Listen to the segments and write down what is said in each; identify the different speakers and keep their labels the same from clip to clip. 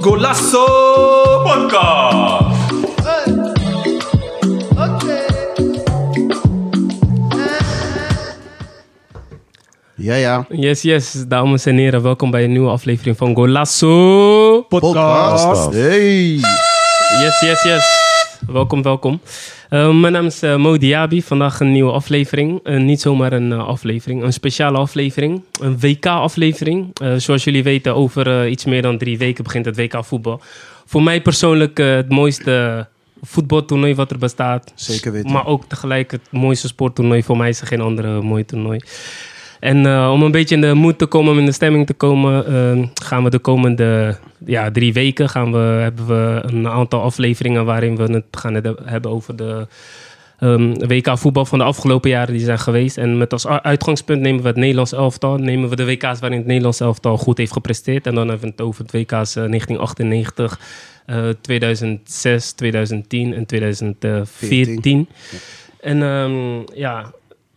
Speaker 1: Golasso Podcast.
Speaker 2: Ja, ja.
Speaker 3: Yes, yes, dames en heren. Welkom bij een nieuwe aflevering van Golasso.
Speaker 2: Podcast. Hey.
Speaker 3: Yes, yes, yes. Welkom, welkom. Eh, mijn naam is eh, Mo Diaby. Vandaag een nieuwe aflevering. Eh, niet zomaar een eh, aflevering, een speciale aflevering. Een WK-aflevering. Eh, zoals jullie weten, over eh, iets meer dan drie weken begint het WK voetbal. Voor mij persoonlijk eh, het mooiste voetbaltoernooi wat er bestaat.
Speaker 2: Zeker weten.
Speaker 3: Maar ook tegelijk het mooiste sporttoernooi. Voor mij is er geen andere mooi toernooi. En eh, om een beetje in de moed te komen, om in de stemming te komen, eh, gaan we de komende ja, drie weken gaan we, hebben we een aantal afleveringen waarin we het gaan het hebben over de ehm, WK voetbal van de afgelopen jaren die zijn geweest. En met als u- uitgangspunt nemen we het Nederlands elftal, nemen we de WK's waarin het Nederlands elftal goed heeft gepresteerd. En dan hebben we het over het WK's eh, 1998, eh, 2006, 2010 en 2014. En ehm, ja,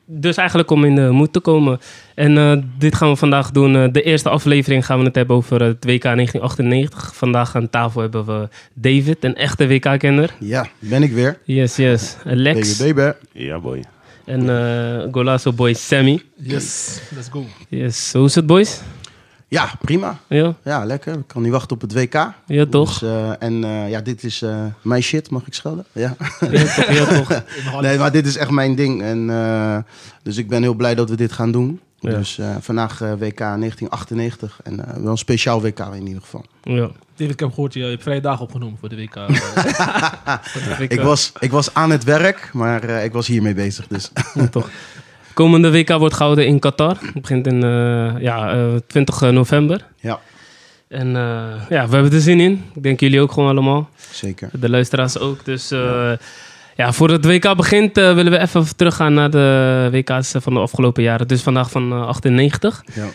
Speaker 3: dus eigenlijk om in de moed te komen. En eh, dit gaan we vandaag doen. Eh, de eerste aflevering gaan we het hebben over het WK 1998. Vandaag aan tafel hebben we David, een echte WK-kenner.
Speaker 2: Ja, ben ik weer.
Speaker 3: Yes, yes. Lex
Speaker 2: Baby, baby.
Speaker 1: Ja, boy.
Speaker 3: en eh Golazo boy Sammy.
Speaker 4: Yes, let's go.
Speaker 3: Yes, hoe is het boys?
Speaker 2: Ja, prima.
Speaker 3: Ja,
Speaker 2: Ja, lekker. Ik kan niet wachten op het WK.
Speaker 3: ja toch?
Speaker 2: Dus, eh, en eh, ja, dit is eh, mijn shit, mag ik schelden? Ja.
Speaker 3: Ja toch, ja toch.
Speaker 2: Nee, maar dit is echt mijn ding. En, eh, dus ik ben heel blij dat we dit gaan doen.
Speaker 3: Ja.
Speaker 2: Dus eh, vandaag eh, WK 1998. En eh, wel een speciaal WK in ieder geval.
Speaker 3: Ja.
Speaker 4: David, ik heb gehoord, je hebt vrije dagen opgenomen voor de WK.
Speaker 2: Ik was, ik was aan het werk, maar eh, ik was hiermee bezig. Dus
Speaker 3: Ja, toch. Komende WK wordt gehouden in Qatar. Het begint in eh, ja, eh, 20 november.
Speaker 2: ja,
Speaker 3: En eh, ja, we hebben er zin in. Ik denk jullie ook gewoon allemaal.
Speaker 2: zeker.
Speaker 3: De luisteraars ook. Dus eh, ja, voordat het WK begint eh, willen we even teruggaan naar de WK's van de afgelopen jaren. Dus vandaag van eh, 98.
Speaker 2: Ja.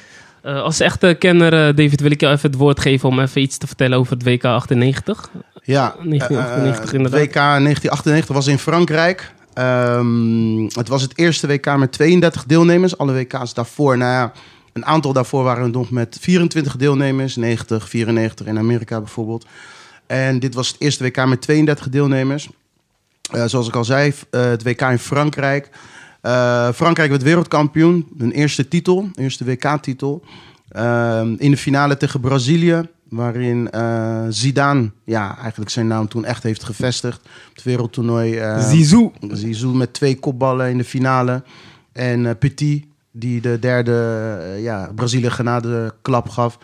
Speaker 3: Eh, als echte kenner, eh, David, wil ik jou even het woord geven om even iets te vertellen over het WK 98.
Speaker 2: Ja,
Speaker 3: 1998
Speaker 2: eh,
Speaker 3: inderdaad.
Speaker 2: WK 1998 was in Frankrijk. Ehm, het was het eerste WK met 32 deelnemers. Alle WK's daarvoor, nou ja, een aantal daarvoor waren het nog met 24 deelnemers. 90, 94 in Amerika bijvoorbeeld. En dit was het eerste WK met 32 deelnemers. Eh, zoals ik al zei, f- eh, het WK in Frankrijk. Eh, Frankrijk werd wereldkampioen. Hun eerste titel, eerste WK-titel. Ehm, in de finale tegen Brazilië. Waarin eh, Zidane ja, eigenlijk zijn naam toen echt heeft gevestigd. Op het wereldtoernooi. eh,
Speaker 3: Zizou.
Speaker 2: Zizou met twee kopballen in de finale. En eh, Petit, die de derde eh, ja, Brazilië-genade klap gaf.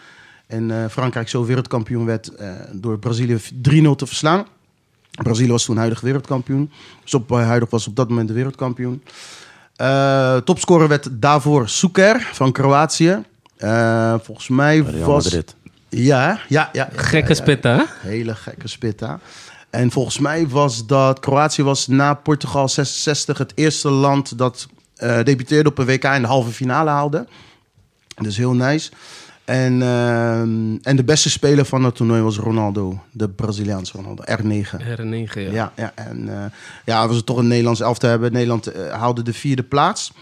Speaker 2: En eh, Frankrijk zo wereldkampioen werd eh, door Brazilië 3-0 te verslaan. Brazilië was toen huidig wereldkampioen. Dus op, eh, huidig was op dat moment de wereldkampioen. Eh, topscorer werd daarvoor Souker van Kroatië. Eh, volgens mij was... Ja, ja, ja. ja,
Speaker 3: Gekke
Speaker 2: ja, ja.
Speaker 3: spit, hè?
Speaker 2: Hele gekke spitta. En volgens mij was dat Kroatië was na Portugal 66 het eerste land dat eh, debuteerde op een WK in de halve finale haalde. Dus heel nice. En, ehm, en de beste speler van het toernooi was Ronaldo, de Braziliaanse Ronaldo, R9.
Speaker 3: R9, ja.
Speaker 2: Ja, ja en eh, ja, het was het toch een Nederlands elftal hebben. Nederland eh, haalde de vierde plaats.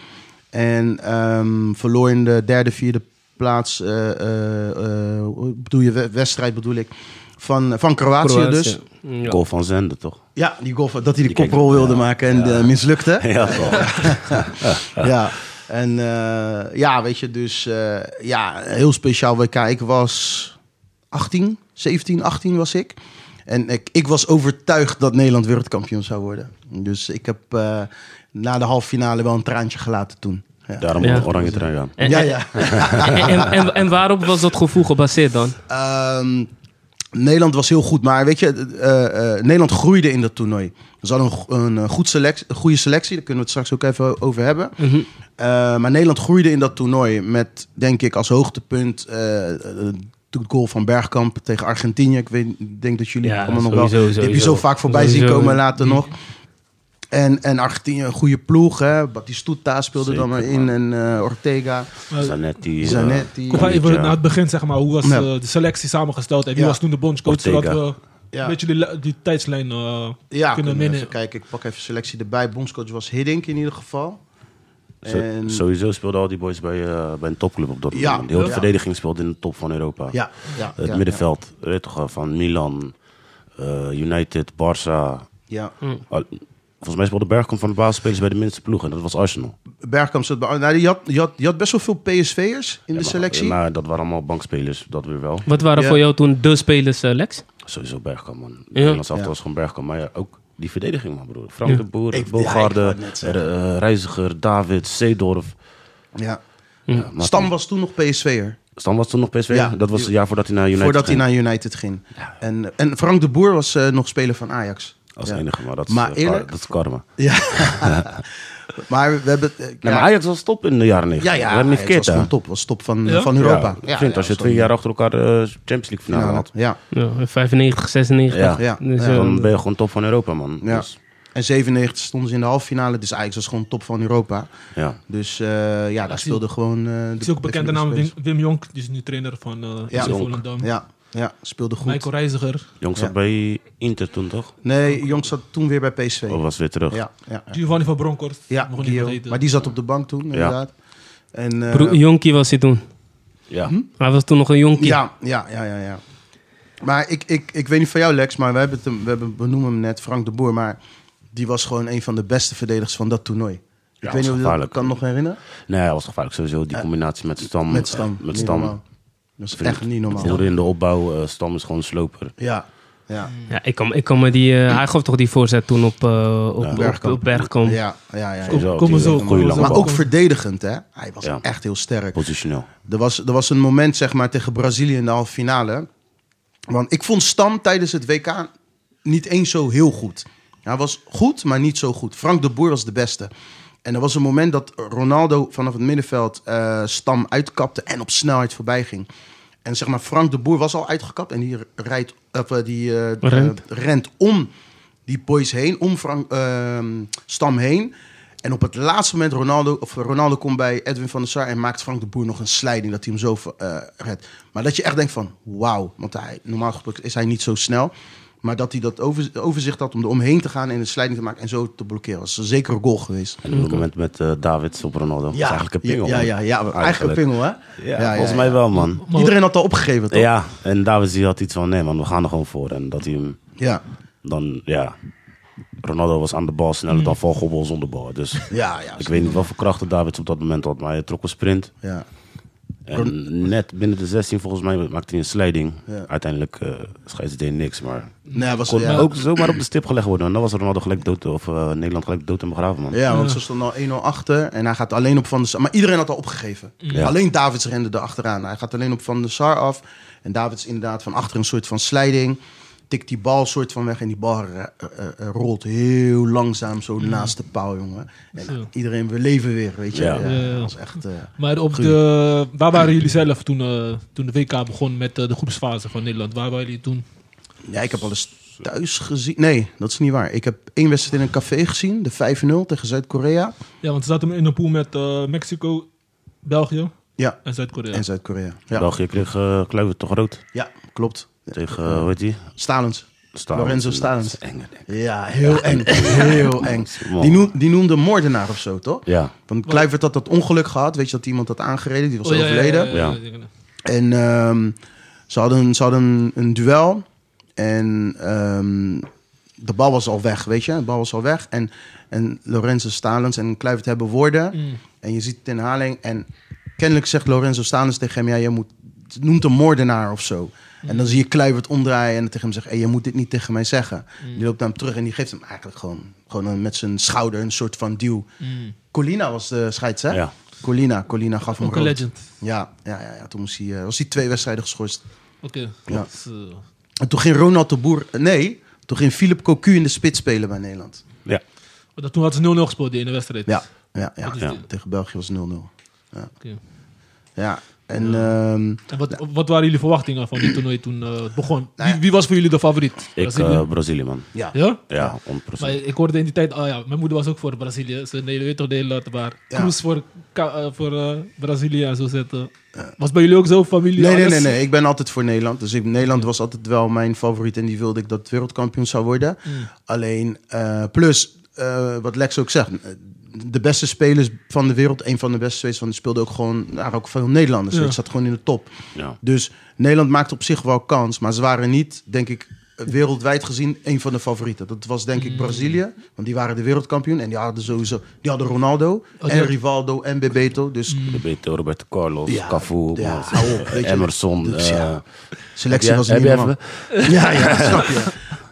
Speaker 2: En ehm, verloor in de derde, vierde plaats, eh, eh, eh, hoe bedoel je, we- wedstrijd bedoel ik, van, van Kroatië, dus.
Speaker 3: Ja.
Speaker 1: Goal van Zende, toch?
Speaker 2: Ja, die golf, dat hij de
Speaker 1: Die keek-
Speaker 2: koprol wilde
Speaker 1: ja,
Speaker 2: maken en eh, mislukte
Speaker 1: Ja, toch.
Speaker 2: ja. En eh, ja, weet je, dus eh, ja, een heel speciaal WK. Ik was 18, 17, 18 was ik. En ik, ik was overtuigd dat Nederland wereldkampioen zou worden. Dus ik heb eh, na de halve finale wel een traantje gelaten toen. Ja,
Speaker 1: Daarom
Speaker 3: Ja.
Speaker 1: moet oranje trein gaan.
Speaker 3: En,
Speaker 2: ja.
Speaker 3: en-
Speaker 2: ja.
Speaker 3: En, en, en, en waarop was dat gevoel gebaseerd dan?
Speaker 2: Ehm, Nederland was heel goed, maar weet je, eh, eh, Nederland groeide in dat toernooi. Ze hadden een, go- een, eh, goed select, een goede selectie, daar kunnen we het straks ook even over hebben.
Speaker 3: Mhm.
Speaker 2: Eh, maar Nederland groeide in dat toernooi met, denk ik, als hoogtepunt eh, eh, de goal van Bergkamp tegen Argentinië. Ik weet, ik denk dat jullie
Speaker 3: Ja,
Speaker 2: allemaal nog wel.
Speaker 3: sowieso,
Speaker 2: die heb je
Speaker 3: sowieso.
Speaker 2: zo vaak voorbij zien
Speaker 3: Sowieso.
Speaker 2: komen later nog. En, en Argentinië, een goede ploeg. Hè? Batistuta speelde dan maar
Speaker 1: Zeker,
Speaker 2: in en eh, Ortega,
Speaker 1: Zanetti. eh,
Speaker 2: Zanetti.
Speaker 4: Kom maar even
Speaker 1: Ja.
Speaker 4: naar het begin, zeg maar. Hoe was
Speaker 2: Ja.
Speaker 4: eh, de selectie samengesteld en wie
Speaker 2: Ja.
Speaker 4: was toen de bondscoach? Zodat
Speaker 1: Ortega.
Speaker 4: we
Speaker 2: Ja.
Speaker 4: een beetje die, la- die tijdslijn eh,
Speaker 2: Ja,
Speaker 4: kunnen
Speaker 2: kunnen we even
Speaker 4: winnen.
Speaker 2: kijken. Ik pak even selectie erbij. Bondscoach was Hiddink in ieder geval.
Speaker 1: Zo-
Speaker 2: En-
Speaker 1: Sowieso speelden al die boys bij, eh, bij een topclub op dat
Speaker 2: Ja.
Speaker 1: moment. Heel de
Speaker 2: Ja.
Speaker 1: verdediging speelde in de top van Europa. Eh,
Speaker 2: Ja, ja,
Speaker 1: Het
Speaker 2: ja,
Speaker 1: middenveld, weet je toch, eh, van Milan, eh, United, Barça.
Speaker 2: Ja.
Speaker 1: Al- Volgens mij speelde Bergkamp van de basisspelers bij de minste ploeg en dat was Arsenal.
Speaker 2: Bergkamp zat bij... Nou, die had, die, had, die had best wel veel PSV'ers in de
Speaker 1: Maar-
Speaker 2: selectie.
Speaker 1: Maar, dat waren allemaal bankspelers, dat weer wel.
Speaker 3: Wat waren
Speaker 2: Ja.
Speaker 3: voor jou toen de spelers, eh, Lex?
Speaker 1: Sowieso Bergkamp, man.
Speaker 3: Ja.
Speaker 1: Nederlands aftal
Speaker 2: Ja.
Speaker 1: was gewoon Bergkamp. Maar ja, ook die verdediging, man, broer. Frank de Boer,
Speaker 2: Ik- ja,
Speaker 1: Bogarde,
Speaker 2: ik wou het net zeggen.
Speaker 1: eh, Reiziger, David, Seedorf.
Speaker 2: ja.
Speaker 1: Ja, maar-
Speaker 2: Stam was toen nog PSV'er.
Speaker 1: Stam was toen nog PSV?
Speaker 2: Ja.
Speaker 1: Dat was het jaar voordat hij naar United
Speaker 2: Voordat
Speaker 1: ging.
Speaker 2: hij naar United ging. En, en Frank de Boer was eh, nog speler van Ajax.
Speaker 1: Als
Speaker 2: ja.
Speaker 1: enige, maar dat is,
Speaker 2: Maar
Speaker 1: eh, kar-
Speaker 2: eerlijk?
Speaker 1: dat is karma.
Speaker 2: Ja. maar we hebben... eh,
Speaker 1: Nee,
Speaker 2: ja,
Speaker 1: maar Ajax was top in de jaren 90.
Speaker 2: ja, ja,
Speaker 1: We hebben niet
Speaker 2: Ajax
Speaker 1: verkeerd,
Speaker 2: was
Speaker 1: hè?
Speaker 2: gewoon top. Was top van,
Speaker 4: Ja?
Speaker 2: van
Speaker 1: Ja,
Speaker 2: Europa.
Speaker 1: ik vind als je twee
Speaker 2: was gewoon
Speaker 1: jaar achter elkaar de Champions League finale
Speaker 2: finale.
Speaker 1: had,
Speaker 2: Ja.
Speaker 3: Ja, 95, 96.
Speaker 1: Ja.
Speaker 2: Ja.
Speaker 3: Dus,
Speaker 2: Ja.
Speaker 3: eh,
Speaker 1: dan ben je gewoon top van Europa, man.
Speaker 2: Ja.
Speaker 1: Dus,
Speaker 2: En 97 stonden ze in de halve finale. Dus Ajax was gewoon top van Europa.
Speaker 1: ja.
Speaker 2: Dus eh, ja, daar
Speaker 4: zie-
Speaker 2: speelde gewoon... eh de
Speaker 4: Het is ook bekende
Speaker 2: de-
Speaker 4: naam Wim, Wim Jonk, die is nu trainer van eh
Speaker 2: Ja.
Speaker 4: FC
Speaker 1: Jonk.
Speaker 4: Volendam.
Speaker 2: Ja, ja, speelde goed.
Speaker 4: Michael Reiziger,
Speaker 1: Jongs
Speaker 2: Ja.
Speaker 1: zat bij Inter toen, toch?
Speaker 2: Nee, Jong zat toen weer bij PSV.
Speaker 1: Of was weer terug?
Speaker 2: Ja, ja, ja.
Speaker 4: Giovanni van Bronckhorst,
Speaker 2: ja
Speaker 4: nog niet
Speaker 2: Guillaume.
Speaker 4: vergeten.
Speaker 2: maar die zat op de bank toen, inderdaad. En, eh,
Speaker 3: Bro- jonkie was hij toen.
Speaker 1: Ja.
Speaker 3: Hij was toen nog een jonkie.
Speaker 2: ja, ja, ja, ja, ja. Maar ik, ik, ik weet niet van jou, Lex, maar we, hebben het hem, we hebben, we noemen hem net Frank de Boer. Maar die was gewoon een van de beste verdedigers van dat toernooi. ik
Speaker 1: was
Speaker 2: weet niet of je dat
Speaker 1: gevaarlijk.
Speaker 2: kan nog herinneren.
Speaker 1: Nee, hij was gevaarlijk sowieso. Die combinatie met Stam.
Speaker 2: Met Stam.
Speaker 1: eh, Met
Speaker 2: Niet
Speaker 1: Stam.
Speaker 2: normaal. Dat is
Speaker 1: Vind
Speaker 2: echt
Speaker 1: ik-
Speaker 2: niet normaal.
Speaker 1: Boeren in de opbouw, eh, Stam is gewoon een sloper.
Speaker 2: Ja, ja,
Speaker 3: Ja, ik kan, ik kan me die, eh, hij gaf toch die voorzet toen op, eh, op, op-
Speaker 2: Bergkamp.
Speaker 3: op Bergkamp.
Speaker 2: ja, ja, ja. ja.
Speaker 4: Kom-
Speaker 1: Sowieso,
Speaker 4: kom maar
Speaker 1: die,
Speaker 4: zo,
Speaker 1: eh,
Speaker 4: kom
Speaker 1: goeie
Speaker 4: maar
Speaker 1: lange
Speaker 4: zo.
Speaker 2: Maar
Speaker 1: bal.
Speaker 2: ook verdedigend, hè? Hij was
Speaker 1: Ja.
Speaker 2: echt heel sterk.
Speaker 1: Positioneel.
Speaker 2: Er was, er was een moment, zeg maar, tegen Brazilië in de halve finale. Want ik vond Stam tijdens het WK niet eens zo heel goed. Hij was goed, maar niet zo goed. Frank de Boer was de beste. En er was een moment dat Ronaldo vanaf het middenveld eh, Stam uitkapte en op snelheid voorbij ging. En zeg maar, Frank de Boer was al uitgekapt en die, rijdt, of, eh, die eh,
Speaker 3: Rent.
Speaker 2: eh, rent om die boys heen, om Frank, ehm, Stam heen. En op het laatste moment, Ronaldo, of eh, Ronaldo komt bij Edwin van der Sar en maakt Frank de Boer nog een slijding dat hij hem zo eh, redt. Maar dat je echt denkt van, wauw, want hij, normaal gesproken is hij niet zo snel. Maar dat hij dat over, overzicht had om er omheen te gaan en een slijding te maken en zo te blokkeren. Dat is een zekere goal geweest.
Speaker 1: En op het moment met eh Davids op Ronaldo. Dat is eigenlijk een pingel.
Speaker 2: Ja, ja, ja, ja, eigenlijk een pingel, hè? Ja,
Speaker 1: Ja,
Speaker 2: ja,
Speaker 1: volgens
Speaker 2: ja.
Speaker 1: mij wel, man.
Speaker 2: Iedereen had al opgegeven, toch?
Speaker 1: Ja, en Davids die had iets van, nee man, we gaan er gewoon voor. En dat hij hem
Speaker 2: Ja,
Speaker 1: dan, ja... Ronaldo was aan de bal sneller
Speaker 2: Mm.
Speaker 1: dan Van Gobbel zonder bal. Dus
Speaker 2: ja. ja,
Speaker 1: ik weet niet wat voor krachten Davids op dat moment had, maar hij trok een sprint.
Speaker 2: ja.
Speaker 1: En net binnen de 16 volgens mij maakte hij een slijding. Uiteindelijk eh scheids deed niks, maar
Speaker 2: Nee, hij was,
Speaker 1: kon
Speaker 2: ja.
Speaker 1: ook zomaar op de stip gelegd worden. En dan was Ronaldo gelijk dood, of eh, Nederland gelijk dood en begraven, man.
Speaker 2: Ja, want ze stonden al 1-0 achter en hij gaat alleen op Van der Sar. Maar iedereen had al opgegeven.
Speaker 1: Ja.
Speaker 2: Alleen Davids rende er achteraan. Hij gaat alleen op Van der Sar af. En Davids inderdaad van achter een soort van slijding. Tikt die bal soort van weg en die bal ra- eh, eh, eh, rolt heel langzaam zo naast de paal, jongen. En
Speaker 4: Zo.
Speaker 2: iedereen, we leven weer, weet je.
Speaker 1: Ja.
Speaker 2: Ja,
Speaker 4: Ja, ja.
Speaker 2: dat was echt... eh,
Speaker 4: Maar op
Speaker 2: Goeie.
Speaker 4: de, waar waren jullie zelf toen, eh, toen de WK begon met eh, de groepsfase van Nederland? Waar waren jullie toen?
Speaker 2: Ja, ik heb alles thuis gezien. Nee, dat is niet waar. Ik heb één wedstrijd in een café gezien, de 5-0 tegen Zuid-Korea.
Speaker 4: Ja, want ze zaten in een pool met eh, Mexico, België
Speaker 2: Ja,
Speaker 4: en Zuid-Korea.
Speaker 2: en Zuid-Korea. Ja.
Speaker 1: België kreeg eh Kluivert toch rood
Speaker 2: ja, klopt.
Speaker 1: tegen, eh, hoe heet die?
Speaker 2: Stalens.
Speaker 1: Stalens.
Speaker 2: Lorenzo Stalens.
Speaker 1: Dat is eng, hè.
Speaker 2: Ja, heel eng. Heel eng.
Speaker 1: Man.
Speaker 2: Die, noem- die noemde moordenaar of zo, toch?
Speaker 1: Ja,
Speaker 2: Want Kluivert had dat ongeluk gehad. Weet je dat iemand had aangereden? Die was
Speaker 4: Oh, ja, ja,
Speaker 2: overleden.
Speaker 4: ja, ja,
Speaker 1: Ja.
Speaker 4: ja, ja.
Speaker 2: En ehm, ze hadden, ze hadden een, een duel. En ehm, de bal was al weg, weet je? De bal was al weg. En, en Lorenzo Stalens en Kluivert hebben woorden.
Speaker 4: Mm.
Speaker 2: En je ziet het in herhaling. En kennelijk zegt Lorenzo Stalens tegen hem... Ja, je moet, noemt een moordenaar of zo.
Speaker 4: Mm.
Speaker 2: En dan zie je Kluivert omdraaien en tegen hem zegt... Hey, je moet dit niet tegen mij zeggen.
Speaker 4: Mm.
Speaker 2: Die loopt naar hem terug en die geeft hem eigenlijk gewoon... gewoon een- met zijn schouder een soort van duw.
Speaker 4: Mm.
Speaker 2: Colina was de scheids, hè?
Speaker 1: Ja.
Speaker 2: Colina, Colina gaf hem
Speaker 4: Ook een
Speaker 2: rood.
Speaker 4: legend.
Speaker 2: Ja, ja, ja, ja. toen moest hij, eh, was hij twee wedstrijden geschorst.
Speaker 4: Oké. eh,
Speaker 2: Ja.
Speaker 4: Zo.
Speaker 2: En toen ging Ronald de Boer... Nee, toen ging Philip Cocu in de spits spelen bij Nederland.
Speaker 1: ja.
Speaker 4: Maar dat- Toen hadden ze 0-0 gespeeld die ene wedstrijd.
Speaker 2: Ja, ja, ja.
Speaker 4: Dat is
Speaker 1: Ja.
Speaker 4: de-
Speaker 2: Tegen België was 0-0.
Speaker 4: oké.
Speaker 2: Ja, en... ehm,
Speaker 4: En wat, wat waren jullie verwachtingen van dit toernooi toen eh, het begon?
Speaker 2: Nou ja.
Speaker 4: Wie, wie was voor jullie de favoriet?
Speaker 1: Ik,
Speaker 4: Brazilië?
Speaker 1: eh Brazilië, man.
Speaker 2: ja.
Speaker 4: ja?
Speaker 1: Ja, 100%.
Speaker 4: Maar ik hoorde in die tijd, oh ja, mijn moeder was ook voor Brazilië. Ze nee, je weet toch de hele laat waar.
Speaker 2: Ja.
Speaker 4: Cruz voor, Ka- eh, voor eh, Brazilië en zo zetten. Was bij jullie ook zo, familie?
Speaker 2: Nee, nee,
Speaker 4: alles?
Speaker 2: nee, nee. Ik ben altijd voor Nederland. Dus ik, Nederland was altijd wel mijn favoriet. En die wilde ik dat
Speaker 4: Mm.
Speaker 2: het wereldkampioen zou worden. Alleen, eh, plus, eh, wat Lex ook zegt. eh, de beste spelers van de wereld, een van de beste spelers van de speelde ook gewoon, daar ook veel Nederlanders.
Speaker 4: Ja.
Speaker 2: Het zat gewoon in de top.
Speaker 1: Ja.
Speaker 2: Dus Nederland maakte op zich wel kans, maar ze waren niet, denk ik, wereldwijd gezien een van de favorieten. Dat was denk ik Brazilië, want die waren de wereldkampioen en die hadden sowieso, die hadden Ronaldo
Speaker 4: die
Speaker 2: en
Speaker 4: had-
Speaker 2: Rivaldo en Bebeto. Dus
Speaker 1: De BT, Roberto Carlos,
Speaker 2: Ja,
Speaker 1: Cafu,
Speaker 2: ja,
Speaker 1: maar-
Speaker 2: hou op, weet je.
Speaker 1: Emerson.
Speaker 2: Dus
Speaker 1: eh,
Speaker 2: ja,
Speaker 1: heb
Speaker 2: selectie
Speaker 1: jij-
Speaker 2: was
Speaker 1: heb
Speaker 2: niet
Speaker 1: jij
Speaker 2: normaal.
Speaker 1: even-
Speaker 2: Ja, ja, snap je.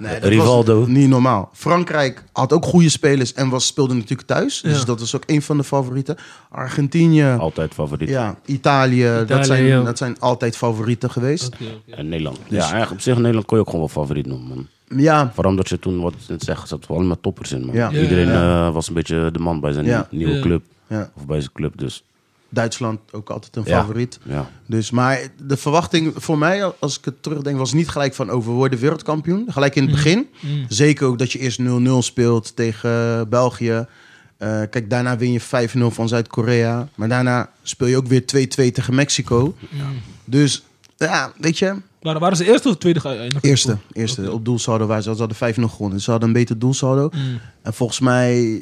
Speaker 2: Nee, dat was
Speaker 1: Rivaldo.
Speaker 2: Niet normaal. Frankrijk had ook goede spelers en was, speelde natuurlijk thuis. Dus
Speaker 4: Ja.
Speaker 2: dat was ook een van de favorieten. Argentinië,
Speaker 1: eh, Altijd favoriet.
Speaker 2: ja, Italië, dat,
Speaker 3: Italië,
Speaker 2: zijn,
Speaker 3: ja.
Speaker 2: dat zijn altijd favorieten geweest.
Speaker 4: Oké, oké.
Speaker 1: En Nederland.
Speaker 2: Dus-
Speaker 1: Ja, eigenlijk op zich Nederland kon je ook gewoon wel favoriet noemen. Man.
Speaker 2: Ja,
Speaker 1: Vooral omdat je toen, wat ik net zeg, zat wel allemaal toppers in. Man.
Speaker 2: Ja.
Speaker 4: Ja,
Speaker 1: Iedereen
Speaker 2: ja.
Speaker 1: eh, was een beetje de man bij zijn
Speaker 2: Ja.
Speaker 1: nieuwe
Speaker 4: Ja.
Speaker 1: club.
Speaker 2: ja,
Speaker 1: Of bij zijn club, dus
Speaker 2: Duitsland ook altijd een
Speaker 1: Ja.
Speaker 2: favoriet.
Speaker 1: ja.
Speaker 2: Dus, maar de verwachting voor mij, als ik het terugdenk, was niet gelijk van over we worden wereldkampioen. Gelijk in het begin.
Speaker 4: Mm.
Speaker 2: Zeker ook dat je eerst 0-0 speelt tegen België. Eh, kijk, daarna win je 5-0 van Zuid-Korea. Maar daarna speel je ook weer 2-2 tegen Mexico. Dus ja, weet je,
Speaker 4: Maar waren ze eerste of tweede geëindigd?
Speaker 2: eerste. eerste op doelsaldo waren ze. Ze hadden 5-0 gewonnen. Dus ze hadden een beter doelsaldo.
Speaker 4: Mm.
Speaker 2: En volgens mij,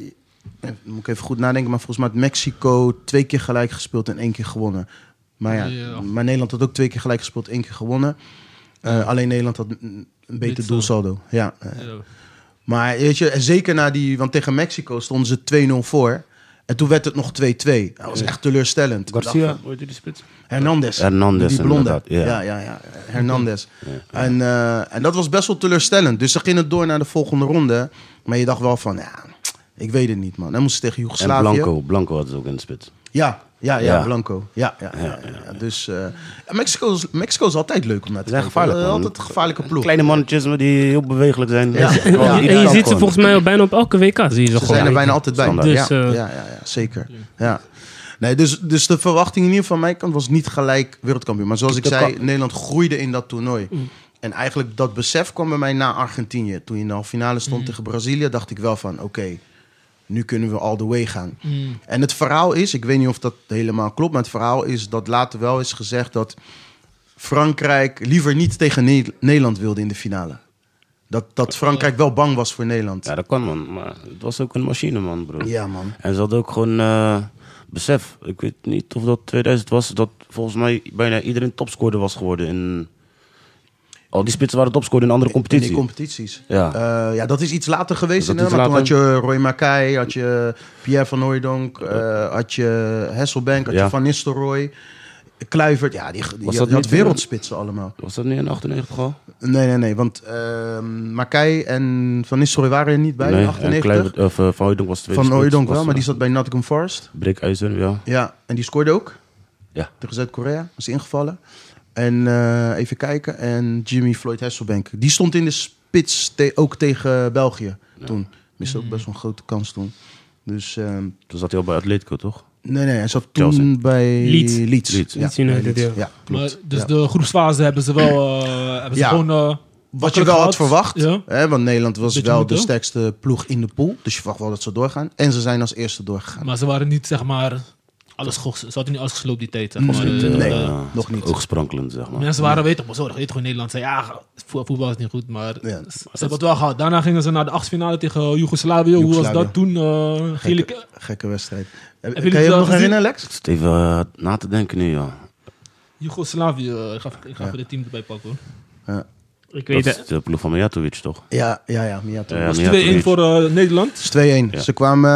Speaker 2: eh, moet ik even goed nadenken, maar volgens mij had Mexico twee keer gelijk gespeeld en één keer gewonnen. Maar ja,
Speaker 4: Ja.
Speaker 2: maar Nederland had ook twee keer gelijk gespeeld, één keer gewonnen. Eh, Alleen Nederland had een een beter
Speaker 4: Dit zo.
Speaker 2: doelsaldo. Ja. eh.
Speaker 4: Ja.
Speaker 2: Maar weet je, en zeker na die, want tegen Mexico stonden ze 2-0 voor. En toen werd het nog 2-2. Dat was echt teleurstellend.
Speaker 1: Garcia, hoe heet die spits?
Speaker 2: Hernandez.
Speaker 1: Hernandez,
Speaker 2: Die blonde.
Speaker 1: inderdaad,
Speaker 2: Ja,
Speaker 1: ja.
Speaker 2: ja, ja. Hernandez. En, eh, en dat was best wel teleurstellend. Dus ze gingen door naar de volgende ronde. Maar je dacht wel van, ja, ik weet het niet, man. Dan moesten ze tegen
Speaker 1: En
Speaker 2: Joegoslavië.
Speaker 1: Blanco. Blanco had het ook in de spits.
Speaker 2: Ja, ja, ja,
Speaker 1: Ja.
Speaker 2: Blanco. Ja, ja, ja, ja, ja. Dus eh, Mexico, is, Mexico is altijd leuk om naar te
Speaker 1: Ze zijn
Speaker 2: kijken.
Speaker 1: gevaarlijk, man.
Speaker 2: Altijd een gevaarlijke ploeg.
Speaker 1: Kleine mannetjes maar die heel bewegelijk zijn.
Speaker 2: Ja.
Speaker 1: Gewoon
Speaker 2: Ja,
Speaker 3: en
Speaker 1: irritant
Speaker 3: je ziet ze
Speaker 1: gewoon.
Speaker 3: volgens mij al bijna op elke WK. Zie je
Speaker 2: Ze
Speaker 3: ze gewoon.
Speaker 2: zijn er bijna altijd bij.
Speaker 1: Standaard.
Speaker 2: Ja,
Speaker 3: Dus,
Speaker 2: ja,
Speaker 3: eh,
Speaker 2: ja, ja, zeker. Ja. Nee, dus, dus de verwachting in ieder geval van mij kant was niet gelijk wereldkampioen. Maar zoals ik
Speaker 1: Dat
Speaker 2: zei,
Speaker 1: kan-
Speaker 2: Nederland groeide in dat toernooi. En eigenlijk dat besef kwam bij mij na Argentinië. Toen je in de halve finale stond tegen Brazilië, dacht ik wel van... oké, nu kunnen we all the way gaan.
Speaker 4: Mm.
Speaker 2: En het verhaal is, ik weet niet of dat helemaal klopt, maar het verhaal is dat later wel is gezegd dat Frankrijk liever niet tegen Ne- Nederland wilde in de finale. Dat, dat Frankrijk wel bang was voor Nederland.
Speaker 1: Ja, dat kan man. Maar het was ook een machine man, bro.
Speaker 2: Ja, man.
Speaker 1: En ze hadden ook gewoon eh, besef. Ik weet niet of dat 2000 was. Dat volgens mij bijna iedereen topscorer was geworden. In... Al die spitsen waren topscorer in andere
Speaker 2: In
Speaker 1: competities.
Speaker 2: die competities.
Speaker 1: Ja.
Speaker 2: Eh, ja, dat is iets later geweest.
Speaker 1: Dat
Speaker 2: in,
Speaker 1: iets
Speaker 2: maar toen had
Speaker 1: later.
Speaker 2: je Roy Makai, had je Pierre van Hooijdonk, eh, had je Hesselbank, had je
Speaker 1: Ja.
Speaker 2: Van Nistelrooy, Kluivert. Ja, die, die,
Speaker 1: Was
Speaker 2: die
Speaker 1: dat
Speaker 2: had
Speaker 1: niet-
Speaker 2: wereldspitsen allemaal.
Speaker 1: Was dat niet in 98 al?
Speaker 2: Nee, nee, nee. Want ehm Makai en Van Nistelrooy waren er niet bij in
Speaker 1: en
Speaker 2: 98.
Speaker 1: Kluivert- of, eh, Van Hooijdonk was tweede
Speaker 2: Van
Speaker 1: spits.
Speaker 2: Hooijdonk wel,
Speaker 1: Was,
Speaker 2: maar die
Speaker 1: eh,
Speaker 2: zat bij Nottingham Forest.
Speaker 1: Breekijzer, ja.
Speaker 2: Ja, en die scoorde ook.
Speaker 1: Ja.
Speaker 2: Tegen Zuid-Korea was hij ingevallen. En eh, even kijken. En Jimmy Floyd Hasselbank. Die stond in de spits te- ook tegen België toen. Miste
Speaker 1: Mhm.
Speaker 2: ook best wel een grote kans toen. Dus ehm,
Speaker 1: Toen zat hij al bij Atletico, toch?
Speaker 2: nee, nee, hij zat toen
Speaker 1: Chelsea.
Speaker 2: bij
Speaker 3: Leeds.
Speaker 2: Leeds.
Speaker 1: Leeds.
Speaker 2: Ja,
Speaker 3: Leeds
Speaker 2: bij
Speaker 3: United,
Speaker 2: Leeds.
Speaker 3: ja.
Speaker 2: klopt.
Speaker 4: Maar, dus
Speaker 2: Ja.
Speaker 4: de groepsfase hebben ze wel... eh, hebben ze
Speaker 2: Ja.
Speaker 4: gewoon, eh,
Speaker 2: Wat je
Speaker 4: makkelijk
Speaker 2: wel had
Speaker 4: gehad.
Speaker 2: verwacht.
Speaker 4: Ja.
Speaker 2: Hè, want Nederland was
Speaker 4: Beetje
Speaker 2: wel
Speaker 4: moeite.
Speaker 2: de sterkste ploeg in de pool. Dus je verwacht wel dat ze doorgaan. En ze zijn als eerste doorgegaan.
Speaker 4: Maar ze waren niet, zeg maar... Alles ge- ze hadden niet alles gesloopt die tijd. Zeg maar.
Speaker 2: Nee,
Speaker 4: Eh,
Speaker 2: Mm. nee,
Speaker 4: eh,
Speaker 2: nog niet.
Speaker 1: Oogsprankelend, zeg maar.
Speaker 4: Mensen waren weten, maar zo, dat weet gewoon Nederland. Zei, ja, vo- voetbal is niet goed, maar
Speaker 2: Ja.
Speaker 4: ze ze hebben het wel gehad. Daarna gingen ze naar de achtfinale tegen eh, Joegoslavië. Hoe was
Speaker 2: Joegoslavië.
Speaker 4: dat toen? eh gele-
Speaker 2: Gekke, gekke wedstrijd. Heb,
Speaker 4: jullie
Speaker 2: kan je
Speaker 4: het
Speaker 2: het
Speaker 4: wel
Speaker 2: nog
Speaker 4: gezien?
Speaker 2: herinneren, Lex?
Speaker 1: Ik zit even eh, na te denken nu, ja.
Speaker 4: Joegoslavië. eh, Ik ga, ik ga even de team erbij pakken. hoor.
Speaker 3: Ik weet
Speaker 1: Dat
Speaker 3: het.
Speaker 1: is de ploeg van Mijatovic, toch?
Speaker 2: Ja, ja, ja. Miato.
Speaker 1: Ja,
Speaker 4: Het was 2-1
Speaker 1: Mijatovic.
Speaker 4: voor eh, Nederland.
Speaker 2: Het is 2-1.
Speaker 1: Ja.
Speaker 2: Ze kwamen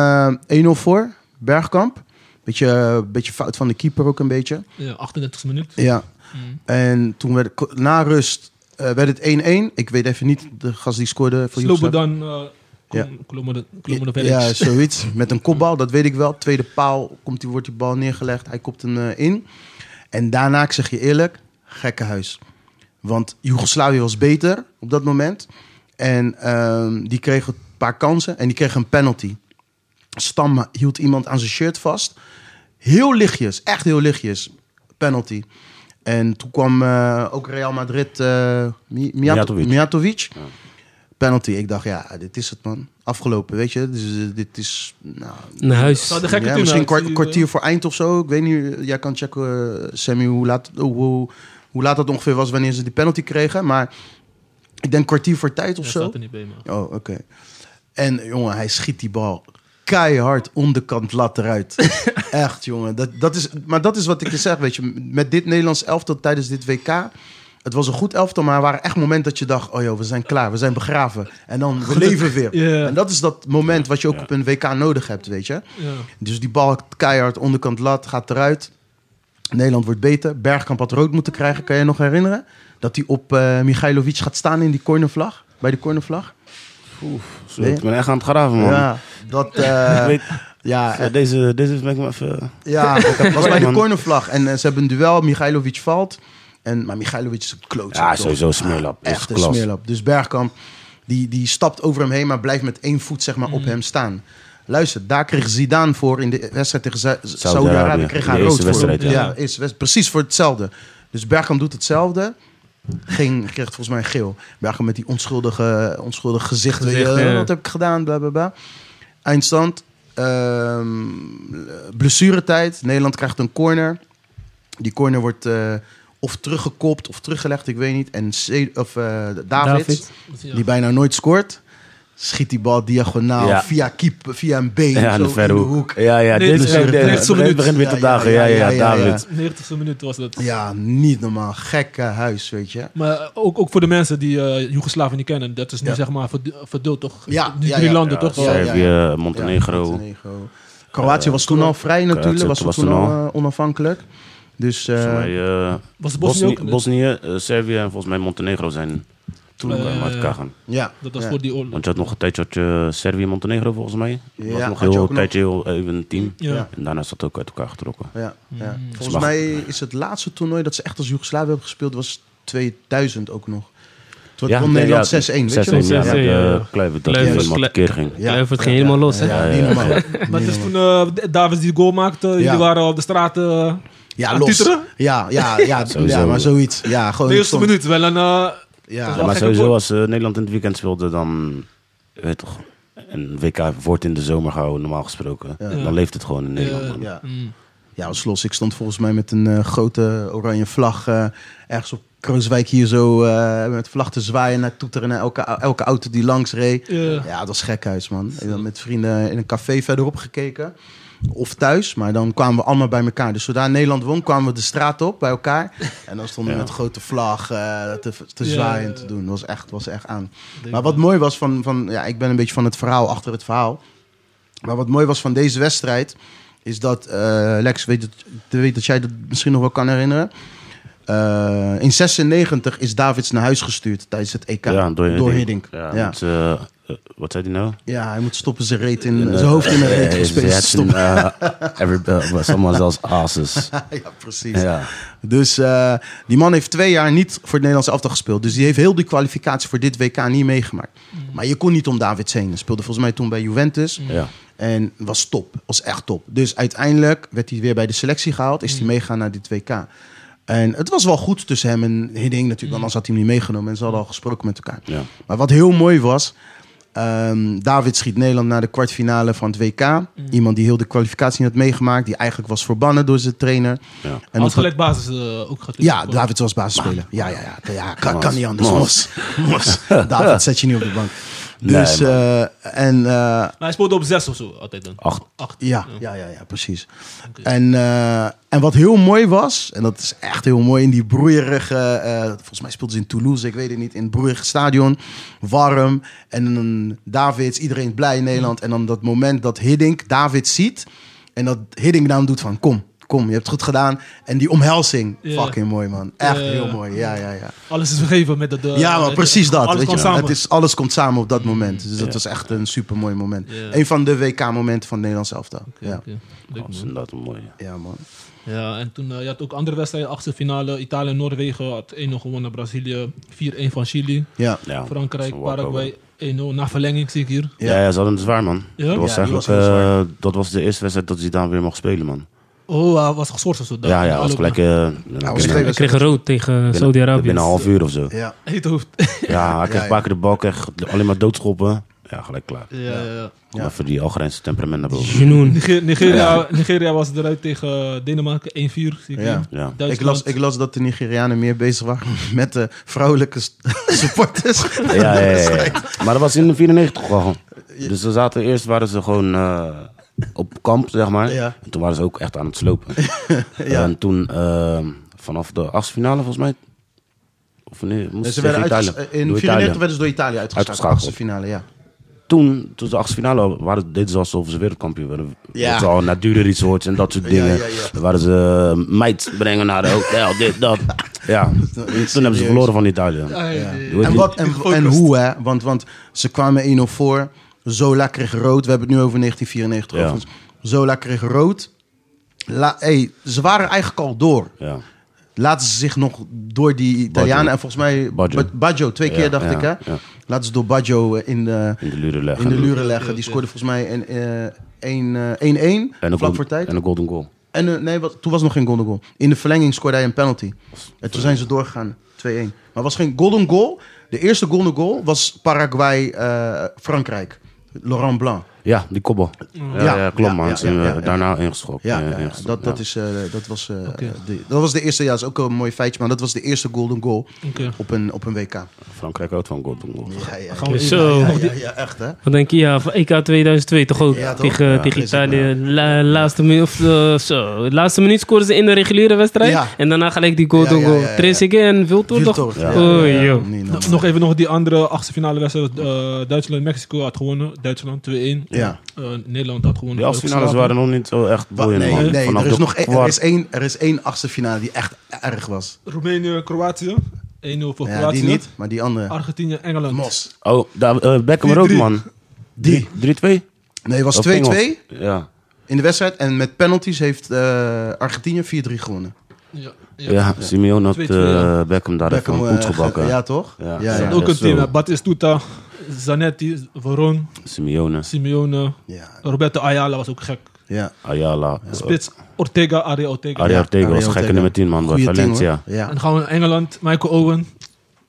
Speaker 2: eh, 1-0 voor, Bergkamp. Beetje, eh, beetje fout van de keeper ook een beetje.
Speaker 4: Ja, 38e minuut.
Speaker 2: Ja.
Speaker 4: Mm.
Speaker 2: En toen werd ko- na rust eh, werd het 1-1. Ik weet even niet, de gast die scoorde voor Joegoslavië.
Speaker 4: Slobodan, eh
Speaker 2: Ja.
Speaker 4: Klommer de
Speaker 2: Ja, zoiets. Met een kopbal, dat weet ik wel. Tweede paal, komt die, wordt die bal neergelegd. Hij kopt hem eh, in. En daarna, ik zeg je eerlijk, gekkenhuis. Want Joegoslavië was beter op dat moment. En ehm, die kregen een paar kansen en die kregen een penalty. Stam hield iemand aan zijn shirt vast. Heel lichtjes, echt heel lichtjes. Penalty. En toen kwam eh, ook Real Madrid, eh Mi- Miato-
Speaker 1: Mijatovic.
Speaker 2: Mijatovic. Penalty. Ik dacht, ja, dit is het man. Afgelopen, weet je. Dus, dit is, nou,
Speaker 3: Naar huis.
Speaker 4: Zou de gekke
Speaker 2: ja,
Speaker 4: toen
Speaker 2: misschien
Speaker 4: uit,
Speaker 2: kwart-
Speaker 4: die, eh,
Speaker 2: kwartier voor eind of zo. Ik weet niet, jij kan checken, eh, Sammy, hoe laat, hoe, hoe, hoe laat dat ongeveer was wanneer ze die penalty kregen. Maar ik denk kwartier voor tijd of
Speaker 4: ja,
Speaker 2: zo.
Speaker 4: staat er niet bij, man.
Speaker 2: Oh, oké. En jongen, hij schiet die bal keihard onderkant lat eruit. Echt, jongen. Dat, dat is, maar dat is wat ik je zeg, weet je. Met dit Nederlands elftal tijdens dit WK... Het was een goed elftal, maar er waren echt momenten dat je dacht... oh joh, we zijn klaar, we zijn begraven. En dan, we leven weer.
Speaker 4: Ja.
Speaker 2: En dat is dat moment wat je ook
Speaker 1: Ja.
Speaker 2: op een WK nodig hebt, weet je.
Speaker 4: Ja.
Speaker 2: Dus die bal keihard onderkant lat, gaat eruit. Nederland wordt beter. Bergkamp had rood moeten krijgen, kan je je nog herinneren? Dat hij op eh Michailovic gaat staan in die cornervlag. Bij de cornervlag.
Speaker 1: Zo, ik ben echt aan het graven, man.
Speaker 2: Ja, dat... eh,
Speaker 1: Ik weet,
Speaker 2: ja,
Speaker 1: ja, deze, deze ben ik me even...
Speaker 2: Ja, dat was bij de
Speaker 1: Man.
Speaker 2: cornervlag. En eh, ze hebben een duel. Michailovic valt. En, maar Michailovic is een klootzak.
Speaker 1: Ja,
Speaker 2: toch?
Speaker 1: sowieso een smeerlap. Is
Speaker 2: Echt een
Speaker 1: klas.
Speaker 2: smeerlap. Dus Bergkamp, die, die stapt over hem heen... maar blijft met één voet zeg maar,
Speaker 3: Mm.
Speaker 2: op hem staan. Luister, daar kreeg Zidane voor in de wedstrijd tegen Zu- Saudi-Arabië. Kreeg hij
Speaker 1: De
Speaker 2: rood
Speaker 1: eerste
Speaker 2: voor.
Speaker 1: wedstrijd,
Speaker 2: ja,
Speaker 1: ja.
Speaker 2: is west, precies voor hetzelfde. Dus Bergkamp doet hetzelfde. Ging, kreeg volgens mij geel. Bergkamp met die onschuldige, onschuldige gezicht. weet je,
Speaker 3: Gezicht, ja.
Speaker 2: "Eh, Wat heb ik gedaan? Bla, bla, bla. Eindstand. Ehm, blessuretijd. Nederland krijgt een corner. Die corner wordt eh, of teruggekopt of teruggelegd, ik weet niet. En Se- of, eh David,
Speaker 3: David.
Speaker 4: Dus Ja.
Speaker 2: die bijna nooit scoort, schiet die bal diagonaal
Speaker 1: Ja.
Speaker 2: via, keep, via een been
Speaker 1: Ja, aan
Speaker 2: zo
Speaker 1: de verre
Speaker 2: in de
Speaker 1: hoek. Ja, ja,
Speaker 4: Nee,
Speaker 1: dit
Speaker 4: het
Speaker 1: is
Speaker 4: is
Speaker 1: ook
Speaker 4: echt-
Speaker 1: de-
Speaker 4: het is
Speaker 1: het
Speaker 4: zo'n
Speaker 1: begint-
Speaker 4: minuut.
Speaker 1: begint weer te
Speaker 2: Ja, ja,
Speaker 1: dagen. Ja,
Speaker 2: ja,
Speaker 1: ja,
Speaker 2: ja, ja.
Speaker 1: David.
Speaker 4: 90ste minuut was dat.
Speaker 2: Ja, niet normaal. Gekke huis, weet je.
Speaker 4: Maar eh, ook, ook voor de mensen die eh Joegoslaven niet kennen, dat is nu
Speaker 2: Ja.
Speaker 4: zeg maar verd- verdeeld toch?
Speaker 2: Ja,
Speaker 4: die
Speaker 2: ja,
Speaker 4: drie
Speaker 2: ja.
Speaker 4: landen toch?
Speaker 2: Ja, ja.
Speaker 1: Servië, Montenegro.
Speaker 2: Montenegro. Kroatië was toen al vrij natuurlijk,
Speaker 1: Eh, Kroatië
Speaker 2: was,
Speaker 1: was
Speaker 2: toen
Speaker 1: toen
Speaker 2: al
Speaker 1: al.
Speaker 2: eh, onafhankelijk. Dus eh,
Speaker 1: Volgens mij, eh,
Speaker 4: Was Bosnië
Speaker 1: Bosnië,
Speaker 4: ook?
Speaker 1: Bosnië eh, Servië en volgens mij Montenegro zijn toen ook
Speaker 4: Eh,
Speaker 1: helemaal uit elkaar gaan.
Speaker 2: ja.
Speaker 4: Dat was
Speaker 2: ja.
Speaker 4: voor die oorlog.
Speaker 1: Want je had nog een tijdje had je eh, Servië en Montenegro volgens mij. Dat
Speaker 2: Ja,
Speaker 1: was nog
Speaker 2: had je
Speaker 1: heel
Speaker 2: ook
Speaker 1: een tijdje heel eh, even een team.
Speaker 4: Ja.
Speaker 2: Ja.
Speaker 1: En daarna is dat ook uit elkaar getrokken.
Speaker 2: Ja, ja. Volgens
Speaker 1: Slag.
Speaker 2: mij is het laatste toernooi dat ze echt als Joegoslavië hebben gespeeld, was 2000 ook nog. Toen
Speaker 1: Ja,
Speaker 2: won
Speaker 1: nee,
Speaker 2: Nederland
Speaker 1: ja,
Speaker 2: 6-1, weet je
Speaker 1: 6-1,
Speaker 2: nog?
Speaker 1: ja,
Speaker 3: Ja,
Speaker 1: met, eh,
Speaker 3: ja, ja.
Speaker 1: Kluivert, dat
Speaker 3: Kluivert,
Speaker 1: hij helemaal
Speaker 3: Kluivert.
Speaker 1: keer ging.
Speaker 3: Ja, het ging helemaal los, hè?
Speaker 2: Ja,
Speaker 1: Ja,
Speaker 2: niet
Speaker 1: ja.
Speaker 2: normaal.
Speaker 4: Maar
Speaker 2: Niet
Speaker 4: het is
Speaker 2: normaal.
Speaker 4: toen eh, Davids die goal maakte,
Speaker 2: Ja. Oh,
Speaker 4: jullie waren op de straat. eh
Speaker 2: Ja,
Speaker 4: Aan
Speaker 2: los.
Speaker 4: titteren?
Speaker 2: Ja, ja, ja,
Speaker 1: Sowieso.
Speaker 2: ja, maar zoiets. Ja, gewoon
Speaker 4: de eerste
Speaker 2: stond-
Speaker 4: minuut wel een. eh,
Speaker 2: Ja,
Speaker 4: Ja,
Speaker 1: Ja, maar
Speaker 4: gekke
Speaker 1: sowieso
Speaker 4: woord.
Speaker 1: als eh, Nederland in het weekend speelde, dan eh, weet je toch, een WK wordt in de zomer gehouden, normaal gesproken. Dan leeft het gewoon in Nederland. man.
Speaker 2: ja.
Speaker 4: mm,
Speaker 2: ja, was los. Ik stond volgens mij met een eh, grote oranje vlag eh, ergens op Krooswijk hier zo eh, met vlag te zwaaien naar toeteren naar elke, elke auto die langs reed.
Speaker 4: Ja.
Speaker 2: Ja, dat was gekhuis, man. Ik ben met vrienden in een café verderop gekeken. Of thuis, maar dan kwamen we allemaal bij elkaar. Dus zodra Nederland won, kwamen we de straat op bij elkaar. En dan stonden we
Speaker 1: Ja.
Speaker 2: met grote vlag eh, te, te
Speaker 4: Ja,
Speaker 2: zwaaien en
Speaker 4: ja,
Speaker 2: te
Speaker 4: ja.
Speaker 2: doen. Dat was echt, was echt aan.
Speaker 4: denk
Speaker 2: Maar wat mooi was van, van ja, ik ben een beetje van het verhaal achter het verhaal. Maar wat mooi was van deze wedstrijd, is dat eh, Lex, weet dat, ik weet dat jij dat misschien nog wel kan herinneren. Eh, in 96 is Davids naar huis gestuurd tijdens het EK
Speaker 1: Ja, door Hiddink.
Speaker 2: Hiddink.
Speaker 1: Ja,
Speaker 2: Ja, ja.
Speaker 1: want, eh, eh, wat zei hij nou?
Speaker 2: hij moet stoppen zijn reet in,
Speaker 1: eh,
Speaker 2: zijn hoofd in een
Speaker 1: eh,
Speaker 2: reet
Speaker 1: eh,
Speaker 2: gespeeld.
Speaker 1: Jets en,
Speaker 2: Stoppen.
Speaker 1: eh, every- eh, Someone's else asses.
Speaker 2: ja, precies.
Speaker 1: Ja.
Speaker 2: Dus eh, die man heeft twee jaar niet voor het Nederlands elftal gespeeld. Dus die heeft heel die kwalificatie voor dit WK niet meegemaakt. Maar je kon niet om Davids heen. Hij speelde volgens mij toen bij Juventus.
Speaker 1: Ja.
Speaker 2: En was top. Was echt top. Dus uiteindelijk werd hij weer bij de selectie gehaald. Is hij meegaan naar dit WK. En het was wel goed tussen hem en Hidding natuurlijk. Want anders had hij hem niet meegenomen. En ze hadden al gesproken met elkaar.
Speaker 1: Ja.
Speaker 2: Maar wat heel mooi was... ehm, David schiet Nederland naar de kwartfinale van het WK.
Speaker 1: Mm.
Speaker 2: Iemand die heel de kwalificatie niet had meegemaakt. Die eigenlijk was verbannen door zijn trainer.
Speaker 1: Ja.
Speaker 2: En
Speaker 4: als
Speaker 2: dat-
Speaker 4: gelijk basis eh, ook gaat.
Speaker 2: ja, David was basisspeler. Ja, ja, ja. ja kan, kan niet anders. Mos.
Speaker 1: Mos.
Speaker 2: Mos. David zet je niet op de bank.
Speaker 1: Nee,
Speaker 2: Dus,
Speaker 1: man.
Speaker 2: eh, en, eh,
Speaker 4: Maar hij speelde op zes of zo altijd dan.
Speaker 1: Acht.
Speaker 4: Acht.
Speaker 2: ja, ja, ja, ja, precies. En, eh, en wat heel mooi was, en dat is echt heel mooi in die broeierige, eh, volgens mij speelden ze in Toulouse, ik weet het niet, in het broeierige stadion, warm. En dan Davids, iedereen blij in Nederland. En dan dat moment dat Hiddink David ziet en dat Hiddink dan doet van kom, kom, je hebt het goed gedaan. En die omhelzing,
Speaker 4: Ja.
Speaker 2: fucking mooi man. Echt
Speaker 4: Ja.
Speaker 2: heel mooi, ja, ja, ja.
Speaker 4: Alles is vergeven met dat. eh,
Speaker 2: Ja, maar
Speaker 4: het-
Speaker 2: precies dat.
Speaker 4: Alles
Speaker 2: weet
Speaker 4: kwam
Speaker 2: je.
Speaker 4: samen.
Speaker 2: Het is, alles komt samen op dat moment. Dus dat was echt een supermooi moment. Een van de WK-momenten van Nederland zelf dan. Ja.
Speaker 4: Oké, leuk,
Speaker 1: Dat is
Speaker 4: man.
Speaker 1: inderdaad een mooie.
Speaker 2: ja, man.
Speaker 4: Ja, en toen eh, je had ook andere wedstrijden, achtste finale. Italië en Noorwegen had 1-0 gewonnen. Brazilië 4-1 van Chili.
Speaker 2: Ja.
Speaker 1: Ja, dat
Speaker 4: Frankrijk,
Speaker 1: is een walkover.
Speaker 4: Paraguay 1-0. Na verlenging zie ik hier.
Speaker 1: Ja, ja, ze hadden het zwaar, man.
Speaker 4: Ja?
Speaker 1: Dat, was
Speaker 2: Ja, die was
Speaker 1: eigenlijk,
Speaker 2: heel
Speaker 1: eh, dat was de eerste wedstrijd dat Zidane weer mocht spelen, man.
Speaker 4: Oh, hij was geschorst of zo. daar.
Speaker 1: Ja, ja,
Speaker 4: Alle
Speaker 1: was
Speaker 4: op-
Speaker 1: gelijk... eh, binnen-
Speaker 2: was twee
Speaker 3: Hij kreeg rood tegen
Speaker 1: binnen-
Speaker 3: Saudi-Arabië.
Speaker 1: Binnen een half uur of zo.
Speaker 2: Ja.
Speaker 4: Heet hoofd.
Speaker 1: Ja, hij kreeg
Speaker 2: ja.
Speaker 1: een paar keer de bal, kreeg alleen maar doodschoppen. Ja, gelijk klaar.
Speaker 4: ja, ja.
Speaker 1: Om even die Algerijnse temperament naar boven.
Speaker 3: Genoen.
Speaker 4: Niger- Nigeria, Nigeria was eruit tegen eh, Denemarken 1-4. Zie ik hier.
Speaker 2: Ja.
Speaker 1: Ja.
Speaker 4: Duitsland.
Speaker 2: Ik, las, ik las dat de Nigerianen meer bezig waren met de vrouwelijke s- supporters.
Speaker 1: Ja, ja, ja, ja. Maar dat was in de 94 al. Dus ze zaten eerst, waren ze gewoon eh, op kamp, zeg maar.
Speaker 2: Ja.
Speaker 1: En toen waren ze ook echt aan het slopen. En toen, eh, vanaf de achtste finale volgens mij... Of wanneer? Moesten
Speaker 2: Ze
Speaker 1: ze
Speaker 2: werden
Speaker 1: tegen
Speaker 2: uitges- eh,
Speaker 1: Italië.
Speaker 2: in
Speaker 1: Door
Speaker 2: 1994
Speaker 1: Italië.
Speaker 2: werden ze door Italië uitgeschakeld.
Speaker 1: Uitgeschakeld.
Speaker 2: Dat was de finale, ja.
Speaker 1: Toen, toen ze de achtste finale waren, deden ze alsof ze wereldkampioen werden.
Speaker 2: Ja.
Speaker 1: Dat ze al naar dure resorts en dat soort
Speaker 2: Ja,
Speaker 1: dingen.
Speaker 2: ja, ja.
Speaker 1: Dan waren ze eh, meid brengen naar de hotel, dit, dat. Ja, toen hebben ze verloren van Italië. Hoe
Speaker 2: En,
Speaker 1: heet
Speaker 2: wat, en, en hoe, hè? Want, want ze kwamen 1-0 voor. Zola kreeg rood. We hebben het nu over 1994.
Speaker 1: Ja.
Speaker 2: overigens. Zola kreeg rood. La, hey, ze waren eigenlijk al door.
Speaker 1: die? Ja.
Speaker 2: Laten ze zich nog door die Italianen... En volgens mij
Speaker 1: Baggio.
Speaker 2: Ba- Baggio, twee
Speaker 1: Ja,
Speaker 2: keer dacht
Speaker 1: ja,
Speaker 2: ik, hè?
Speaker 1: ja.
Speaker 2: Laten ze door Baggio eh, in de,
Speaker 1: In de luren leggen.
Speaker 2: in de luren leggen. Die scoorde volgens mij een, eh, een, eh, 1-1,
Speaker 1: En een
Speaker 2: vlak
Speaker 1: gold-
Speaker 2: voor tijd.
Speaker 1: En een golden goal.
Speaker 2: En eh, nee, wat, toen was nog geen golden goal. In de verlenging scoorde hij een penalty. En toen zijn ze doorgegaan, 2-1. Maar het was geen golden goal. De eerste golden goal was Paraguay-Frankrijk. Laurent Blanc.
Speaker 1: Ja, die kopbal. Ja,
Speaker 2: Ja,
Speaker 1: ja, klopt
Speaker 2: ja,
Speaker 1: man.
Speaker 2: ja,
Speaker 1: Ze hebben
Speaker 2: ja, ja,
Speaker 1: we daarna ingeschokt.
Speaker 2: Ja,
Speaker 1: Ja,
Speaker 2: ja,
Speaker 1: ingeschokt,
Speaker 2: dat, dat,
Speaker 1: ja.
Speaker 2: is, eh, dat, was, eh,
Speaker 4: Oké.
Speaker 2: de, dat was de eerste. Ja, dat is ook een mooi feitje. Maar dat was de eerste golden goal
Speaker 4: Oké.
Speaker 2: op een, op een WK. Ja,
Speaker 1: Frankrijk houdt van golden goal.
Speaker 2: ja, ja,
Speaker 4: Gaan we
Speaker 3: Zo.
Speaker 4: even-
Speaker 2: ja, ja, ja, echt hè.
Speaker 3: Wat denk je? Ja, van E EK 2002 toch ook?
Speaker 2: Ja, toch?
Speaker 3: tegen
Speaker 2: Ja,
Speaker 3: tegen
Speaker 2: is het,
Speaker 3: Italië. La- laatste, minuut, of, eh, zo. laatste minuut scoren ze in de reguliere wedstrijd.
Speaker 2: Ja.
Speaker 3: En daarna gelijk die goal
Speaker 2: Ja,
Speaker 3: door
Speaker 2: ja,
Speaker 3: goal.
Speaker 2: ja, ja.
Speaker 3: Trezeguet en Viltoer toch?
Speaker 2: Viltor, ja.
Speaker 3: Oh, joh.
Speaker 2: Nee,
Speaker 4: Nog-
Speaker 2: nou,
Speaker 4: Nog even nog die andere achtste finale wedstrijd. eh, Duitsland-Mexico had gewonnen. Duitsland 2-1.
Speaker 2: Ja.
Speaker 4: Eh, Nederland had gewonnen.
Speaker 1: Die achtste finales waren nog niet zo echt
Speaker 2: Wat,
Speaker 1: boeiend
Speaker 2: nee,
Speaker 1: man.
Speaker 2: nee,
Speaker 1: Vanaf
Speaker 2: er is
Speaker 1: de
Speaker 2: nog één- er
Speaker 1: kwart-
Speaker 2: is één, er is één achtste finale die echt erg was. Nou
Speaker 4: Roemenië-Kroatië. 1-0 voor
Speaker 2: Ja,
Speaker 4: Kroatië.
Speaker 2: die niet, maar die andere.
Speaker 4: Argentinië-Engeland.
Speaker 2: Mos.
Speaker 1: Oh, daar, eh, Beckham er ook man.
Speaker 2: Die.
Speaker 1: 3-2?
Speaker 2: Nee, het was
Speaker 1: Of
Speaker 2: 2-2
Speaker 1: Engels? Ja.
Speaker 2: in de wedstrijd. En met penalties heeft eh, Argentinië 4-3 gewonnen.
Speaker 4: Ja, ja.
Speaker 1: Ja, Simeone had
Speaker 4: 2-2, ja.
Speaker 1: eh, Beckham daar
Speaker 2: Beckham,
Speaker 1: even
Speaker 2: eh,
Speaker 1: goed gebakken.
Speaker 2: ge- Ja, toch?
Speaker 1: Ja.
Speaker 2: ja,
Speaker 1: Ja.
Speaker 2: ja.
Speaker 4: Ook een
Speaker 1: zo.
Speaker 4: team. hè. Batistuta, Zanetti, Veron,
Speaker 1: Simeone,
Speaker 4: Simeone.
Speaker 2: ja.
Speaker 4: Roberto Ayala was ook gek.
Speaker 2: ja.
Speaker 1: Ayala. eh,
Speaker 4: Spits Ortega, Aria Ortega.
Speaker 1: Arie
Speaker 2: Ja,
Speaker 1: Ortega was
Speaker 2: Arie
Speaker 1: gekke
Speaker 2: Ortega.
Speaker 1: nummer 10 man bij
Speaker 2: Goeie team, hoor.
Speaker 1: Valencia.
Speaker 2: Ja.
Speaker 4: En dan gaan we naar Engeland. Michael Owen,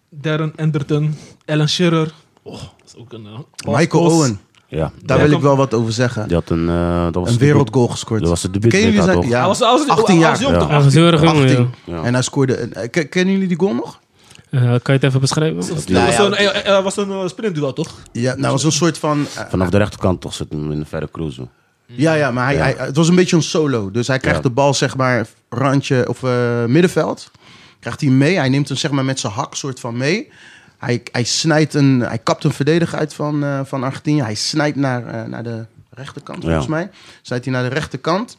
Speaker 4: Darren Anderton, Alan Shearer. Oh, dat is ook een... eh,
Speaker 2: Michael
Speaker 4: Os-
Speaker 2: Owen,
Speaker 1: Ja,
Speaker 2: daar
Speaker 4: Ja.
Speaker 2: wil ik wel wat over zeggen.
Speaker 1: die had een... eh, dat was
Speaker 2: Een
Speaker 1: de-
Speaker 2: wereldgoal gescoord.
Speaker 1: Dat was het debuut
Speaker 2: Kennen jullie
Speaker 1: WK,
Speaker 2: zijn-
Speaker 1: toch?
Speaker 2: Ja,
Speaker 4: Hij was, hij was
Speaker 2: 18
Speaker 4: hij was
Speaker 2: jaar.
Speaker 4: jong,
Speaker 1: Ja.
Speaker 4: toch?
Speaker 3: Hij was heel erg jong,
Speaker 2: 18.
Speaker 3: joh.
Speaker 1: Ja.
Speaker 2: En hij scoorde... een- eh, ken- Kennen jullie die goal nog?
Speaker 3: Eh, kan je het even beschrijven?
Speaker 1: Die-
Speaker 4: Dat was een, eh, eh, was een eh, sprintduel, toch?
Speaker 2: Ja, nou, het was een soort van... eh,
Speaker 1: Vanaf de rechterkant toch zit hem in de verre cruise.
Speaker 2: Ja, ja, maar hij, hij- het was een beetje een solo. Dus hij krijgt
Speaker 1: Ja.
Speaker 2: de bal, zeg maar, randje of eh, middenveld. Krijgt hij mee. Hij neemt hem, zeg maar, met zijn hak soort van mee. Hij, hij snijdt een, hij kapt een verdediger uit van, eh, van Argentinië. Hij snijdt naar, eh, naar de rechterkant, volgens
Speaker 1: Ja.
Speaker 2: mij. Snijdt hij naar de rechterkant.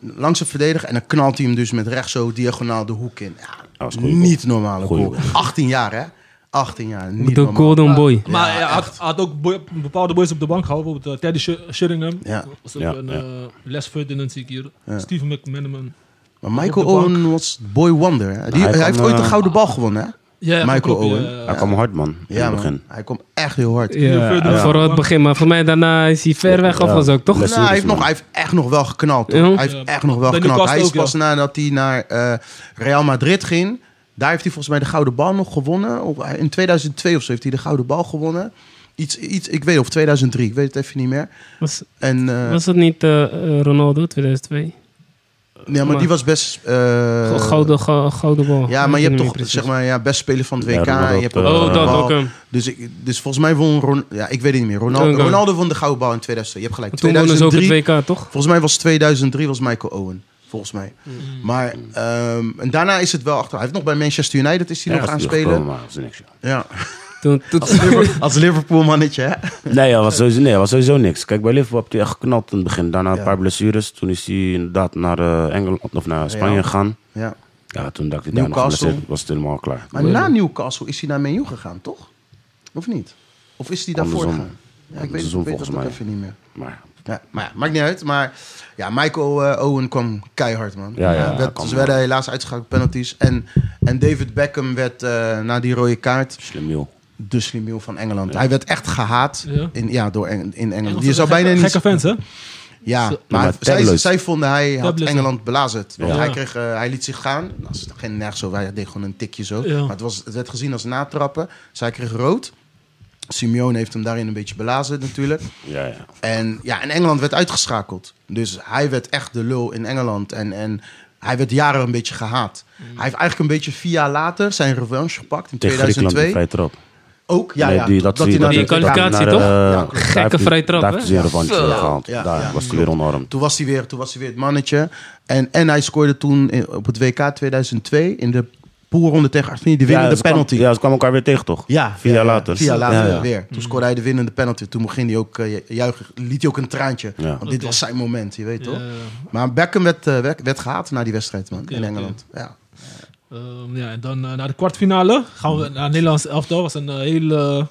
Speaker 2: Langs de verdediger. En dan knalt hij hem dus met rechts zo diagonaal de hoek in. Ja,
Speaker 1: Dat is een goeie
Speaker 2: niet normale
Speaker 1: Goeie
Speaker 2: goal. 18 jaar, hè? 18 jaar. Niet
Speaker 3: De
Speaker 2: normaal.
Speaker 3: Golden Boy.
Speaker 4: maar hij had, had ook boy- bepaalde boys op de bank gehouden. Bijvoorbeeld eh, Teddy Sh- Sheringham.
Speaker 2: Ja.
Speaker 4: Was ook
Speaker 1: Ja,
Speaker 4: een,
Speaker 1: ja.
Speaker 4: eh, Les Ferdinand zie ik hier.
Speaker 2: Ja.
Speaker 4: Steve McManaman.
Speaker 2: Maar
Speaker 4: Op
Speaker 2: Michael
Speaker 4: de bank.
Speaker 2: Owen was boy wonder. Hè? Die,
Speaker 1: hij
Speaker 2: hij
Speaker 1: kwam,
Speaker 2: heeft ooit een
Speaker 1: eh,
Speaker 2: gouden bal gewonnen, hè?
Speaker 4: Ja,
Speaker 2: Michael
Speaker 4: klopt, ja,
Speaker 2: Owen.
Speaker 4: ja, ja.
Speaker 1: Hij kwam hard man, in
Speaker 2: Ja,
Speaker 1: het begin.
Speaker 2: man. Hij komt echt heel hard.
Speaker 3: Ja,
Speaker 4: verder
Speaker 3: ja.
Speaker 4: dan.
Speaker 3: Vooral het begin, maar voor mij daarna is hij ver weg
Speaker 1: Ja.
Speaker 3: afgezocht, toch?
Speaker 1: Les-
Speaker 2: Nou, hij, heeft
Speaker 1: man.
Speaker 2: nog, hij heeft echt nog wel geknald. toch?
Speaker 3: Ja.
Speaker 2: Hij heeft
Speaker 4: Ja.
Speaker 2: echt nog wel
Speaker 4: Bij
Speaker 2: geknald.
Speaker 4: Newcastle
Speaker 2: Hij is
Speaker 4: ook, ja.
Speaker 2: pas nadat hij naar eh, Real Madrid ging. Daar heeft hij volgens mij de gouden bal nog gewonnen. Of, eh, In 2002 of zo heeft hij de gouden bal gewonnen. Iets, iets, ik weet of 2003, ik weet het even niet meer.
Speaker 3: Was,
Speaker 2: En, eh,
Speaker 3: was het niet eh, eh, Ronaldo 2002?
Speaker 2: ja, maar
Speaker 3: maar-
Speaker 2: die was best. eh,
Speaker 3: Gouden, go- gouden bal.
Speaker 2: Ja, maar
Speaker 3: Ik
Speaker 2: je hebt
Speaker 3: weet
Speaker 2: toch
Speaker 3: niet
Speaker 2: zeg
Speaker 3: meer
Speaker 2: maar ja, best speler van het
Speaker 1: Ja,
Speaker 2: WK.
Speaker 1: Ronaldo
Speaker 2: je hebt
Speaker 1: op,
Speaker 2: ook
Speaker 1: eh,
Speaker 2: de
Speaker 3: precies. Oh, dat
Speaker 2: bal.
Speaker 3: ook hem.
Speaker 2: Dus, ik, dus volgens mij won Ron, ja, ik weet het niet meer. Ronaldo,
Speaker 3: Oké.
Speaker 2: Ronaldo won de gouden bal in 2002. Je hebt gelijk.
Speaker 3: Toen wonnen ze ook
Speaker 2: 2003
Speaker 3: het WK, toch?
Speaker 2: Volgens mij was 2003 was Michael Owen. Volgens mij. Maar ehm, en daarna is het wel achter. Hij heeft nog bij Manchester United is hij nog
Speaker 1: Ja,
Speaker 2: gaan
Speaker 1: is teruggekomen,
Speaker 2: spelen.
Speaker 1: maar was niks, joh.
Speaker 2: Ja.
Speaker 3: Toen, toen,
Speaker 2: Als Liverpool mannetje, hè?
Speaker 1: Nee, ja, was sowieso, nee, was sowieso niks. Kijk, bij Liverpool heb hij echt geknald in het begin. Daarna een paar blessures. Toen is hij inderdaad naar eh, Engeland of naar Spanje
Speaker 2: Ja.
Speaker 1: gegaan.
Speaker 2: Ja.
Speaker 1: Ja, toen dacht ik daar nog
Speaker 2: Newcastle.
Speaker 1: geblesseerd, was het helemaal klaar.
Speaker 2: Maar na Newcastle is hij naar Man U gegaan, toch? Of niet? Of is hij daarvoor
Speaker 1: Andersom.
Speaker 2: gegaan? Ja, ik weet, ik
Speaker 1: Andersom,
Speaker 2: weet dat
Speaker 1: volgens
Speaker 2: ook
Speaker 1: mij.
Speaker 2: even niet meer.
Speaker 1: Maar
Speaker 2: Ja, maar ja, maakt niet uit. Maar ja, Michael eh, Owen kwam keihard, man.
Speaker 1: Ja, ja,
Speaker 2: Hij werd-
Speaker 1: hij kwam-
Speaker 2: ze werden helaas uitgeschakeld op penalties. En, en David Beckham werd eh, na die rode kaart
Speaker 1: slim joh.
Speaker 2: de slimiel van Engeland. Hij werd echt gehaat
Speaker 4: Ja.
Speaker 2: in, ja, door Eng- in Engeland.
Speaker 4: Engelse
Speaker 2: Je zou bijna
Speaker 4: gekke,
Speaker 2: niet...
Speaker 4: Gekke fans, hè?
Speaker 2: Ja,
Speaker 4: Zo-
Speaker 2: maar,
Speaker 1: maar
Speaker 2: zij,
Speaker 1: tabloid.
Speaker 2: zij vonden hij had
Speaker 4: Tabloid,
Speaker 2: Engeland belazerd. Want
Speaker 1: Ja.
Speaker 2: hij, kreeg, eh, hij liet zich gaan. Nou, dat is geen nergens zo. Hij deed gewoon een tikje zo.
Speaker 4: Ja.
Speaker 2: Maar het, was, het werd gezien als natrappen. Zij kreeg rood. Simeone heeft hem daarin een beetje belazerd natuurlijk.
Speaker 1: Ja, ja.
Speaker 2: En, ja, en Engeland werd uitgeschakeld. Dus hij werd echt de lul in Engeland. En, en hij werd jaren een beetje
Speaker 4: Mm.
Speaker 2: gehaat. Hij heeft eigenlijk een beetje vier jaar later zijn revanche gepakt in
Speaker 1: Tegen Griekenland
Speaker 2: 2002.
Speaker 1: de vrije trap.
Speaker 2: Ook, ja,
Speaker 1: Nee,
Speaker 2: ja.
Speaker 1: die- dat zie je-
Speaker 2: naar
Speaker 1: dat-
Speaker 2: de-
Speaker 3: die kwalificatie,
Speaker 1: naar de-
Speaker 3: toch?
Speaker 1: eh,
Speaker 2: Ja, klopt.
Speaker 1: daar
Speaker 3: Gekke
Speaker 1: heeft hij-
Speaker 3: vrije trap,
Speaker 1: Daar
Speaker 3: hè?
Speaker 1: heeft hij zijn revanche
Speaker 5: Zo.
Speaker 1: gehaald.
Speaker 2: Ja,
Speaker 1: Daar
Speaker 2: ja,
Speaker 1: was hij weer onarmd.
Speaker 2: Toen was hij weer, toen was hij weer het mannetje. En, en hij scoorde toen in- op het WK 2002 in de poolronde tegen Argentinië de winnende
Speaker 1: ze kwam-
Speaker 2: penalty.
Speaker 1: ja, ze kwamen elkaar weer tegen, toch?
Speaker 2: Ja,
Speaker 1: Vier
Speaker 2: ja,
Speaker 1: jaar
Speaker 2: ja.
Speaker 1: later.
Speaker 2: Vier jaar later
Speaker 1: Ja, ja.
Speaker 2: weer.
Speaker 4: Mm.
Speaker 2: Toen scoorde hij de winnende penalty. Toen ging hij ook eh, ju- juichen, liet hij ook een traantje.
Speaker 1: Ja.
Speaker 2: Want dit
Speaker 4: Oké.
Speaker 2: was zijn moment, je weet
Speaker 4: Ja,
Speaker 2: toch?
Speaker 4: ja, ja.
Speaker 2: Maar Beckham werd, eh, werd, werd gehaat na die wedstrijd, man,
Speaker 4: Oké,
Speaker 2: in
Speaker 4: oké.
Speaker 2: Engeland. Ja.
Speaker 4: Ehm, ja, en dan eh, naar de kwartfinale gaan we naar Nederlands elftal. was een eh, hele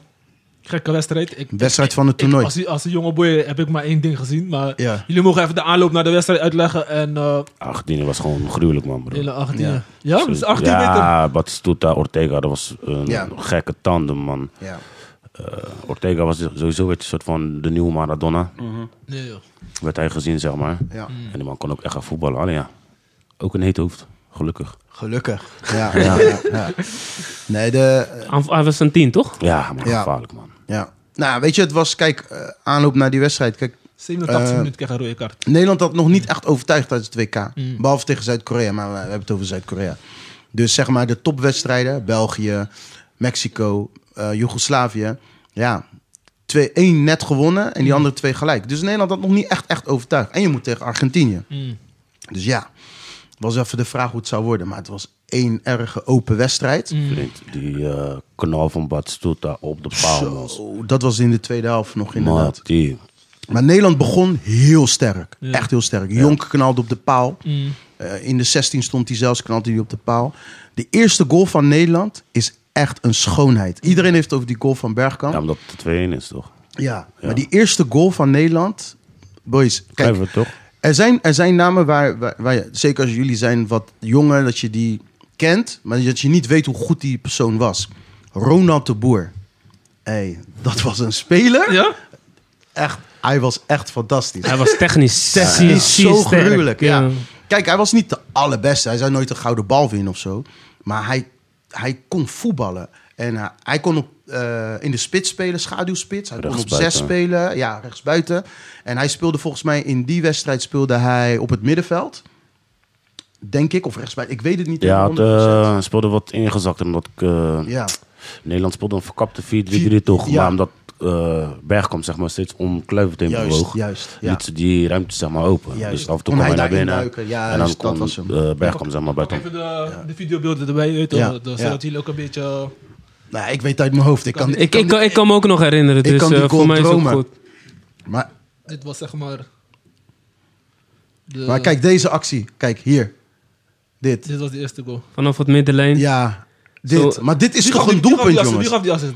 Speaker 4: gekke wedstrijd. Ik,
Speaker 2: Wedstrijd van het
Speaker 4: ik,
Speaker 2: toernooi.
Speaker 4: als, als een jonge boy heb ik maar één ding gezien. Maar
Speaker 2: Ja.
Speaker 4: jullie mogen even de aanloop naar de wedstrijd uitleggen. En eh
Speaker 1: Argentinië was gewoon gruwelijk, man. Bro.
Speaker 4: hele 18. Ja,
Speaker 2: Ja.
Speaker 4: ja dus 18 meter.
Speaker 1: Ja, Batistuta, Ortega, dat was een
Speaker 2: Ja.
Speaker 1: gekke tandem, man.
Speaker 2: Ja.
Speaker 1: Ortega was sowieso werd een soort van de nieuwe Maradona.
Speaker 4: Nee, joh.
Speaker 1: Werd hij gezien, zeg maar.
Speaker 2: Ja.
Speaker 1: En die man kon ook echt gaan voetballen. Alleen ja, ook een heet hoofd. Gelukkig.
Speaker 2: Gelukkig. Ja, ja, ja, ja. Nee, de,
Speaker 3: Aanv- Hij was een tien, toch?
Speaker 1: Ja, maar
Speaker 2: Ja.
Speaker 1: gevaarlijk, man.
Speaker 2: Ja. Nou, weet je, het was, kijk, eh, aanloop naar die wedstrijd. Kijk,
Speaker 4: 87
Speaker 2: Eh,
Speaker 4: minuten kreeg een rode kaart.
Speaker 2: Nederland had nog niet echt overtuigd uit het WK. Behalve tegen Zuid-Korea, maar we hebben het over Zuid-Korea. Dus zeg maar de topwedstrijden, België, Mexico, eh, Joegoslavië. Ja, twee, één net gewonnen en die andere twee gelijk. Dus Nederland had nog niet echt, echt overtuigd. En je moet tegen Argentinië.
Speaker 4: Mm.
Speaker 2: Dus ja, was even de vraag hoe het zou worden. Maar het was één erge open wedstrijd.
Speaker 1: Mm. Vriend, die eh knal van Batistuta op de paal. man.
Speaker 2: Zo, dat was in de tweede helft nog inderdaad.
Speaker 1: Maar die-
Speaker 2: Maar Nederland begon heel sterk.
Speaker 4: Ja.
Speaker 2: Echt heel sterk. Jonk knalde op de paal.
Speaker 4: Mm.
Speaker 2: Eh, in de 16 stond hij zelfs, knalde hij op de paal. De eerste goal van Nederland is echt een schoonheid. Iedereen heeft het over die goal van Bergkamp.
Speaker 1: Ja,
Speaker 2: Ja,
Speaker 1: omdat het 2-1 is, toch?
Speaker 2: maar die eerste goal van Nederland... Boys, kijk,
Speaker 1: Kijk, toch?
Speaker 2: er zijn, er zijn namen waar, waar, waar je- zeker als jullie zijn wat jonger, dat je die kent, maar dat je niet weet hoe goed die persoon was. Ronald de Boer. hey, dat was een speler.
Speaker 4: Ja?
Speaker 2: Echt, hij was echt fantastisch.
Speaker 3: Hij was technisch.
Speaker 2: technisch
Speaker 3: zeer-
Speaker 2: zo
Speaker 3: zeer sterk.
Speaker 2: gruwelijk. Ja. Kijk, hij was niet de allerbeste. Hij zou nooit een gouden bal winnen of zo. Maar hij, hij kon voetballen. En eh, hij kon op, eh, in de spits spelen, schaduwspits. Hij kon op zes
Speaker 1: Rechtsbuiten.
Speaker 2: spelen, ja, rechtsbuiten. En hij speelde volgens mij in die wedstrijd speelde hij op het middenveld. Denk ik, of rechtsbuiten. Ik weet het niet.
Speaker 1: Ja, het
Speaker 2: helemaal 100%.
Speaker 1: eh, speelde wat ingezakt. Omdat ik, eh,
Speaker 2: ja.
Speaker 1: Nederland speelde een verkapte 4-3-3 toch.
Speaker 2: Ja.
Speaker 1: Maar omdat eh Bergkamp zeg maar, steeds omkluivend in
Speaker 2: Juist,
Speaker 1: bewoog,
Speaker 2: juist, ja.
Speaker 1: liet ze die ruimte zeg maar, open.
Speaker 2: Juist.
Speaker 1: Dus af en toe
Speaker 2: Kon
Speaker 1: kwam hij naar
Speaker 2: hij daarin
Speaker 1: binnen.
Speaker 2: duiken? Ja,
Speaker 1: en dan
Speaker 2: juist, dat
Speaker 1: kon
Speaker 2: was hem.
Speaker 1: eh, Bergkamp zeg maar,
Speaker 4: Pak
Speaker 1: buiten.
Speaker 4: even de, de videobeelden erbij, weet je,
Speaker 2: Ja.
Speaker 4: toch? Dat-
Speaker 2: Ja.
Speaker 4: zodat jullie ook een beetje... eh,
Speaker 2: Nou, ik weet uit mijn hoofd. Ik kan,
Speaker 3: Ik, ik, kan- ik kan me ook nog herinneren,
Speaker 2: Ik
Speaker 3: dus
Speaker 2: kan die
Speaker 3: eh,
Speaker 2: goal
Speaker 3: voor mij is het ook
Speaker 2: dromen.
Speaker 3: goed.
Speaker 2: maar,
Speaker 4: Dit was zeg maar... de-
Speaker 2: maar kijk, deze actie. Kijk, hier. Dit.
Speaker 4: Dit was de eerste goal.
Speaker 3: Vanaf het middenlijn.
Speaker 2: Ja, dit.
Speaker 3: Zo-
Speaker 2: Maar dit is
Speaker 4: Wie
Speaker 2: toch
Speaker 4: gaf-
Speaker 2: een
Speaker 4: wie gaf die
Speaker 2: doelpunt,
Speaker 4: assist-
Speaker 2: jongens?
Speaker 4: Wie gaf die assist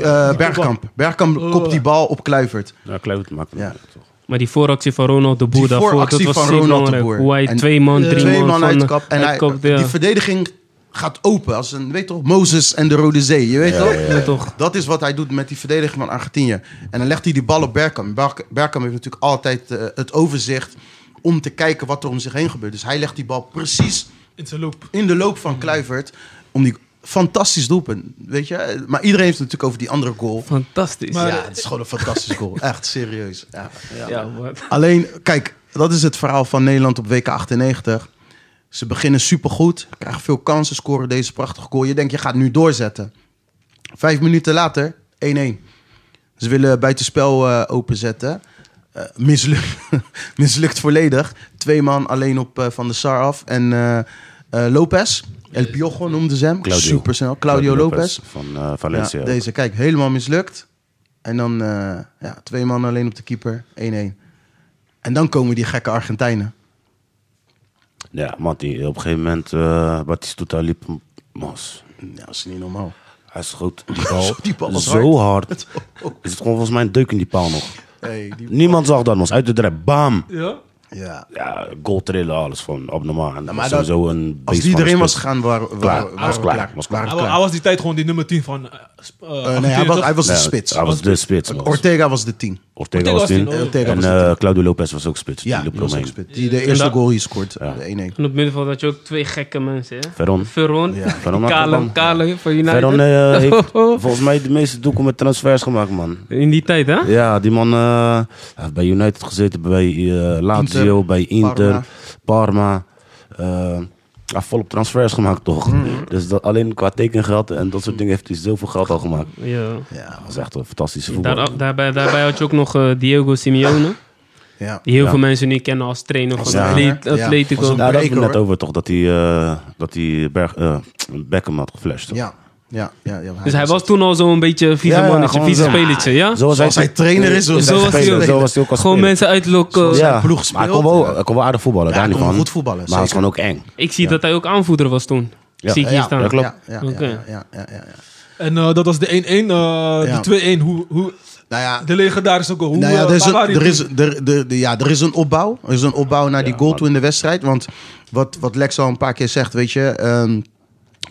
Speaker 4: daar?
Speaker 2: Eh, Bergkamp. Bergkamp
Speaker 3: Eh.
Speaker 4: Oh.
Speaker 2: kopt die bal op Kluivert.
Speaker 1: Ja, kluivend maken.
Speaker 2: Ja.
Speaker 1: toch.
Speaker 3: Maar die vooractie van Ronald de Boer
Speaker 2: Die
Speaker 3: daarvoor, dat
Speaker 2: vooractie
Speaker 3: was
Speaker 2: van
Speaker 3: zeer
Speaker 2: Ronald de
Speaker 3: belangrijk.
Speaker 2: Boer.
Speaker 3: Hoe hij
Speaker 2: En eh,
Speaker 3: twee man, drie
Speaker 2: Twee
Speaker 3: man,
Speaker 2: man
Speaker 3: van-
Speaker 2: uitkap. En hij,
Speaker 3: uitkapt, ja.
Speaker 2: die verdediging gaat open. Als een, weet toch, Mozes en de Rode Zee. Je weet toch?
Speaker 3: Ja, toch.
Speaker 2: Dat is wat hij doet met die verdediging van Argentinië. En dan legt hij die bal op Bergkamp. Berg- Bergkamp heeft natuurlijk altijd eh, het overzicht om te kijken wat er om zich heen gebeurt. Dus hij legt die bal precies
Speaker 4: In zijn loop.
Speaker 2: in de loop van Kluivert. Om die fantastisch doelpunt, weet je. Maar iedereen heeft het natuurlijk over die andere goal.
Speaker 3: Fantastisch.
Speaker 4: Maar-
Speaker 2: ja, het is gewoon een fantastisch goal. Echt, serieus. Ja.
Speaker 3: ja, maar-
Speaker 2: Alleen, kijk, dat is het verhaal van Nederland op WK 98. Ze beginnen supergoed, krijgen veel kansen, scoren deze prachtige goal. Je denkt, je gaat nu doorzetten. Vijf minuten later, 1-1. Ze willen buitenspel eh openzetten. Eh, mislukt, mislukt volledig. Twee man alleen op eh, Van de Sar af. En eh eh, Lopez, El Piojo noemden ze hem.
Speaker 1: Claudio.
Speaker 2: Super snel. Claudio, Lopez.
Speaker 1: Van eh,
Speaker 2: Ja,
Speaker 1: Valencia.
Speaker 2: deze, kijk, helemaal mislukt. En dan eh, ja, twee man alleen op de keeper, 1-1. En dan komen die gekke Argentijnen.
Speaker 1: Ja, man, die, op een gegeven moment, eh Batistuta liep m- mas.
Speaker 2: Ja, dat is niet normaal.
Speaker 1: Hij schoot die bal,
Speaker 2: Die bal was Oh.
Speaker 1: zo hard. Is het gewoon volgens mij een deuk in die paal nog.
Speaker 2: Hey, die...
Speaker 1: Niemand zag dat, man. Uit de drep, bam!
Speaker 4: Ja?
Speaker 2: ja.
Speaker 1: Ja, goal trillen, alles van abnormaal. En
Speaker 2: maar
Speaker 1: dat was
Speaker 2: dat-
Speaker 1: sowieso een
Speaker 2: Als
Speaker 1: beest
Speaker 2: die
Speaker 1: van een
Speaker 2: erin was
Speaker 1: spits.
Speaker 2: gegaan, waren waren-
Speaker 1: Klaar,
Speaker 2: waren
Speaker 1: was
Speaker 2: we
Speaker 1: klaar, was klaar.
Speaker 2: Waren
Speaker 4: Hij
Speaker 2: we
Speaker 4: wa- hij was die tijd gewoon die nummer 10 van... eh, sp- eh,
Speaker 2: Eh, nee, hij
Speaker 4: Argentinië,
Speaker 2: was,
Speaker 4: toch?
Speaker 2: hij was de
Speaker 1: Nee,
Speaker 2: spits.
Speaker 1: Hij was de spits, man.
Speaker 2: Ortega was de 10.
Speaker 1: Ortega
Speaker 4: Ortega
Speaker 1: was
Speaker 4: was
Speaker 1: tien.
Speaker 4: tien, oh.
Speaker 2: Ortega
Speaker 1: En
Speaker 2: was de
Speaker 1: eh,
Speaker 2: tien.
Speaker 1: Claudio Lopez was ook spits.
Speaker 2: Ja,
Speaker 1: die liep
Speaker 2: die was ook
Speaker 1: eromheen.
Speaker 2: spits. Die de eerste
Speaker 3: En dat-
Speaker 2: goal hier scoort. De 1-1.
Speaker 3: En op het middenveld had je ook twee gekke mensen, hè?
Speaker 1: Veron.
Speaker 3: Veron.
Speaker 2: Ja.
Speaker 1: Veron had
Speaker 3: Kale,
Speaker 1: het dan.
Speaker 3: Kale van United.
Speaker 1: Veron eh, heeft volgens mij de meeste doeken met transfers gemaakt, man.
Speaker 3: In die tijd, hè?
Speaker 1: Ja, die man eh, heeft bij United gezeten, bij eh, Lazio,
Speaker 2: Inter,
Speaker 1: bij Inter, Parma.
Speaker 2: Parma.
Speaker 1: eh, ja, volop transfers gemaakt, toch?
Speaker 2: Hmm.
Speaker 1: Dus dat, alleen qua tekengeld en dat soort dingen heeft hij zoveel geld al gemaakt.
Speaker 3: Ja.
Speaker 2: Ja,
Speaker 1: Dat is echt een fantastische voetbal.
Speaker 3: Daar, daarbij, daarbij had je ook nog eh, Diego Simeone.
Speaker 2: ja.
Speaker 3: Die heel
Speaker 1: Ja.
Speaker 3: veel mensen nu kennen als trainer van
Speaker 2: Als
Speaker 3: de
Speaker 2: trainer,
Speaker 3: Atlet-
Speaker 2: ja.
Speaker 3: Atletico.
Speaker 2: Als een-
Speaker 1: Nou, daar hebben
Speaker 2: Breker,
Speaker 1: we net
Speaker 2: hoor.
Speaker 1: over, toch? Dat hij, eh, dat hij Berg, eh, Beckham had geflasht. toch?
Speaker 2: Ja, ja, ja. ja,
Speaker 3: dus hij was toen al zo'n beetje vieze
Speaker 1: Ja, ja,
Speaker 3: mannetje,
Speaker 1: gewoon
Speaker 3: vieze
Speaker 1: zo.
Speaker 3: spelertje, ja?
Speaker 1: Zoals
Speaker 2: Zoals hij trainer is, zoals
Speaker 3: hij
Speaker 1: hij
Speaker 3: speler.
Speaker 1: speler. Zo was hij ook als
Speaker 3: Gewoon
Speaker 1: speler.
Speaker 3: mensen uitlokken.
Speaker 2: Ja. zijn ploeg
Speaker 1: maar hij kon
Speaker 2: speelt,
Speaker 1: wel,
Speaker 2: ja.
Speaker 1: hij kon wel aardig voetballen,
Speaker 2: Ja,
Speaker 1: daar
Speaker 2: hij
Speaker 1: niet
Speaker 2: kon
Speaker 1: van.
Speaker 2: goed voetballen,
Speaker 1: Maar hij is
Speaker 2: zeker.
Speaker 1: gewoon ook eng.
Speaker 3: Ik zie dat hij ook aanvoerder was toen.
Speaker 1: Ja.
Speaker 3: Zie ik hier
Speaker 2: Ja,
Speaker 3: staan.
Speaker 1: dat klopt.
Speaker 2: Ja, ja, ja,
Speaker 3: Oké.
Speaker 2: ja, ja, ja, ja, ja.
Speaker 4: En eh, dat was de 1-1. eh,
Speaker 2: Ja.
Speaker 4: Die 2-1. Hoe, hoe,
Speaker 2: Nou ja,
Speaker 4: de legendarische goal. Hoe,
Speaker 2: nou ja,
Speaker 4: eh,
Speaker 2: er, is
Speaker 4: waar
Speaker 2: een,
Speaker 4: waren
Speaker 2: er,
Speaker 4: jullie
Speaker 2: is, er, er- er- ja, er is een opbouw. Er is een opbouw naar die
Speaker 1: Ja,
Speaker 2: goal
Speaker 1: maar-
Speaker 2: toe in de wedstrijd. Want wat, wat Lex al een paar keer zegt, weet je... ehm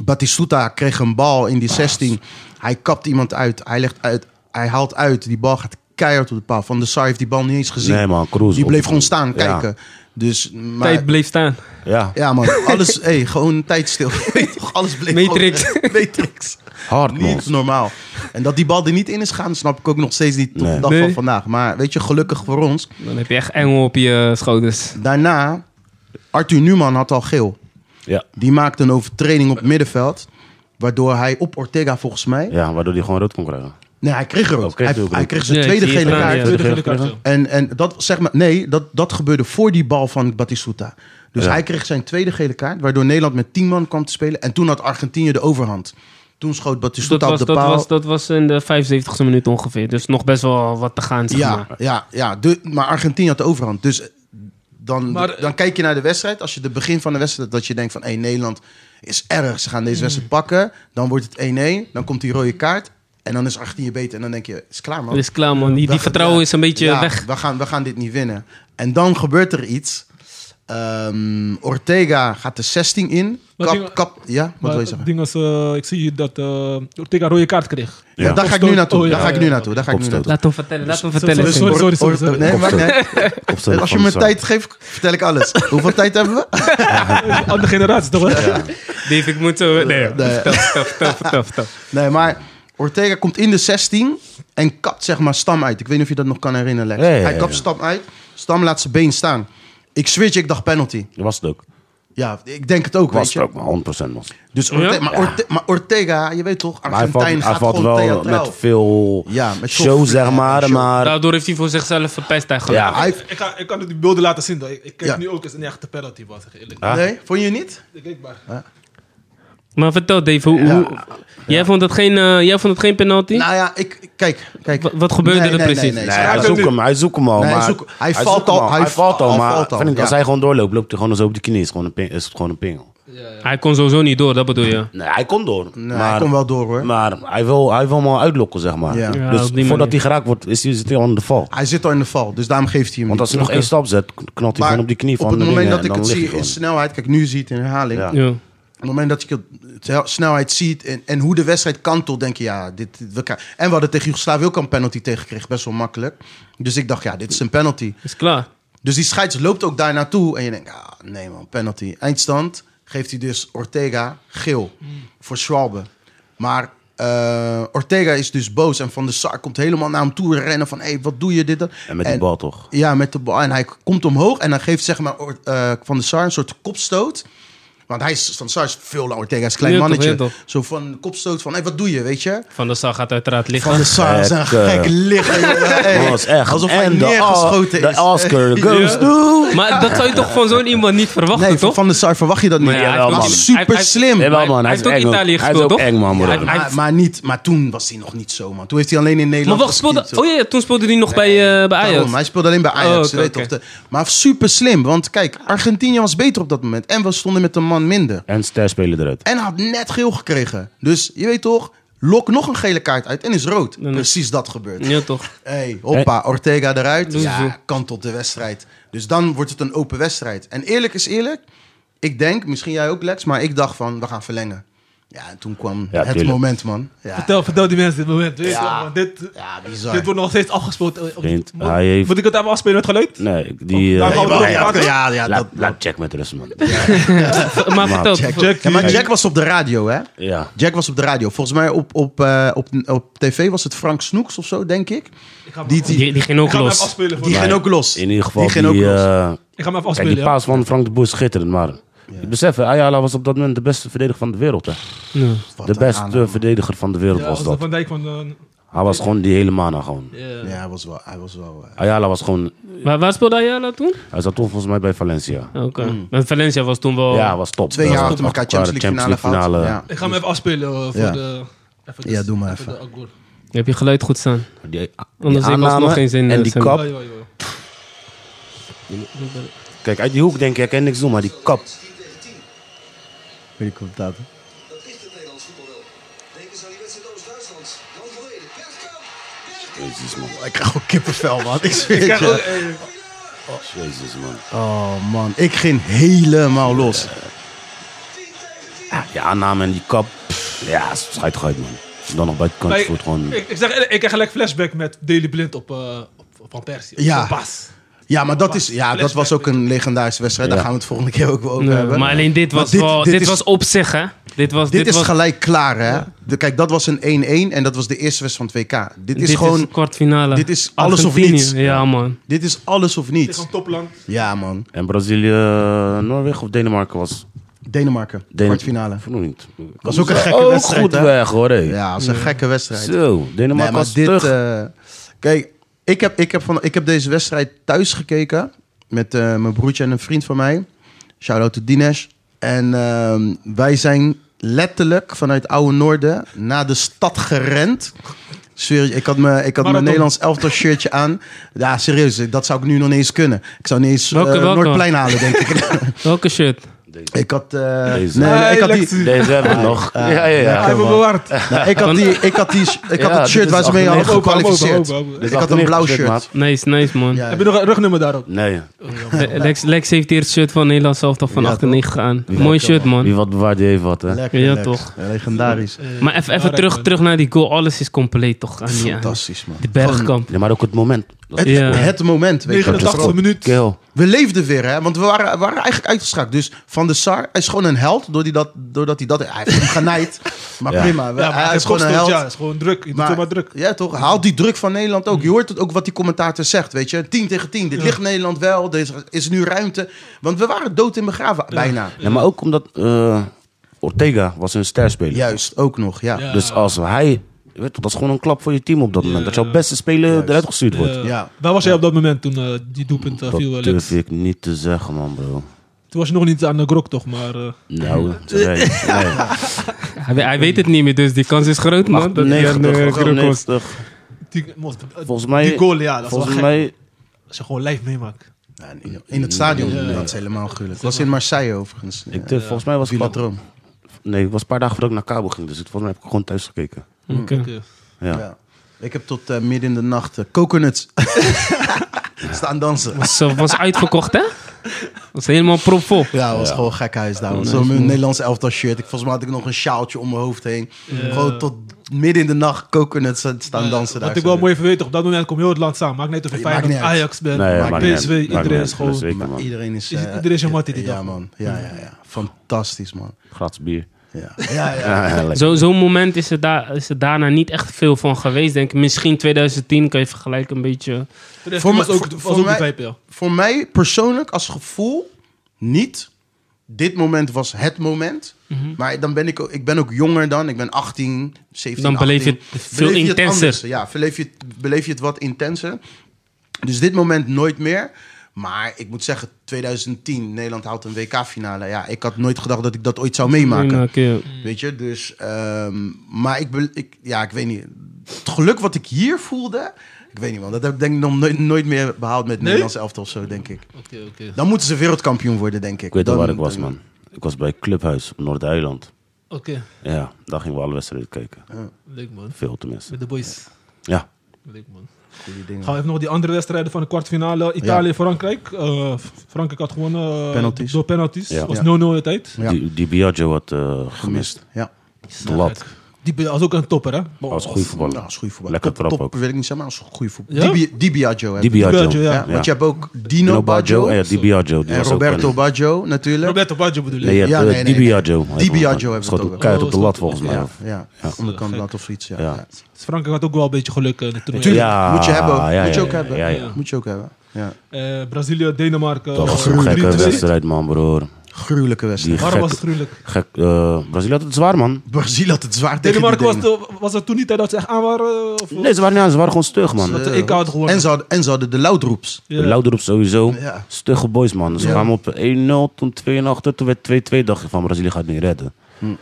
Speaker 2: Batistuta kreeg een bal in die 16. Hij kapt iemand uit. Hij, legt uit. hij haalt uit. Die bal gaat keihard op de paal. Van de Sar heeft die bal niet eens gezien.
Speaker 1: Nee man, Kroes.
Speaker 2: die bleef
Speaker 1: op-
Speaker 2: gewoon staan
Speaker 1: Ja.
Speaker 2: kijken. Dus, maar,
Speaker 3: Tijd bleef staan.
Speaker 1: Ja,
Speaker 2: Ja, man. Alles, hey, gewoon tijd stil. Weet toch, Alles bleef
Speaker 3: Matrix.
Speaker 2: gewoon- Matrix.
Speaker 1: hard man.
Speaker 2: Niet normaal. En dat die bal er niet in is gaan, snap ik ook nog steeds niet tot
Speaker 1: Nee.
Speaker 2: de dag
Speaker 3: Nee.
Speaker 2: van vandaag. Maar weet je, gelukkig voor ons.
Speaker 3: Dan heb je echt engel op je eh, schouders.
Speaker 2: Daarna, Arthur Newman had al geel.
Speaker 1: Ja.
Speaker 2: Die maakte een overtreding op het middenveld. Waardoor hij op Ortega volgens mij...
Speaker 1: ja, waardoor hij gewoon rood kon krijgen.
Speaker 2: Nee, hij kreeg rood.
Speaker 1: Oh, kreeg
Speaker 2: hij,
Speaker 1: ook rood.
Speaker 2: hij kreeg zijn
Speaker 3: Ja, ik
Speaker 2: tweede
Speaker 3: zie het
Speaker 2: gele
Speaker 3: staan,
Speaker 2: kaart.
Speaker 3: ja.
Speaker 4: tweede gele kaart, ja.
Speaker 2: En, en dat zeg maar, nee, dat, dat gebeurde voor die bal van Batistuta. Dus hij kreeg zijn tweede gele kaart, waardoor Nederland met 10 man kwam te spelen. En toen had Argentinië de overhand. Toen schoot
Speaker 3: Dus dat
Speaker 2: Batistuta
Speaker 3: was,
Speaker 2: op de
Speaker 3: dat,
Speaker 2: paal.
Speaker 3: was, dat was in de 75ste minuut ongeveer. Dus nog best wel wat te gaan, zeg
Speaker 2: ja,
Speaker 3: maar.
Speaker 2: ja, ja. De, maar Argentinië had de overhand. Dus dan,
Speaker 4: Maar-
Speaker 2: dan kijk je naar de wedstrijd. Als je het begin van de wedstrijd, dat je denkt van, hé, Nederland is erg. Ze gaan deze wedstrijd pakken. Dan wordt het 1-1. Dan komt die rode kaart. En dan is Argentinië beter. En dan denk je, is klaar man.
Speaker 3: Dus klaar man, die, die
Speaker 2: Weg-
Speaker 3: vertrouwen is een beetje
Speaker 2: Ja,
Speaker 3: weg.
Speaker 2: We gaan, we gaan dit niet winnen. En dan gebeurt er iets. Ehm, Ortega gaat de 16 in.
Speaker 4: Wat
Speaker 2: Kap,
Speaker 4: ding-
Speaker 2: kap, ja, wat
Speaker 4: Maar
Speaker 2: wil je
Speaker 4: het
Speaker 2: zeggen?
Speaker 4: ding was, eh, ik zie hier dat eh Ortega rode kaart kreeg.
Speaker 1: Ja.
Speaker 2: Ja, daar ga ik nu
Speaker 4: Opstoot.
Speaker 2: naartoe.
Speaker 4: Oh, ja,
Speaker 2: daar ga ik nu
Speaker 4: ja,
Speaker 2: naartoe. Daar ga ik nu
Speaker 1: Opstoot.
Speaker 2: naartoe.
Speaker 3: Laat hem vertellen, laat hem vertellen.
Speaker 4: sorry, sorry, sorry, sorry,
Speaker 2: Or- or-
Speaker 4: sorry.
Speaker 2: Nee, maar,
Speaker 1: Opstoot.
Speaker 2: nee.
Speaker 1: Opstelling
Speaker 2: Als je
Speaker 1: van
Speaker 2: me
Speaker 1: Sar.
Speaker 2: tijd geeft, vertel ik alles. Hoeveel tijd hebben we?
Speaker 4: Andere generatie toch? hè?
Speaker 3: Dave, ik moet zo... Nee,
Speaker 2: Nee.
Speaker 3: vertel, vertel, vertel, vertel, vertel.
Speaker 2: Nee, maar Ortega komt in de 16 en kapt zeg maar Stam uit. Ik weet niet of je dat nog kan herinneren, Lex.
Speaker 1: Ja, ja, ja,
Speaker 2: Hij kapt
Speaker 1: ja.
Speaker 2: Stam uit. Stam laat zijn been staan. Ik switch, ik dacht penalty.
Speaker 1: Dat was het ook.
Speaker 2: Ja, ik denk het ook, weet
Speaker 1: Was
Speaker 2: je.
Speaker 1: het ook, maar 100% was.
Speaker 2: Dus
Speaker 3: Ja?
Speaker 2: Orte- maar, Orte- maar Ortega, je weet toch,
Speaker 1: Maar hij
Speaker 2: Argentijn
Speaker 1: valt, hij
Speaker 2: gaat
Speaker 1: valt
Speaker 2: gewoon
Speaker 1: wel
Speaker 2: theatraal.
Speaker 1: met veel
Speaker 2: Ja, met
Speaker 1: show,
Speaker 2: show,
Speaker 1: zeg maar.
Speaker 2: show.
Speaker 1: Maar
Speaker 3: Daardoor heeft hij voor zichzelf verpest eigenlijk.
Speaker 1: Ja.
Speaker 2: Hij heeft-
Speaker 4: Ik, ga, ik kan het die beelden laten zien. hoor. Ik, ik kijk
Speaker 2: Ja.
Speaker 4: nu ook eens een echte penalty was. zeg ik Eerlijk.
Speaker 1: Ah.
Speaker 2: Nee, vond je niet?
Speaker 4: Ik kijk maar.
Speaker 3: Maar vertel Dave, hoe, hoe- Jij, vond dat geen, eh, jij vond het geen penalty?
Speaker 2: Nou ja, ik, kijk, kijk.
Speaker 3: Wat- wat gebeurde er precies?
Speaker 1: nee,
Speaker 2: Hij
Speaker 1: hij,
Speaker 2: heeft
Speaker 1: zoekt
Speaker 2: hem
Speaker 1: hem, hij zoekt hem al.
Speaker 2: Nee, hij
Speaker 1: maar,
Speaker 2: zoekt- hij valt
Speaker 1: zoekt hem
Speaker 2: al, hij
Speaker 1: Hij valt al,
Speaker 2: valt
Speaker 1: maar
Speaker 2: al,
Speaker 1: vind ik, als
Speaker 2: ja.
Speaker 1: hij gewoon doorloopt, loopt hij gewoon zo op de knie. Is, gewoon een ping, is het gewoon een pingel.
Speaker 3: Hij kon sowieso niet door, dat bedoel je?
Speaker 1: Nee, hij komt door.
Speaker 2: Nee,
Speaker 1: maar,
Speaker 2: hij komt wel door hoor.
Speaker 1: Maar hij wil, hij wil hem al uitlokken, zeg maar.
Speaker 2: Ja.
Speaker 3: Ja,
Speaker 1: dus
Speaker 3: op die
Speaker 1: voordat
Speaker 3: manier.
Speaker 1: hij geraakt wordt, is hij, zit hij al in de val.
Speaker 2: Hij zit al in de val, dus daarom geeft hij hem
Speaker 1: Want als
Speaker 2: niet.
Speaker 1: hij nog
Speaker 3: Oké.
Speaker 1: één stap zet, knalt hij
Speaker 2: Maar
Speaker 1: gewoon op die knie van
Speaker 2: op het
Speaker 1: de
Speaker 2: moment
Speaker 1: dingen
Speaker 2: dat ik
Speaker 1: en
Speaker 2: het
Speaker 1: dan ligt hij
Speaker 2: zie in
Speaker 1: gewoon.
Speaker 2: snelheid, kijk, nu zie je het in herhaling.
Speaker 1: Ja.
Speaker 3: Ja.
Speaker 2: Op het moment dat je het heel- snelheid ziet en, en hoe de wedstrijd kantelt, denk je, ja, dit, dit- we kan- En we hadden tegen Joegoslavië ook al een penalty tegengekregen, best wel makkelijk. Dus ik dacht, ja, dit is een penalty.
Speaker 3: Is klaar.
Speaker 2: Dus die scheids loopt ook daar naartoe. En je denkt, ah, nee man, penalty. Eindstand geeft hij dus Ortega geel voor Schwalbe. Maar eh, Ortega is dus boos. En Van der Sar komt helemaal naar hem toe rennen van... hé, hey, wat doe je dit? dat?
Speaker 1: En met die bal toch.
Speaker 2: Ja, met de bal. En hij komt omhoog en dan geeft zeg maar, Or- eh, Van der Sar een soort kopstoot. Want hij is, Van der Sar is veel langer tegen, hij is een klein
Speaker 3: Ja, toch,
Speaker 2: mannetje.
Speaker 3: ja, toch.
Speaker 2: Zo van kopstoot van, hé, wat doe je, weet je?
Speaker 3: Van der Sar gaat uiteraard liggen.
Speaker 2: Van der Sar is een
Speaker 1: Gek, eh.
Speaker 2: gek liggen. jongen. Hey,
Speaker 1: Dat was echt.
Speaker 2: Alsof hij
Speaker 1: en de,
Speaker 2: neergeschoten is.
Speaker 1: de Oscar goes
Speaker 3: Ja.
Speaker 1: to...
Speaker 3: Maar dat zou je toch van zo'n iemand niet verwachten,
Speaker 2: Nee,
Speaker 3: toch?
Speaker 2: van de Sar verwacht je dat niet.
Speaker 3: Maar ja, hij
Speaker 1: Jawel,
Speaker 3: heeft
Speaker 2: Dat
Speaker 1: man.
Speaker 3: ook-
Speaker 2: is super
Speaker 3: hij-
Speaker 2: slim.
Speaker 1: Nee, wel,
Speaker 3: Hij-
Speaker 1: man.
Speaker 3: hij
Speaker 1: Hij
Speaker 3: heeft
Speaker 1: is
Speaker 3: ook
Speaker 1: eng, man.
Speaker 3: Italië
Speaker 1: Hij is
Speaker 3: gespeeld,
Speaker 1: ook
Speaker 3: toch?
Speaker 1: eng, man. broer.
Speaker 3: Ja, hij-
Speaker 2: maar, maar, niet, maar toen was hij nog niet zo, man. Toen heeft hij alleen in
Speaker 3: Maar
Speaker 2: Nederland
Speaker 3: wacht, speelde...
Speaker 2: geskiet, zo.
Speaker 3: Oh ja, ja, toen speelde hij nog bij, eh bij Ajax.
Speaker 2: Daarom, hij speelde alleen bij Ajax.
Speaker 3: Oh, oké,
Speaker 2: je weet
Speaker 3: oké.
Speaker 2: toch, de- maar super slim. Want kijk, Argentinië was beter op dat moment. En we stonden met een man minder.
Speaker 1: En ster spelen eruit.
Speaker 2: En had net geel gekregen. Dus je weet toch, lok nog een gele kaart uit en is rood.
Speaker 3: nee.
Speaker 2: Precies dat gebeurt.
Speaker 3: Ja, toch.
Speaker 2: Hey, hoppa, Ortega eruit.
Speaker 3: Doe zo.
Speaker 2: Ja, kantelt de wedstrijd. Dus dan wordt het een open wedstrijd. En eerlijk is eerlijk, ik denk, misschien jij ook Lex, maar ik dacht van, we gaan verlengen. Ja, en toen kwam
Speaker 1: Ja,
Speaker 2: het
Speaker 1: tuurlijk.
Speaker 2: moment, man. Ja,
Speaker 4: Vertel, vertel die mensen dit moment. Weet je
Speaker 2: Ja.
Speaker 4: wel, want dit,
Speaker 2: ja bizar.
Speaker 4: dit wordt nog steeds afgespeeld. eh, op-
Speaker 1: Vriend,
Speaker 4: Mo-
Speaker 1: hij heeft...
Speaker 4: Moet ik het even afspelen met geluid?
Speaker 1: Nee,
Speaker 2: Oh,
Speaker 1: die...
Speaker 4: Daar
Speaker 1: eh,
Speaker 4: gaan we het
Speaker 1: nee,
Speaker 4: over maken.
Speaker 2: Ja, ja, dat,
Speaker 1: Laat, laat Jack met rust, man.
Speaker 3: Maar vertel...
Speaker 2: Ja, maar Jack was op de radio, hè?
Speaker 1: Ja.
Speaker 2: Jack was op de radio. Volgens mij op, op, eh, op, op tv was het Frank Snoeks of zo, denk ik.
Speaker 4: Ik ga hem,
Speaker 2: Die,
Speaker 4: ik
Speaker 2: die,
Speaker 3: Die, die ging ook
Speaker 4: ga hem even
Speaker 3: los.
Speaker 4: afspelen. Voor
Speaker 2: die
Speaker 4: mij.
Speaker 2: ging ook los.
Speaker 1: In ieder geval,
Speaker 2: Die
Speaker 1: die...
Speaker 2: ging ook los.
Speaker 1: eh,
Speaker 4: Ik ga hem even
Speaker 1: Kijk, die
Speaker 4: afspelen. ja.
Speaker 1: paas van Frank de Boer is schitterend, maar Ik besef, hè, Ayala was op dat moment de beste verdediger van de wereld. Hè.
Speaker 3: Ja.
Speaker 2: Wat
Speaker 1: De
Speaker 2: een aanname,
Speaker 1: beste
Speaker 2: man.
Speaker 1: verdediger van de wereld
Speaker 4: Ja,
Speaker 1: was
Speaker 4: als de
Speaker 1: dat.
Speaker 4: Van Dijk van... eh,
Speaker 1: Hij was gewoon die hele mana gewoon.
Speaker 3: Eh,
Speaker 4: ja.
Speaker 2: Ja, hij was wel... Hij was wel eh,
Speaker 1: Ayala was gewoon...
Speaker 3: Waar, waar speelde Ayala toen?
Speaker 1: Hij zat toen volgens mij bij Valencia.
Speaker 3: Oké.
Speaker 2: Mm.
Speaker 3: Want Valencia was toen wel...
Speaker 1: Ja, hij was top.
Speaker 2: twee
Speaker 1: Hij
Speaker 2: jaar
Speaker 1: was
Speaker 2: achter elkaar Champions League finale, gehad. Ja.
Speaker 4: Ik ga hem even afspelen eh, voor
Speaker 2: Ja.
Speaker 4: de... Even
Speaker 2: Ja, doe maar
Speaker 4: de akkoord.
Speaker 3: Heb je geluid goed staan?
Speaker 1: Die, die
Speaker 3: Anders heeft
Speaker 1: aanname
Speaker 3: alsnog geen zin,
Speaker 1: En
Speaker 3: eh,
Speaker 1: die
Speaker 3: Sam.
Speaker 4: Ja,
Speaker 1: kap.
Speaker 4: ja, ja.
Speaker 1: Kijk, uit die hoek denk ik, ik kan niks doen, maar die kap.
Speaker 2: Weet ik op dat.
Speaker 5: Dat is het Nederlands voetbal wel. Denk eens aan die wedstrijd Oost-Duitsland. Dan volledig. Bergkamp! Bergkamp!
Speaker 1: Jezus man,
Speaker 2: Ik krijg ook kippenvel, man. Ik zweer het
Speaker 4: oh,
Speaker 2: je.
Speaker 4: eh,
Speaker 1: jezus man.
Speaker 2: Oh, man. Ik ging helemaal los.
Speaker 5: 10 tegen 10.
Speaker 1: Die aanname en die kap. pff, ja, schijt eruit man. Dan nog buitenkant
Speaker 4: Maar
Speaker 1: voet gewoon...
Speaker 4: ik, ik, ik zeg, eerlijk, ik krijg gelijk flashback met Daily Blind op, eh, op, op Van Persie.
Speaker 2: Ja.
Speaker 4: Op Bas.
Speaker 2: Ja, maar dat, is, ja, dat was ook een legendarische wedstrijd. Daar
Speaker 1: Ja.
Speaker 2: gaan we het volgende keer ook wel over
Speaker 3: Nee,
Speaker 2: hebben.
Speaker 3: maar alleen dit
Speaker 2: Maar
Speaker 3: was wel... Dit,
Speaker 2: is-
Speaker 3: was op zich, hè? Dit was...
Speaker 2: Dit, is
Speaker 3: was,
Speaker 2: gelijk klaar, hè? De- kijk, dat was een 1-1 en dat was de eerste wedstrijd van het WK. Dit is
Speaker 3: dit
Speaker 2: gewoon...
Speaker 3: Is kwartfinale.
Speaker 2: dit is alles of
Speaker 3: Argentinië.
Speaker 2: niets.
Speaker 3: Ja, man.
Speaker 2: Dit is alles of
Speaker 4: Het is
Speaker 2: niets.
Speaker 4: een topland.
Speaker 2: Ja, man.
Speaker 1: En Brazilië, eh, Noorwegen of Denemarken was...
Speaker 2: Denemarken,
Speaker 1: Denen-
Speaker 2: kwartfinale.
Speaker 1: Vernoemd.
Speaker 2: Was ook een gekke
Speaker 1: Oh,
Speaker 2: wedstrijd,
Speaker 1: goed
Speaker 2: hè?
Speaker 1: weg hoor. hé.
Speaker 2: Ja, dat is een gekke wedstrijd.
Speaker 1: Zo, Denemarken
Speaker 2: Nee, maar
Speaker 1: was
Speaker 2: dit...
Speaker 1: terug.
Speaker 2: eh, kijk, ik heb, ik, heb van, ik heb deze wedstrijd thuis gekeken. Met eh, mijn broertje en een vriend van mij. Shout-out to Dinesh. En ehm, wij zijn letterlijk vanuit Oude Noorden naar de stad gerend. Serieus, ik had, me, ik had mijn
Speaker 4: Marathon.
Speaker 2: Nederlands elftal shirtje aan. Ja, serieus, dat zou ik nu nog niet eens kunnen. Ik zou niet eens eh,
Speaker 3: Welke, welke?
Speaker 2: Noordplein halen, denk ik.
Speaker 3: Welke shirt?
Speaker 2: ik had... eh,
Speaker 1: Deze.
Speaker 2: nee, nee, ik had die...
Speaker 4: Lekker.
Speaker 1: Deze hebben we nog.
Speaker 2: Ah,
Speaker 1: ja, ja,
Speaker 4: Hij
Speaker 1: ja.
Speaker 4: heeft me bewaard.
Speaker 2: Nou, ik had, die, ik had, die, ik had
Speaker 1: Ja,
Speaker 2: het shirt
Speaker 1: dit
Speaker 2: waar
Speaker 1: is
Speaker 2: ze mee hadden
Speaker 4: Open, open,
Speaker 2: gekwalificeerd.
Speaker 4: open, open.
Speaker 1: Dit is
Speaker 2: Ik had een
Speaker 1: 98%
Speaker 2: blauw shirt.
Speaker 1: maat.
Speaker 3: Nice, nice, man.
Speaker 2: Ja.
Speaker 4: Heb je nog een rugnummer daarop?
Speaker 1: Nee,
Speaker 3: Le- Lex, Lex heeft hier het shirt van Nederland zelf toch van
Speaker 2: Ja,
Speaker 3: 98 aan. Mooi shirt, man.
Speaker 1: wie wat bewaard, die heeft wat, hè.
Speaker 2: Lekker,
Speaker 3: Ja,
Speaker 2: lekker.
Speaker 3: toch?
Speaker 2: Legendarisch.
Speaker 3: Maar even, even
Speaker 4: Belangrijk,
Speaker 3: terug,
Speaker 4: man.
Speaker 3: terug naar die goal. Alles is compleet, toch? Aan die, aan
Speaker 2: Fantastisch, man.
Speaker 3: de bergkamp.
Speaker 1: Nee, maar ook het moment. Dat
Speaker 2: Het,
Speaker 1: is
Speaker 3: Ja.
Speaker 2: het moment, weet je.
Speaker 4: 89
Speaker 2: wel.
Speaker 4: minuut.
Speaker 1: keel.
Speaker 2: We leefden weer, hè. Want we waren, waren eigenlijk uitgeschakeld. Dus Van der Sar hij is gewoon een held doordat hij dat... Doordat hij, dat hij heeft hem genaaid. Maar
Speaker 1: Ja.
Speaker 2: prima. we-
Speaker 4: Ja, maar
Speaker 2: hij
Speaker 4: het
Speaker 2: is
Speaker 4: is
Speaker 2: gewoon een
Speaker 4: constant,
Speaker 2: held.
Speaker 4: ja. Het is gewoon druk. Je doet
Speaker 2: Maar-
Speaker 4: maar druk.
Speaker 2: Ja, toch? Haalt die druk van Nederland ook. Je hoort het ook wat die commentator zegt, weet je. 10 tegen 10. Dit ligt Nederland wel. Er is nu ruimte. Want we waren dood in begraven, bijna.
Speaker 1: Nee, maar ook omdat eh, Ortega was een sterspeler.
Speaker 2: Juist, ook nog, ja.
Speaker 4: Ja.
Speaker 1: Dus als hij... Weet je, dat is gewoon een klap voor je team op dat moment. Dat jouw beste speler eruit gestuurd wordt.
Speaker 4: Eh,
Speaker 2: Ja.
Speaker 4: Waar was jij op dat moment toen eh, die doelpunt eh,
Speaker 1: dat
Speaker 4: viel? eh, Lex?
Speaker 1: durf ik niet te zeggen, man, bro.
Speaker 4: Toen was je nog niet aan de grok, toch? Maar eh,
Speaker 1: Nou, nee, nee.
Speaker 3: Hij, hij weet het niet meer, dus die kans is groot, man. Dat hij aan de
Speaker 1: 98,
Speaker 3: kruk was.
Speaker 1: 90.
Speaker 4: die, moest- eh,
Speaker 1: Volgens mij-
Speaker 4: die goal, ja, dat is wel
Speaker 1: Volgens
Speaker 4: gek.
Speaker 1: mij...
Speaker 4: Als je gewoon live meemaakt.
Speaker 2: Ja, in- In het stadion, dat is helemaal gruwelijk. Dat was in Marseille overigens.
Speaker 1: Ik durf, volgens mij was ik wat-
Speaker 2: Bilatroom.
Speaker 1: Nee, het was een paar dagen voordat ik naar Cabo ging. Dus het- volgens mij heb ik gewoon thuis gekeken.
Speaker 3: Oké.
Speaker 4: Oké.
Speaker 1: Ja.
Speaker 2: Ja. Ik heb tot eh, midden in de nacht eh, coconuts staan dansen.
Speaker 3: Was, eh, was uitverkocht, hè? Was helemaal propvol.
Speaker 2: Ja, het was gewoon gek huis daar. want Zo'n Nederlands elftal shirt. Ik, volgens mij had ik nog een sjaaltje om mijn hoofd heen. Gewoon tot midden in de nacht coconuts eh, staan dansen daar.
Speaker 4: Wat ik wel mooi even weet, toch, op dat moment kom heel het land samen. Maakt niet uit of je
Speaker 2: Ja, maakt
Speaker 4: Feyenoord,
Speaker 2: niet uit.
Speaker 4: Ajax bent,
Speaker 1: Nee, maakt niet uit.
Speaker 4: PSV,
Speaker 1: Maakt niet
Speaker 4: iedereen
Speaker 1: uit.
Speaker 4: is gewoon...
Speaker 1: Zeker, man.
Speaker 2: Iedereen is...
Speaker 4: Is-
Speaker 2: eh,
Speaker 4: iedereen is een mattie die
Speaker 2: Ja,
Speaker 4: dag.
Speaker 2: man. Ja, ja, ja. Fantastisch, man.
Speaker 1: Gratis bier.
Speaker 2: Ja, ja, ja.
Speaker 1: Ja, lekker.
Speaker 3: Zo- Zo'n moment is er, daar is er daarna niet echt veel van geweest, denk ik. Misschien 2010 kan je vergelijken een beetje.
Speaker 4: Voor
Speaker 2: Voor
Speaker 4: was
Speaker 2: mij-
Speaker 4: ook,
Speaker 2: voor-
Speaker 4: was
Speaker 2: voor
Speaker 4: ook
Speaker 2: mij-
Speaker 4: de VPL.
Speaker 2: Voor mij persoonlijk als gevoel niet. Dit moment was het moment.
Speaker 3: Mhm.
Speaker 2: Maar dan ben ik, ook- ik ben ook jonger dan. Ik ben 18, 17,
Speaker 3: Dan beleef je
Speaker 2: 18.
Speaker 3: het veel
Speaker 2: Beleef je het
Speaker 3: intenser.
Speaker 2: anders. ja, beleef je, het- beleef je het wat intenser. Dus dit moment nooit meer. Maar ik moet zeggen, 2010, Nederland houdt een WK-finale. Ja, ik had nooit gedacht dat ik dat ooit zou meemaken.
Speaker 3: ja.
Speaker 4: Mm.
Speaker 2: Weet je, dus... ehm, maar ik, be- ik, ja, ik weet niet. Het geluk wat ik hier voelde... Ik weet niet, man. Dat heb ik denk ik nog nooit, nooit meer behaald met Nederlands elftal of zo, denk ik.
Speaker 4: Oké, oké.
Speaker 2: Dan moeten ze wereldkampioen worden, denk ik.
Speaker 1: Ik weet
Speaker 2: dan,
Speaker 1: al waar ik was,
Speaker 2: dan-
Speaker 1: man. Ik was bij Clubhuis op Noord-Eiland.
Speaker 4: Oké,
Speaker 1: Ja, daar gingen we alle wedstrijden kijken.
Speaker 4: leuk man.
Speaker 1: Veel tenminste.
Speaker 4: Met de boys.
Speaker 1: Ja.
Speaker 4: Leuk man.
Speaker 2: Goeie dingen.
Speaker 4: Gaan we even nog die andere wedstrijden van de kwartfinale. Italië-Frankrijk. Frankrijk had gewonnen eh,
Speaker 2: Penalties.
Speaker 4: door penalties.
Speaker 1: Ja.
Speaker 4: was
Speaker 2: Ja.
Speaker 4: 0-0 in de tijd.
Speaker 2: Ja.
Speaker 1: Die, die Biagio had eh, gemist.
Speaker 2: Gemist, ja.
Speaker 1: Lat.
Speaker 4: Die was ook een topper, hè?
Speaker 1: Hij was een goede voetballer.
Speaker 2: Nou, als goede voetbal.
Speaker 1: Lekker
Speaker 2: top,
Speaker 1: trap
Speaker 2: top,
Speaker 1: ook.
Speaker 2: wil ik niet zeggen, maar als goede voetbal.
Speaker 4: Ja?
Speaker 2: Di, Bi- Di Biagio. hè.
Speaker 1: Die Biagio.
Speaker 4: Biagio, ja.
Speaker 2: Ja, want je hebt ook
Speaker 1: Dino
Speaker 2: Dino Baggio
Speaker 1: Oh Ja,
Speaker 2: en
Speaker 1: die Biagio. Die was ook
Speaker 2: Roberto
Speaker 1: een-
Speaker 2: Baggio, natuurlijk.
Speaker 4: Roberto Baggio bedoel ik.
Speaker 1: Nee, je
Speaker 2: Ja,
Speaker 1: hebt, eh,
Speaker 2: nee,
Speaker 1: Di
Speaker 2: nee, nee.
Speaker 1: Biagio.
Speaker 2: Di Biagio hebben we het
Speaker 1: Schoot
Speaker 2: ook.
Speaker 1: een kuit op de
Speaker 4: Oh,
Speaker 1: lat volgens mij.
Speaker 2: Ja, ja. onderkant lat of zoiets, ja.
Speaker 1: Ja.
Speaker 2: ja.
Speaker 4: Dus Frankrijk had ook wel een beetje geluk eh, in het toernooi.
Speaker 2: Tuurlijk,
Speaker 1: Ja,
Speaker 2: moet je hebben. ook.
Speaker 1: ja,
Speaker 2: moet je
Speaker 1: ja,
Speaker 2: ook
Speaker 1: ja,
Speaker 2: hebben.
Speaker 1: ja,
Speaker 4: ja.
Speaker 2: Moet je ook hebben. Ja.
Speaker 4: Eh, Brazilië, Denemarken.
Speaker 1: Dat was
Speaker 4: eh,
Speaker 1: een gekke
Speaker 4: 3-2.
Speaker 1: wedstrijd, man, broer.
Speaker 2: gruwelijke wedstrijd.
Speaker 4: Waarom
Speaker 1: gek-
Speaker 4: was het gruwelijk?
Speaker 1: Gek, eh, Brazilië had het zwaar, man.
Speaker 2: Brazil had het zwaar tegen
Speaker 4: Denemarken was,
Speaker 2: die dingen.
Speaker 4: de- was het toen niet tijd dat ze echt aan waren? eh, Of,
Speaker 1: Nee, ze waren, niet aan, ze waren gewoon stug, man. Eh,
Speaker 4: dat de EK had gewonnen.
Speaker 2: En ze hadden, en ze hadden de Loudroeps.
Speaker 4: Ja.
Speaker 1: Louder op sowieso.
Speaker 2: Ja.
Speaker 1: Stugge boys, man. Ze
Speaker 2: Ja.
Speaker 1: kwamen op 1-0, toen 2-0 achter. Toen werd 2-2. Dacht ik van, Brazilië gaat het niet redden.
Speaker 4: Ja, ja.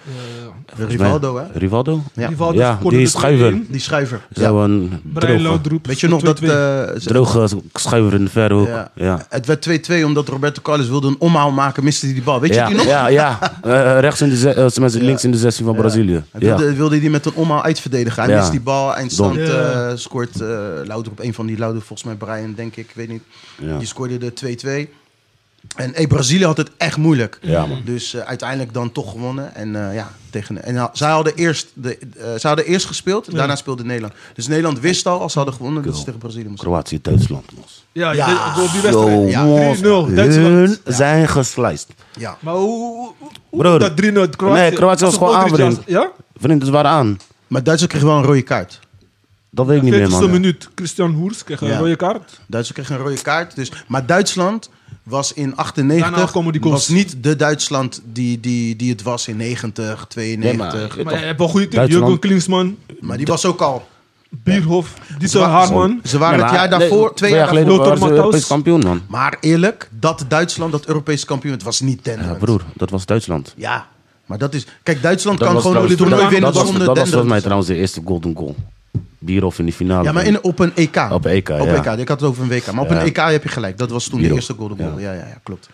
Speaker 1: Volgens mij-
Speaker 2: Rivaldo, hè?
Speaker 1: Rivaldo?
Speaker 2: Ja,
Speaker 4: Rivaldo
Speaker 1: Ja,
Speaker 4: scoorde
Speaker 1: die
Speaker 4: de
Speaker 1: schuiver.
Speaker 4: 2-1.
Speaker 2: die schuiver. Ja.
Speaker 1: Zo een
Speaker 4: Brian
Speaker 1: droge,
Speaker 4: Laudrup.
Speaker 2: Weet je nog dat...
Speaker 4: 2-2.
Speaker 2: eh, ze-
Speaker 1: droge schuiver in de verre hoek.
Speaker 2: Ja.
Speaker 1: Ja.
Speaker 2: Het werd 2-2 omdat Roberto Carlos wilde een omhaal maken, miste hij die bal. Weet
Speaker 1: ja,
Speaker 2: je die nog?
Speaker 1: Ja, ja. Eh, rechts in de ze- eh, tenminste,
Speaker 2: Ja.
Speaker 1: links in de 16 van Brazilië.
Speaker 2: Hij
Speaker 1: Ja.
Speaker 2: wilde, wilde die met een omhaal uitverdedigen. Hij
Speaker 1: Ja.
Speaker 2: mist die bal, eindstand
Speaker 4: Dom.
Speaker 2: eh
Speaker 4: Ja.
Speaker 2: scoort eh Louder op een van die Louder, volgens mij Brian, denk ik, ik weet niet.
Speaker 1: Ja.
Speaker 2: Die scoorde de 2-2. En hey, Brazilië had het echt moeilijk.
Speaker 1: Ja, man.
Speaker 2: Dus eh, uiteindelijk dan toch gewonnen. En, eh, ja, tegen, en ha- zij, hadden eerst de, eh, zij hadden eerst gespeeld, daarna speelde Nederland. Dus Nederland wist al, als ze hadden gewonnen, dat ze tegen Brazilië moesten.
Speaker 1: Kroatië, Duitsland. mos.
Speaker 4: Ja,
Speaker 2: Ja.
Speaker 4: ja. Door
Speaker 1: Zo,
Speaker 4: die wedstrijd.
Speaker 2: Ja,
Speaker 1: mos.
Speaker 4: 3-0, Duitsland.
Speaker 1: Hun zijn gesliced.
Speaker 2: Ja.
Speaker 4: Maar hoe, hoe, hoe- hoe
Speaker 1: Broer.
Speaker 4: dat 3-0 Kroatië?
Speaker 1: Nee, Kroatië was
Speaker 4: Als
Speaker 1: gewoon
Speaker 4: Modric
Speaker 1: aanbrengen.
Speaker 4: was- Ja?
Speaker 1: Vrienden, ze waren aan.
Speaker 2: Maar Duitsland kreeg wel een rode kaart.
Speaker 1: Dat weet ik niet meer,
Speaker 4: 40ste
Speaker 1: man.
Speaker 4: minuut. Christian Hoers kreeg een
Speaker 2: Ja.
Speaker 4: rode kaart.
Speaker 2: Duitsland kreeg een rode kaart. Dus, maar Duitsland was in
Speaker 4: Daarna
Speaker 2: 98
Speaker 4: komen die goals.
Speaker 2: was niet de Duitsland die, die, die het was in 90, 92.
Speaker 1: Ja,
Speaker 2: maar,
Speaker 4: Maar je hebt wel goede team.
Speaker 1: Duitsland.
Speaker 4: Jurgen Klinsman,
Speaker 2: die was ook al.
Speaker 4: Bierhof, Dieter
Speaker 2: wa-
Speaker 4: Haarman.
Speaker 2: Ze waren het jaar daarvoor, twee jaar
Speaker 1: geleden
Speaker 2: daarvoor.
Speaker 4: daarvoor.
Speaker 1: waren ze
Speaker 4: Lothar
Speaker 1: Europees
Speaker 4: Matthäus.
Speaker 1: kampioen, man.
Speaker 2: Maar eerlijk, dat Duitsland, dat Europees kampioen, het was niet
Speaker 1: Ja,
Speaker 2: Denmark.
Speaker 1: broer, dat was Duitsland.
Speaker 2: Ja, maar dat is... Kijk, Duitsland
Speaker 1: Dat
Speaker 2: kan
Speaker 1: was
Speaker 2: gewoon
Speaker 1: trouwens-
Speaker 2: het toernooi
Speaker 1: dat-
Speaker 2: winnen
Speaker 1: Dat was,
Speaker 2: zonder
Speaker 1: dat was volgens mij
Speaker 2: Denmark.
Speaker 1: trouwens de eerste golden goal. Bierhoff in die finale.
Speaker 2: Ja, maar in, op een EK.
Speaker 1: Op EK,
Speaker 2: Op
Speaker 1: ja.
Speaker 2: EK, ik had het over een WK. Maar op
Speaker 1: Ja.
Speaker 2: een EK heb je gelijk. Dat was toen de
Speaker 1: Bierhoff.
Speaker 2: eerste golden goal. Ja, ja, ja, klopt.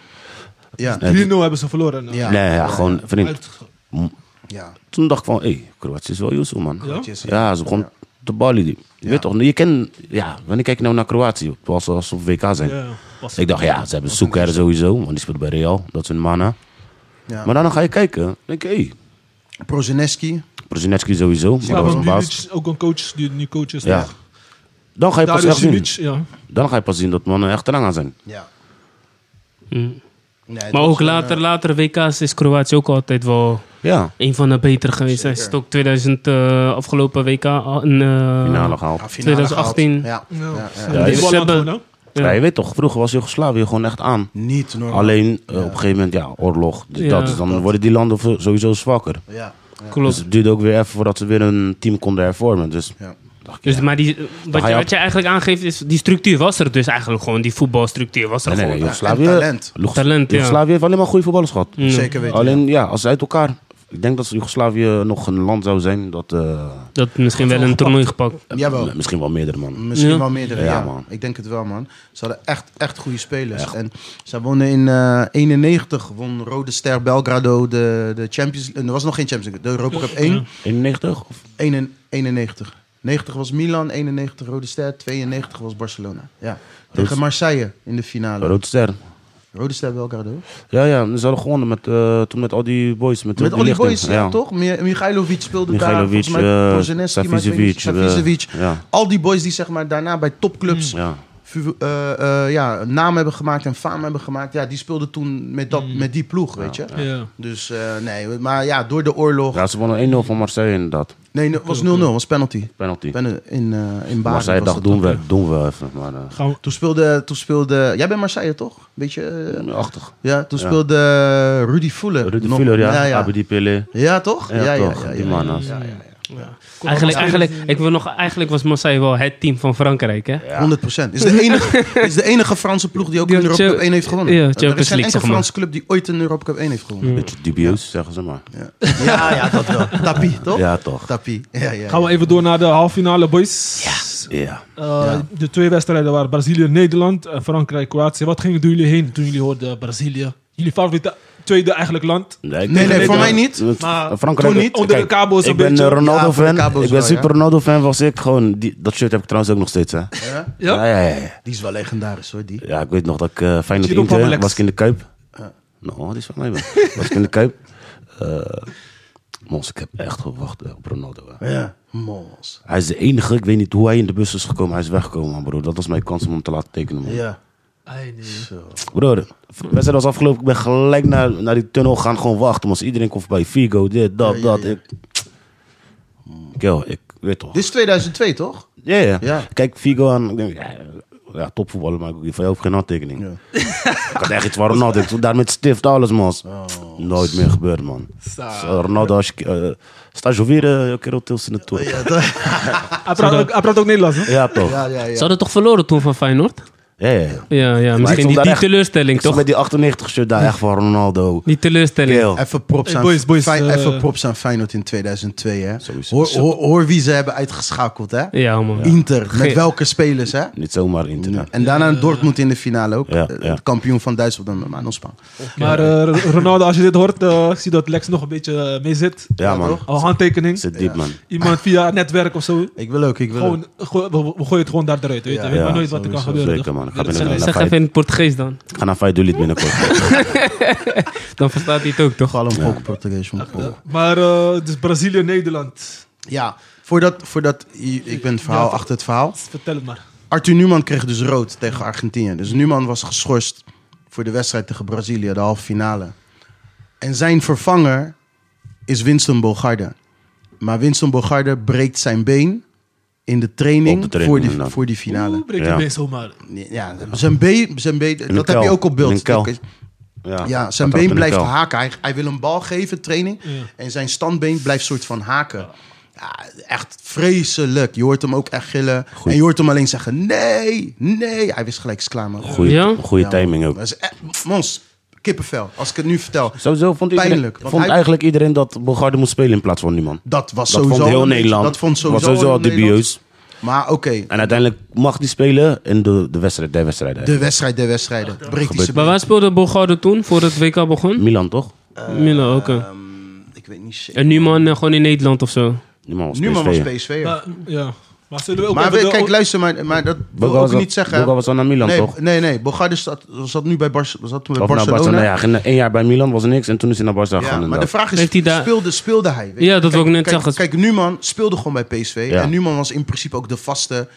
Speaker 2: Ja,
Speaker 4: 3-0 hebben ze verloren.
Speaker 2: Ja.
Speaker 1: Nee, ja, gewoon, vriend.
Speaker 4: Uit-
Speaker 2: ja.
Speaker 1: Toen dacht ik van, hé, hey, Kroatië is wel Yusu, man.
Speaker 4: Ja?
Speaker 1: Ja, ze begon te ballen. die- Je
Speaker 2: Ja.
Speaker 1: weet toch, je kent, ja, wanneer kijk je nou naar Kroatië? Als, als ze op WK zijn.
Speaker 4: Ja, pas.
Speaker 1: Ik dacht, ja, ze hebben Soeker sowieso, want die speelt bij Real. Dat is hun mana.
Speaker 2: ja.
Speaker 1: Maar dan ga je kijken, dan denk je, hé, hey,
Speaker 2: Prozineski.
Speaker 1: Brzezinski sowieso. Maar dat was
Speaker 4: Slaven
Speaker 1: een baas.
Speaker 4: Bilic, ook een coach die nu coach is.
Speaker 1: Ja. Dan ga je
Speaker 4: Daar
Speaker 1: pas
Speaker 4: is
Speaker 1: echt zien.
Speaker 4: Bilic, ja.
Speaker 1: Dan ga je pas zien dat mannen echt eraan zijn.
Speaker 2: Ja.
Speaker 3: Mm.
Speaker 2: Nee, het
Speaker 3: Maar
Speaker 2: was
Speaker 3: ook
Speaker 2: een, eh,
Speaker 3: later, later WK's is Kroatië ook altijd wel
Speaker 1: Ja,
Speaker 3: een van de betere geweest. Hij is ook 2000 eh, afgelopen WK al een eh,
Speaker 1: finale
Speaker 2: eh,
Speaker 1: gehaald.
Speaker 2: ja, finale
Speaker 3: 2018.
Speaker 2: gehaald. Ja. Ja, ja.
Speaker 3: dus
Speaker 4: Ja, die
Speaker 3: ze
Speaker 4: bal
Speaker 3: hebben-
Speaker 4: aan het
Speaker 3: Ja.
Speaker 1: Ja, je weet toch, vroeger was Joegoslavië gewoon echt aan.
Speaker 2: Niet normaal.
Speaker 1: Alleen eh, op een gegeven moment, ja, oorlog. d-
Speaker 3: Ja,
Speaker 1: dat, is- dan
Speaker 2: dat-
Speaker 1: worden die landen v- sowieso zwakker.
Speaker 2: Ja.
Speaker 1: Dus
Speaker 3: Klopt.
Speaker 1: het duurde ook weer even voordat ze weer een team konden hervormen. Dus
Speaker 2: Ja.
Speaker 1: dacht ik,
Speaker 3: Dus,
Speaker 1: ja.
Speaker 3: maar die, wat,
Speaker 1: ga
Speaker 3: je,
Speaker 1: je
Speaker 3: wat
Speaker 1: op-
Speaker 3: je eigenlijk aangeeft is, die structuur was er dus eigenlijk gewoon. Die voetbalstructuur was er
Speaker 1: nee, nee, nee,
Speaker 3: gewoon.
Speaker 1: Joegoslavië,
Speaker 2: en talent.
Speaker 1: Joegos-
Speaker 3: Talent, ja.
Speaker 1: Joegoslavië heeft alleen maar goede voetballers gehad.
Speaker 3: Mm.
Speaker 2: Zeker weten.
Speaker 1: Alleen, ja, als ze uit elkaar... Ik denk dat Joegoslavië nog een land zou zijn dat... eh,
Speaker 3: Dat misschien wel een toernooi gepakt.
Speaker 2: ja. Jawel.
Speaker 1: m- Misschien wel meerdere, man.
Speaker 2: Misschien
Speaker 3: Ja.
Speaker 2: wel meerdere, ja,
Speaker 1: Ja, man.
Speaker 2: Ik denk het wel, man. Ze hadden echt, echt goede spelers. En ze wonnen in eh 91, won Rode Ster Belgrado de, de Champions League. Er was nog geen Champions League, de Europa Cup 1.
Speaker 1: 91? Of?
Speaker 2: 1 91. 90 was Milan, 91 Rode Ster, 92 was Barcelona. Ja. Tegen Marseille in de finale.
Speaker 1: eh, Rood Ster.
Speaker 2: Rode Ster Belgrado.
Speaker 1: Ja, ja. Ze hadden gewonnen met, eh, toen met al die boys. Met,
Speaker 2: Met al die
Speaker 1: lichting.
Speaker 2: boys, ja, toch? Mi- Michailovic speelde daar,
Speaker 1: Michailovic,
Speaker 2: volgens mij
Speaker 1: eh,
Speaker 2: Prozineski, maar ik weet niet,
Speaker 1: Savicevic, eh,
Speaker 2: Savicevic.
Speaker 1: ja.
Speaker 2: Al die boys die zeg maar, daarna bij topclubs
Speaker 1: Ja.
Speaker 2: vu- eh, eh, ja, een naam hebben gemaakt en faam hebben gemaakt. Ja, die speelden toen met, dat,
Speaker 1: Hmm.
Speaker 2: met die ploeg, weet je.
Speaker 4: nou. Ja.
Speaker 2: Dus eh, nee, maar ja, door de oorlog.
Speaker 1: ja, ze wonnen 1-0 van Marseille inderdaad.
Speaker 2: Nee, het was 0-0, was penalty.
Speaker 1: Penalty.
Speaker 2: Pen- in, eh, in Baren
Speaker 1: Marseille
Speaker 2: was
Speaker 1: dacht,
Speaker 2: dat
Speaker 1: doen
Speaker 2: dan.
Speaker 1: we, doen we even. Maar, eh,
Speaker 4: Gaan we...
Speaker 2: Toen speelde, toen speelde... Jij bent Marseille, toch? Beetje... eh,
Speaker 1: achtig.
Speaker 2: ja, toen
Speaker 1: Ja.
Speaker 2: speelde eh, Rudy Fuller.
Speaker 1: Rudy
Speaker 2: nog-
Speaker 1: Fuller, ja.
Speaker 2: Ja, ja.
Speaker 1: Abedi Pele.
Speaker 2: Ja, toch?
Speaker 1: Ja, toch, die mannen.
Speaker 2: ja, ja,
Speaker 3: Eigenlijk, eigenlijk, ik wil nog, eigenlijk was Marseille wel het team van Frankrijk, hè?
Speaker 2: ja. 100%. Is de, enige, is de enige Franse ploeg die ook
Speaker 3: Die
Speaker 2: een
Speaker 3: ook
Speaker 2: Europa
Speaker 3: Chel-
Speaker 2: Cup 1 heeft gewonnen.
Speaker 3: Ja,
Speaker 2: Er is
Speaker 3: Champions
Speaker 2: geen
Speaker 3: League,
Speaker 2: enkele
Speaker 3: zeg maar.
Speaker 2: Franse club die ooit een Europa Cup 1 heeft gewonnen.
Speaker 1: Beetje dubieus, zeggen ze maar.
Speaker 2: Ja, ja, dat wel. Tapie, toch?
Speaker 1: Ja, toch.
Speaker 2: Tapie. Ja, ja.
Speaker 4: Gaan we even door naar de halffinale, boys.
Speaker 1: Ja.
Speaker 4: Eh, De twee wedstrijden waren Brazilië-Nederland en Frankrijk-Kroatië. Wat gingen door jullie heen toen jullie hoorden Brazilië? Jullie favoriete tweede eigenlijk land?
Speaker 1: ik-
Speaker 2: Nee, nee,
Speaker 1: ik-
Speaker 2: voor
Speaker 1: ik-
Speaker 2: mij niet.
Speaker 1: ik-
Speaker 4: Maar
Speaker 1: Frankrijk
Speaker 4: toen niet. Onder de kabels een
Speaker 1: Ik ben
Speaker 4: beetje.
Speaker 1: een
Speaker 2: Ja, voor de
Speaker 1: Ronaldo-fan.
Speaker 2: kabels
Speaker 1: ik ben
Speaker 2: wel, ja.
Speaker 1: super Ronaldo-fan, was ik. Gewoon, die, dat shirt heb ik trouwens ook nog steeds, hè.
Speaker 2: Ja?
Speaker 4: Ja?
Speaker 1: Ja, ja, ja, ja.
Speaker 2: Die is wel legendarisch hoor, die.
Speaker 1: Ja, ik weet nog dat ik eh Feyenoord
Speaker 4: Giro
Speaker 1: Inter
Speaker 4: Pamelex.
Speaker 1: was ik in de Kuip. Nou, die is van mij man. Was ik in de Kuip. Eh mons, ik heb echt gewacht eh, op Ronaldo. hè.
Speaker 2: Ja. Mos.
Speaker 1: Hij is de enige, ik weet niet hoe hij in de bus is gekomen. Hij is weggekomen, man, broer. Dat was mijn kans om hem te laten tekenen, man.
Speaker 2: Ja.
Speaker 4: Ai, nee.
Speaker 1: Broer, de wedstrijd was afgelopen. Ik ben gelijk naar, naar die tunnel gaan gewoon wachten. Man. Iedereen komt voorbij. Figo, dit, dat,
Speaker 2: Ja, ja,
Speaker 1: dat.
Speaker 2: ja.
Speaker 1: Ik... Yo, ik weet toch.
Speaker 2: Dit is 2002 toch?
Speaker 1: Ja, ja.
Speaker 2: Ja.
Speaker 1: Kijk, Figo aan. Ik denk, ja, ja, topvoetballer, maar ik van jou geen handtekening. Ik had echt iets van Ronaldo. Ik stond daar met stift, alles, man.
Speaker 2: Oh,
Speaker 1: Nooit meer gebeurd, man. Zo, Ronaldo, als je eh, stagioveren, je kerel tilst in de toer. Ja,
Speaker 4: Hij praat ook- hij praat ook Nederlands, hè?
Speaker 1: toch? Ja,
Speaker 2: Ja, ja,
Speaker 3: Ze
Speaker 2: ja.
Speaker 3: hadden toch verloren toen van Feyenoord?
Speaker 1: ja. ja.
Speaker 3: Ja, ja
Speaker 1: ik
Speaker 3: misschien
Speaker 1: stond
Speaker 3: die,
Speaker 1: daar
Speaker 3: die
Speaker 1: echt-
Speaker 3: teleurstelling
Speaker 1: Ik zat
Speaker 3: toch?
Speaker 1: met die 98 shirt daar, echt van Ronaldo.
Speaker 3: Die teleurstelling.
Speaker 1: Keel.
Speaker 2: Even props,
Speaker 4: Hey,
Speaker 2: aan,
Speaker 4: boys, boys,
Speaker 2: Fey-
Speaker 4: eh,
Speaker 2: even props aan Feyenoord in 2002, hè?
Speaker 1: Sowieso.
Speaker 2: Hoor, hoor, hoor wie ze hebben uitgeschakeld, hè?
Speaker 3: Ja, man.
Speaker 2: Inter, met
Speaker 3: Ge-
Speaker 2: welke spelers, hè?
Speaker 1: Niet zomaar internet.
Speaker 2: En daarna Dortmund in de finale ook.
Speaker 1: Ja,
Speaker 2: Eh,
Speaker 1: ja.
Speaker 2: de Kampioen van Duitsland, dan maar ontspan.
Speaker 4: Maar eh, Ronaldo, als je dit hoort, eh, ik zie dat Lex nog een beetje eh, mee zit.
Speaker 1: Ja, man.
Speaker 4: Al handtekening.
Speaker 1: Zit diep, man.
Speaker 4: Iemand via netwerk of zo.
Speaker 2: Ik wil ook, ik wil ook.
Speaker 4: Gewoon, gooi- we, we gooien het gewoon daar eruit. Weet je
Speaker 2: Ja,
Speaker 4: weet maar
Speaker 1: ja,
Speaker 4: nooit wat er kan
Speaker 2: sowieso.
Speaker 4: gebeuren.
Speaker 1: Zeker,
Speaker 4: toch?
Speaker 1: man. Ik ga
Speaker 4: Dat is
Speaker 1: binnen-
Speaker 4: een-
Speaker 1: naar
Speaker 3: Zeg even in het Portugees dan.
Speaker 1: Ik ga naar Feyenoord binnenkort.
Speaker 3: Dan verstaat hij het ook toch?
Speaker 2: Gewoon een poco Portugees. want-
Speaker 4: Maar eh, dus Brazilië, Nederland.
Speaker 2: Ja, voordat, voordat ik ben het verhaal achter het verhaal.
Speaker 4: Vertel het maar.
Speaker 2: Arthur Newman kreeg dus rood tegen Argentinië. Dus Newman was geschorst voor de wedstrijd tegen Brazilië, de halve finale. En zijn vervanger is Winston Bogarde. Maar Winston Bogarde breekt zijn been in de training,
Speaker 1: Op de training,
Speaker 2: voor, die,
Speaker 1: inderdaad.
Speaker 2: voor die
Speaker 4: Hoe
Speaker 2: finale.
Speaker 4: breek je
Speaker 1: Ja.
Speaker 4: mee zomaar?
Speaker 2: Ja, zijn been, zijn been dat
Speaker 1: een
Speaker 2: heb je
Speaker 1: kuil.
Speaker 2: ook op
Speaker 1: In
Speaker 2: beeld.
Speaker 1: een kuil.
Speaker 2: Ik-
Speaker 1: Ja,
Speaker 2: Ja, zijn
Speaker 1: Wat
Speaker 2: been
Speaker 1: dan met
Speaker 2: blijft
Speaker 1: elkaar.
Speaker 2: haken. Hij, hij wil een bal geven, training. En zijn standbeen blijft soort van haken. Ja, echt vreselijk. Je hoort hem ook echt gillen.
Speaker 1: Goed.
Speaker 2: En je hoort hem alleen zeggen, nee, nee. Hij wist gelijk, is klaar man.
Speaker 1: Goeie,
Speaker 3: Ja?
Speaker 1: goeie
Speaker 2: Ja, man.
Speaker 1: timing ook.
Speaker 2: Dat is echt, mons, kippenvel. Als ik het nu vertel.
Speaker 1: Sowieso vond, iedereen,
Speaker 2: Pijnlijk, want
Speaker 1: vond
Speaker 2: hij-
Speaker 1: eigenlijk iedereen dat Bogarde moest spelen in plaats van Newman.
Speaker 2: Dat was
Speaker 1: Dat
Speaker 2: sowieso...
Speaker 1: vond heel
Speaker 2: een-
Speaker 1: Nederland.
Speaker 2: Dat vond sowieso,
Speaker 1: was sowieso
Speaker 2: heel
Speaker 1: al
Speaker 2: Nederland.
Speaker 1: dubieus.
Speaker 2: Maar oké,
Speaker 1: En uiteindelijk mag die spelen in de, de wedstrijd der wedstrijden.
Speaker 2: de wedstrijd der wedstrijden. Breekt hij
Speaker 1: gebeurt-
Speaker 2: zijn
Speaker 3: Maar waar speelde Bogarde toen, voor het WK begon?
Speaker 1: Milan toch?
Speaker 3: Milan, oké.
Speaker 2: been. Ehm, Ik weet niet zeker.
Speaker 3: En nu man eh, gewoon in Nederland of zo.
Speaker 1: Newman was
Speaker 2: Newman was
Speaker 1: PSV.
Speaker 2: PSV. ja.
Speaker 4: Maar, ja. maar zullen we ook
Speaker 2: Maar
Speaker 4: even
Speaker 2: we-
Speaker 4: de-
Speaker 2: kijk, luister, maar, maar dat wil ik
Speaker 1: Bogarde
Speaker 2: ook
Speaker 1: was-
Speaker 2: niet zeggen.
Speaker 1: Bogarde was al naar Milan
Speaker 2: nee,
Speaker 1: toch?
Speaker 2: Nee, nee. Bogarde zat, zat nu bij, Bar, zat toen bij
Speaker 1: Of naar
Speaker 2: Barcelona.
Speaker 1: Barcelona. Ja, ging één jaar bij Milan was er niks en toen is hij naar Barcelona
Speaker 2: Ja,
Speaker 1: gegaan.
Speaker 2: maar de
Speaker 1: inderdaad.
Speaker 2: vraag is,
Speaker 3: Heeft hij daar-
Speaker 2: speelde, speelde hij? Weet
Speaker 3: Ja,
Speaker 2: je?
Speaker 3: dat wil ik net
Speaker 2: kijk,
Speaker 3: zeggen.
Speaker 2: Kijk, Numan speelde gewoon bij PSV.
Speaker 1: Ja.
Speaker 2: En Numan was in principe ook de vaste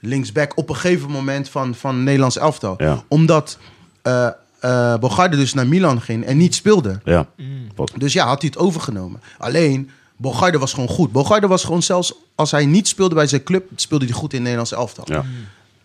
Speaker 2: linksback op een gegeven moment van, van Nederlands elftal.
Speaker 1: Ja.
Speaker 2: Omdat eh, eh, Bogarde dus naar Milan ging en niet speelde.
Speaker 1: Ja. Wat-
Speaker 2: Dus ja, had hij het overgenomen. Alleen, Bogarde was gewoon goed. Bogarde was gewoon zelfs, als hij niet speelde bij zijn club, speelde hij goed in Nederlands elftal.
Speaker 1: ja.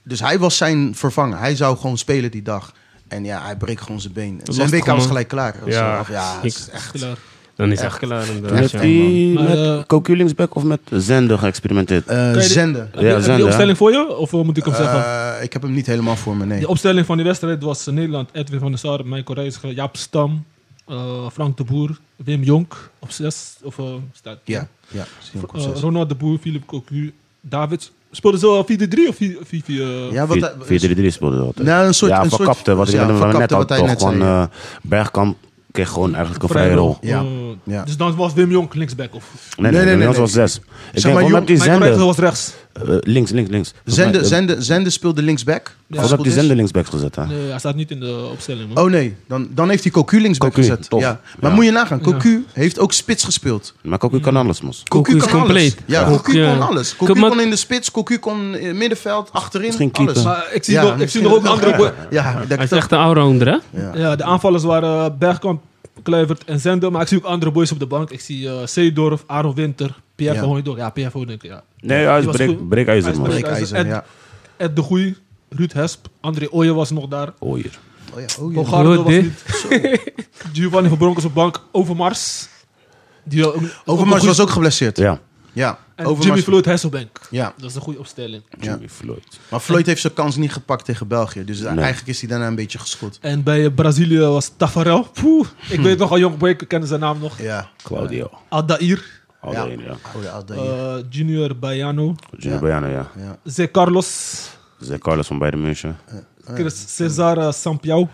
Speaker 2: Dus hij was zijn vervanger. Hij zou gewoon spelen die dag. En ja, hij breekt gewoon zijn been.
Speaker 3: Dat
Speaker 2: zijn
Speaker 3: was
Speaker 2: WK was
Speaker 3: toch gewoon-
Speaker 2: gelijk klaar. Dat was
Speaker 3: Ja,
Speaker 2: wel- ja het is
Speaker 3: ik-
Speaker 2: echt.
Speaker 4: Klaar.
Speaker 3: Dan is het echt klaar.
Speaker 1: Toen heeft
Speaker 3: inderdaad, ja.
Speaker 1: hij
Speaker 4: Maar,
Speaker 1: met
Speaker 4: eh,
Speaker 1: Cocu linksback of met Zender geëxperimenteerd.
Speaker 2: eh,
Speaker 4: Kan je de-
Speaker 2: zenden.
Speaker 4: Heb je- heb je
Speaker 1: Zender,
Speaker 4: die
Speaker 1: hè?
Speaker 4: opstelling voor je? Of eh, moet ik hem zeggen?
Speaker 2: Eh, ik heb hem niet helemaal voor me, nee.
Speaker 4: De opstelling van die wedstrijd was eh, Nederland, Edwin van der Sar, Michael Reiziger, Jaap Stam, eh, Frank de Boer, Wim Jonk op zes. Of, eh, staat,
Speaker 2: Ja, ja. zie
Speaker 3: Oh,
Speaker 2: hem ook op
Speaker 4: Eh,
Speaker 2: zes.
Speaker 4: Ronald de Boer, Philip Cocu, Davids. Speelden ze al 4-3 of 4 4 eh,
Speaker 2: ja, wat hij-
Speaker 1: 4-3-3 speelde dat. hè?
Speaker 2: Nou, een soort-
Speaker 1: ja,
Speaker 2: een soort-
Speaker 1: verkapte. Wat ik
Speaker 2: ja,
Speaker 1: net- wat ik net
Speaker 2: verkapte
Speaker 1: had
Speaker 2: wat hij
Speaker 1: toch.
Speaker 2: net
Speaker 1: Gewoon,
Speaker 2: zei, ja.
Speaker 1: eh, Bergkamp kreeg gewoon eigenlijk een
Speaker 4: vrije
Speaker 1: vrije rol.
Speaker 2: Ja.
Speaker 4: Eh,
Speaker 2: Ja.
Speaker 4: Dus dan was Wim Jonk linksback of...
Speaker 1: Nee,
Speaker 2: Nee,
Speaker 1: nee,
Speaker 2: nee,
Speaker 1: nee,
Speaker 2: nee,
Speaker 1: dat was
Speaker 2: nee.
Speaker 1: zes. Ik
Speaker 2: maar,
Speaker 1: denk
Speaker 2: jong,
Speaker 1: gewoon dat die
Speaker 4: Michael Reiziger
Speaker 1: zender...
Speaker 4: was rechts.
Speaker 1: eh, links, links, links.
Speaker 2: Zende, zende, zende speelde linksback.
Speaker 1: Volgens mij heb je zender linksbacks gezet, hè?
Speaker 4: Nee, hij staat niet in de opstelling. Man.
Speaker 2: Oh nee, dan, dan heeft hij Cocu linksback
Speaker 1: Cocu,
Speaker 2: gezet.
Speaker 1: tof.
Speaker 2: Ja. Maar
Speaker 1: Ja.
Speaker 2: moet je nagaan, Cocu heeft ook spits gespeeld.
Speaker 1: Maar Cocu
Speaker 2: Mm.
Speaker 1: kan alles, mos.
Speaker 3: Cocu is compleet.
Speaker 2: alles. Ja,
Speaker 3: Ja.
Speaker 2: Cocu
Speaker 3: Ja.
Speaker 2: kon alles. Cocu
Speaker 3: Kun- maar-
Speaker 2: kon in de spits, Cocu kon in het middenveld, achterin,
Speaker 1: Misschien
Speaker 2: alles.
Speaker 1: keeper.
Speaker 4: Maar ik zie,
Speaker 2: Ja,
Speaker 4: nog, ik zie
Speaker 2: misschien
Speaker 4: nog ook
Speaker 2: dat-
Speaker 4: andere... bo-
Speaker 2: Ja, dat
Speaker 3: Hij is echt een allrounder, hè?
Speaker 2: Ja.
Speaker 4: Ja, de aanvallers waren eh, Bergkamp, Kluivert en Zender. Maar ik zie ook andere boys op de bank. Ik zie eh Seedorf, Aaron Winter, Pierre
Speaker 2: Ja.
Speaker 4: van Hooijdonk. Ja, Pierre van Hooijdonk, ja.
Speaker 1: Nee, hij is
Speaker 4: Die was
Speaker 1: breek-
Speaker 4: goed.
Speaker 1: breekijzer,
Speaker 4: Hij
Speaker 1: man.
Speaker 4: is
Speaker 2: Breekijzer,
Speaker 4: Ed-
Speaker 2: ja.
Speaker 4: Ed de Goeie, Ruud Hesp, André Ooyen was nog daar.
Speaker 1: Oh, hier.
Speaker 2: Oh ja, oh ja.
Speaker 4: Bogarde was
Speaker 3: Ruud,
Speaker 4: niet. Giovanni van Broncos op bank, Overmars. Die, ook-
Speaker 2: Overmars
Speaker 4: ook
Speaker 2: was ook geblesseerd. Ja,
Speaker 1: Ja.
Speaker 4: En
Speaker 2: Overmars-
Speaker 4: Jimmy Floyd Hasselbank.
Speaker 2: Ja.
Speaker 4: Dat is een goede opstelling.
Speaker 2: Ja.
Speaker 1: Jimmy Floyd.
Speaker 2: Maar Floyd heeft zijn kans niet gepakt tegen België. Dus eigenlijk is hij daarna een beetje geschot.
Speaker 4: En bij eh, Brazilië was Tafarel. Poeh, ik weet nog al jong boy, ik ken zijn naam nog.
Speaker 2: Ja. Oh,
Speaker 1: Claudio.
Speaker 4: Adair,
Speaker 1: Alleen, ja.
Speaker 2: Oude Aldair.
Speaker 4: eh, Junior Baiano,
Speaker 1: Junior Baiano, ja.
Speaker 4: Zé Carlos,
Speaker 1: Zé Carlos van Bayern München.
Speaker 2: Ah,
Speaker 4: Chris Cesar eh, Sampiao,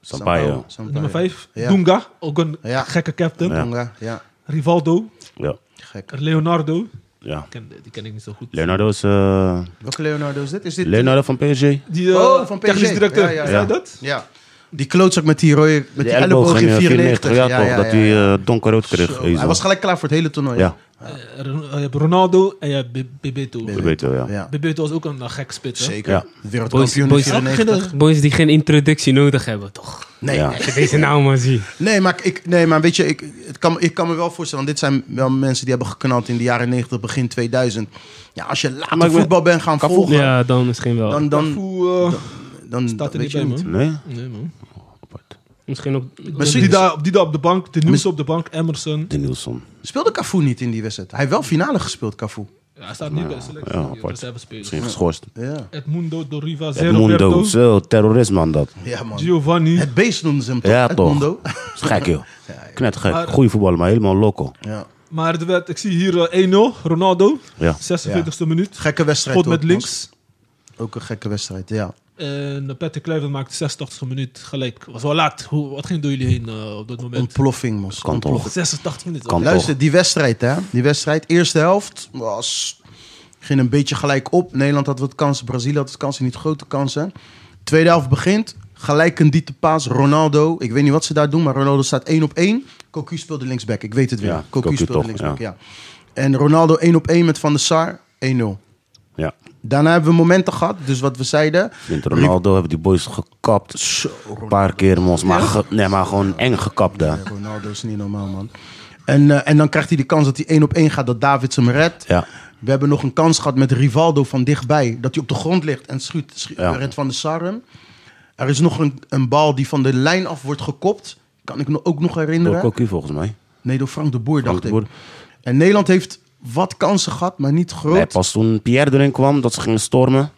Speaker 1: Sampaio.
Speaker 2: Sampaio.
Speaker 4: nummer 5.
Speaker 2: Ah, Ja.
Speaker 4: Dunga, ook een
Speaker 2: Ja.
Speaker 4: gekke captain.
Speaker 1: Ja.
Speaker 2: Dunga, ja.
Speaker 4: Rivaldo,
Speaker 1: Ja.
Speaker 2: Gek.
Speaker 4: Leonardo.
Speaker 1: ja.
Speaker 4: Ik ken- die ken ik niet zo goed.
Speaker 1: Leonardo is... eh,
Speaker 2: Welke Leonardo is dit? Is dit
Speaker 1: Leonardo van PSG.
Speaker 4: Die eh,
Speaker 2: Oh, van PSG.
Speaker 4: technisch directeur,
Speaker 2: Ja, ja,
Speaker 4: is
Speaker 1: ja.
Speaker 4: hij dat?
Speaker 2: Ja. Die klootzak met die rode... Met die elleboog
Speaker 1: eh,
Speaker 2: in 94.
Speaker 1: ja, toch. dat hij eh, donkerrood kreeg.
Speaker 2: Zo,
Speaker 1: Ezel.
Speaker 2: Hij was gelijk klaar voor het hele toernooi.
Speaker 1: Ja,
Speaker 4: Eh, Ron- eh, je hebt Ronaldo en je hebt Be- Bebeto.
Speaker 1: dat weet je wel, ja.
Speaker 2: Ja,
Speaker 4: Bebeto was ook een eh, gek spits. hè?
Speaker 2: zeker.
Speaker 1: Ja.
Speaker 2: Wereldkampioen in
Speaker 3: Boys- boys-
Speaker 2: 94.
Speaker 3: Boys die geen introductie nodig hebben, toch?
Speaker 2: Nee,
Speaker 1: Ja.
Speaker 2: nee.
Speaker 3: Als je deze nou maar ziet.
Speaker 2: Nee, maar, ik, nee, maar weet je, ik, het kan, ik kan me wel voorstellen... want dit zijn wel mensen die hebben geknald in de jaren 90, begin 2000. Ja, als je later
Speaker 1: Maar ik ben-
Speaker 2: voetbal bent gaan volgen...
Speaker 3: Ja, dan misschien wel.
Speaker 2: dan, dan,
Speaker 4: Cafu, eh,
Speaker 2: dan,
Speaker 4: staat er
Speaker 2: weet
Speaker 4: niet
Speaker 2: je
Speaker 4: bij,
Speaker 2: niet.
Speaker 4: man.
Speaker 1: Nee?
Speaker 4: Nee, man.
Speaker 3: Misschien op...
Speaker 2: Misschien-
Speaker 4: Die daar, die daar op de bank, de nieuws op de bank, Emerson.
Speaker 1: De Nielsen.
Speaker 2: Speelde Cafu niet in die wedstrijd? Hij heeft wel finale gespeeld, Cafu.
Speaker 4: Ja, hij
Speaker 2: Ah.
Speaker 4: staat niet bij selectie. dus
Speaker 1: ja,
Speaker 4: Ja,
Speaker 1: apart.
Speaker 4: dat hebben spelers.
Speaker 1: Misschien geschorst.
Speaker 2: Ja,
Speaker 4: Edmundo, Doriva,
Speaker 1: Edmundo.
Speaker 4: Zeroberto,
Speaker 1: Zo, terrorisme aan dat.
Speaker 2: ja man.
Speaker 4: Giovanni.
Speaker 2: Het beest noemden ze hem toch?
Speaker 1: Ja,
Speaker 2: Het
Speaker 1: toch.
Speaker 2: Mondo.
Speaker 1: Dat is gek, joh. Knetgek.
Speaker 4: Maar-
Speaker 1: Goeie voetbal, maar helemaal loco.
Speaker 2: Ja.
Speaker 4: Maar het werd, ik zie hier eh, 1-0, Ronaldo,
Speaker 1: Ja.
Speaker 4: 46e minuut.
Speaker 2: Gekke wedstrijd.
Speaker 4: Schot met
Speaker 2: hoor,
Speaker 4: links.
Speaker 2: Mos. Ook een gekke wedstrijd, ja.
Speaker 4: En eh, Patrick Kluivert maakte 86e minuut gelijk. was wel laat. Hoe, wat ging door jullie heen eh, op dat moment?
Speaker 2: Ontploffing, Mos.
Speaker 1: Kan toch.
Speaker 4: 86 minuten.
Speaker 1: Kan toch.
Speaker 2: Luister, die wedstrijd, hè. Die wedstrijd, eerste helft, was... Ging een beetje gelijk op. Nederland had wat kansen, Brazilië had wat kansen, niet grote kansen. Tweede helft begint, gelijk een dieptepaas. Ronaldo, ik weet niet wat ze daar doen, maar Ronaldo staat één op één. Cocu speelde linksback, ik weet het weer.
Speaker 1: Ja,
Speaker 2: Cocu,
Speaker 1: Cocu
Speaker 2: speelde
Speaker 1: toch,
Speaker 2: linksback, ja. En Ronaldo één op één met Van der Sar, 1-0.
Speaker 1: Ja.
Speaker 2: Daarna hebben we momenten gehad, dus wat we zeiden.
Speaker 1: Vindt Ronaldo hebben die boys gekapt.
Speaker 2: Zo,
Speaker 1: Een paar keer, mos. Maar, ge- nee, maar gewoon eng gekapt, hè.
Speaker 2: Eh, Ronaldo is niet normaal, man. En, eh, en dan krijgt hij de kans dat hij één op één gaat, dat Davids hem redt.
Speaker 1: Ja.
Speaker 2: We hebben nog een kans gehad met Rivaldo van dichtbij. Dat hij op de grond ligt en schuurt, schu-
Speaker 1: Ja.
Speaker 2: redt van de Sarren. Er is nog een, een bal die van de lijn af wordt gekopt. Kan ik me ook nog
Speaker 1: Door
Speaker 2: herinneren.
Speaker 1: Cocu, volgens mij.
Speaker 2: Nee, door Frank de Boer, dacht
Speaker 1: de
Speaker 2: ik.
Speaker 1: Boer.
Speaker 2: En Nederland heeft wat kansen gehad, maar niet groot.
Speaker 1: Nee, pas toen Pierre erin kwam, dat ze gingen stormen.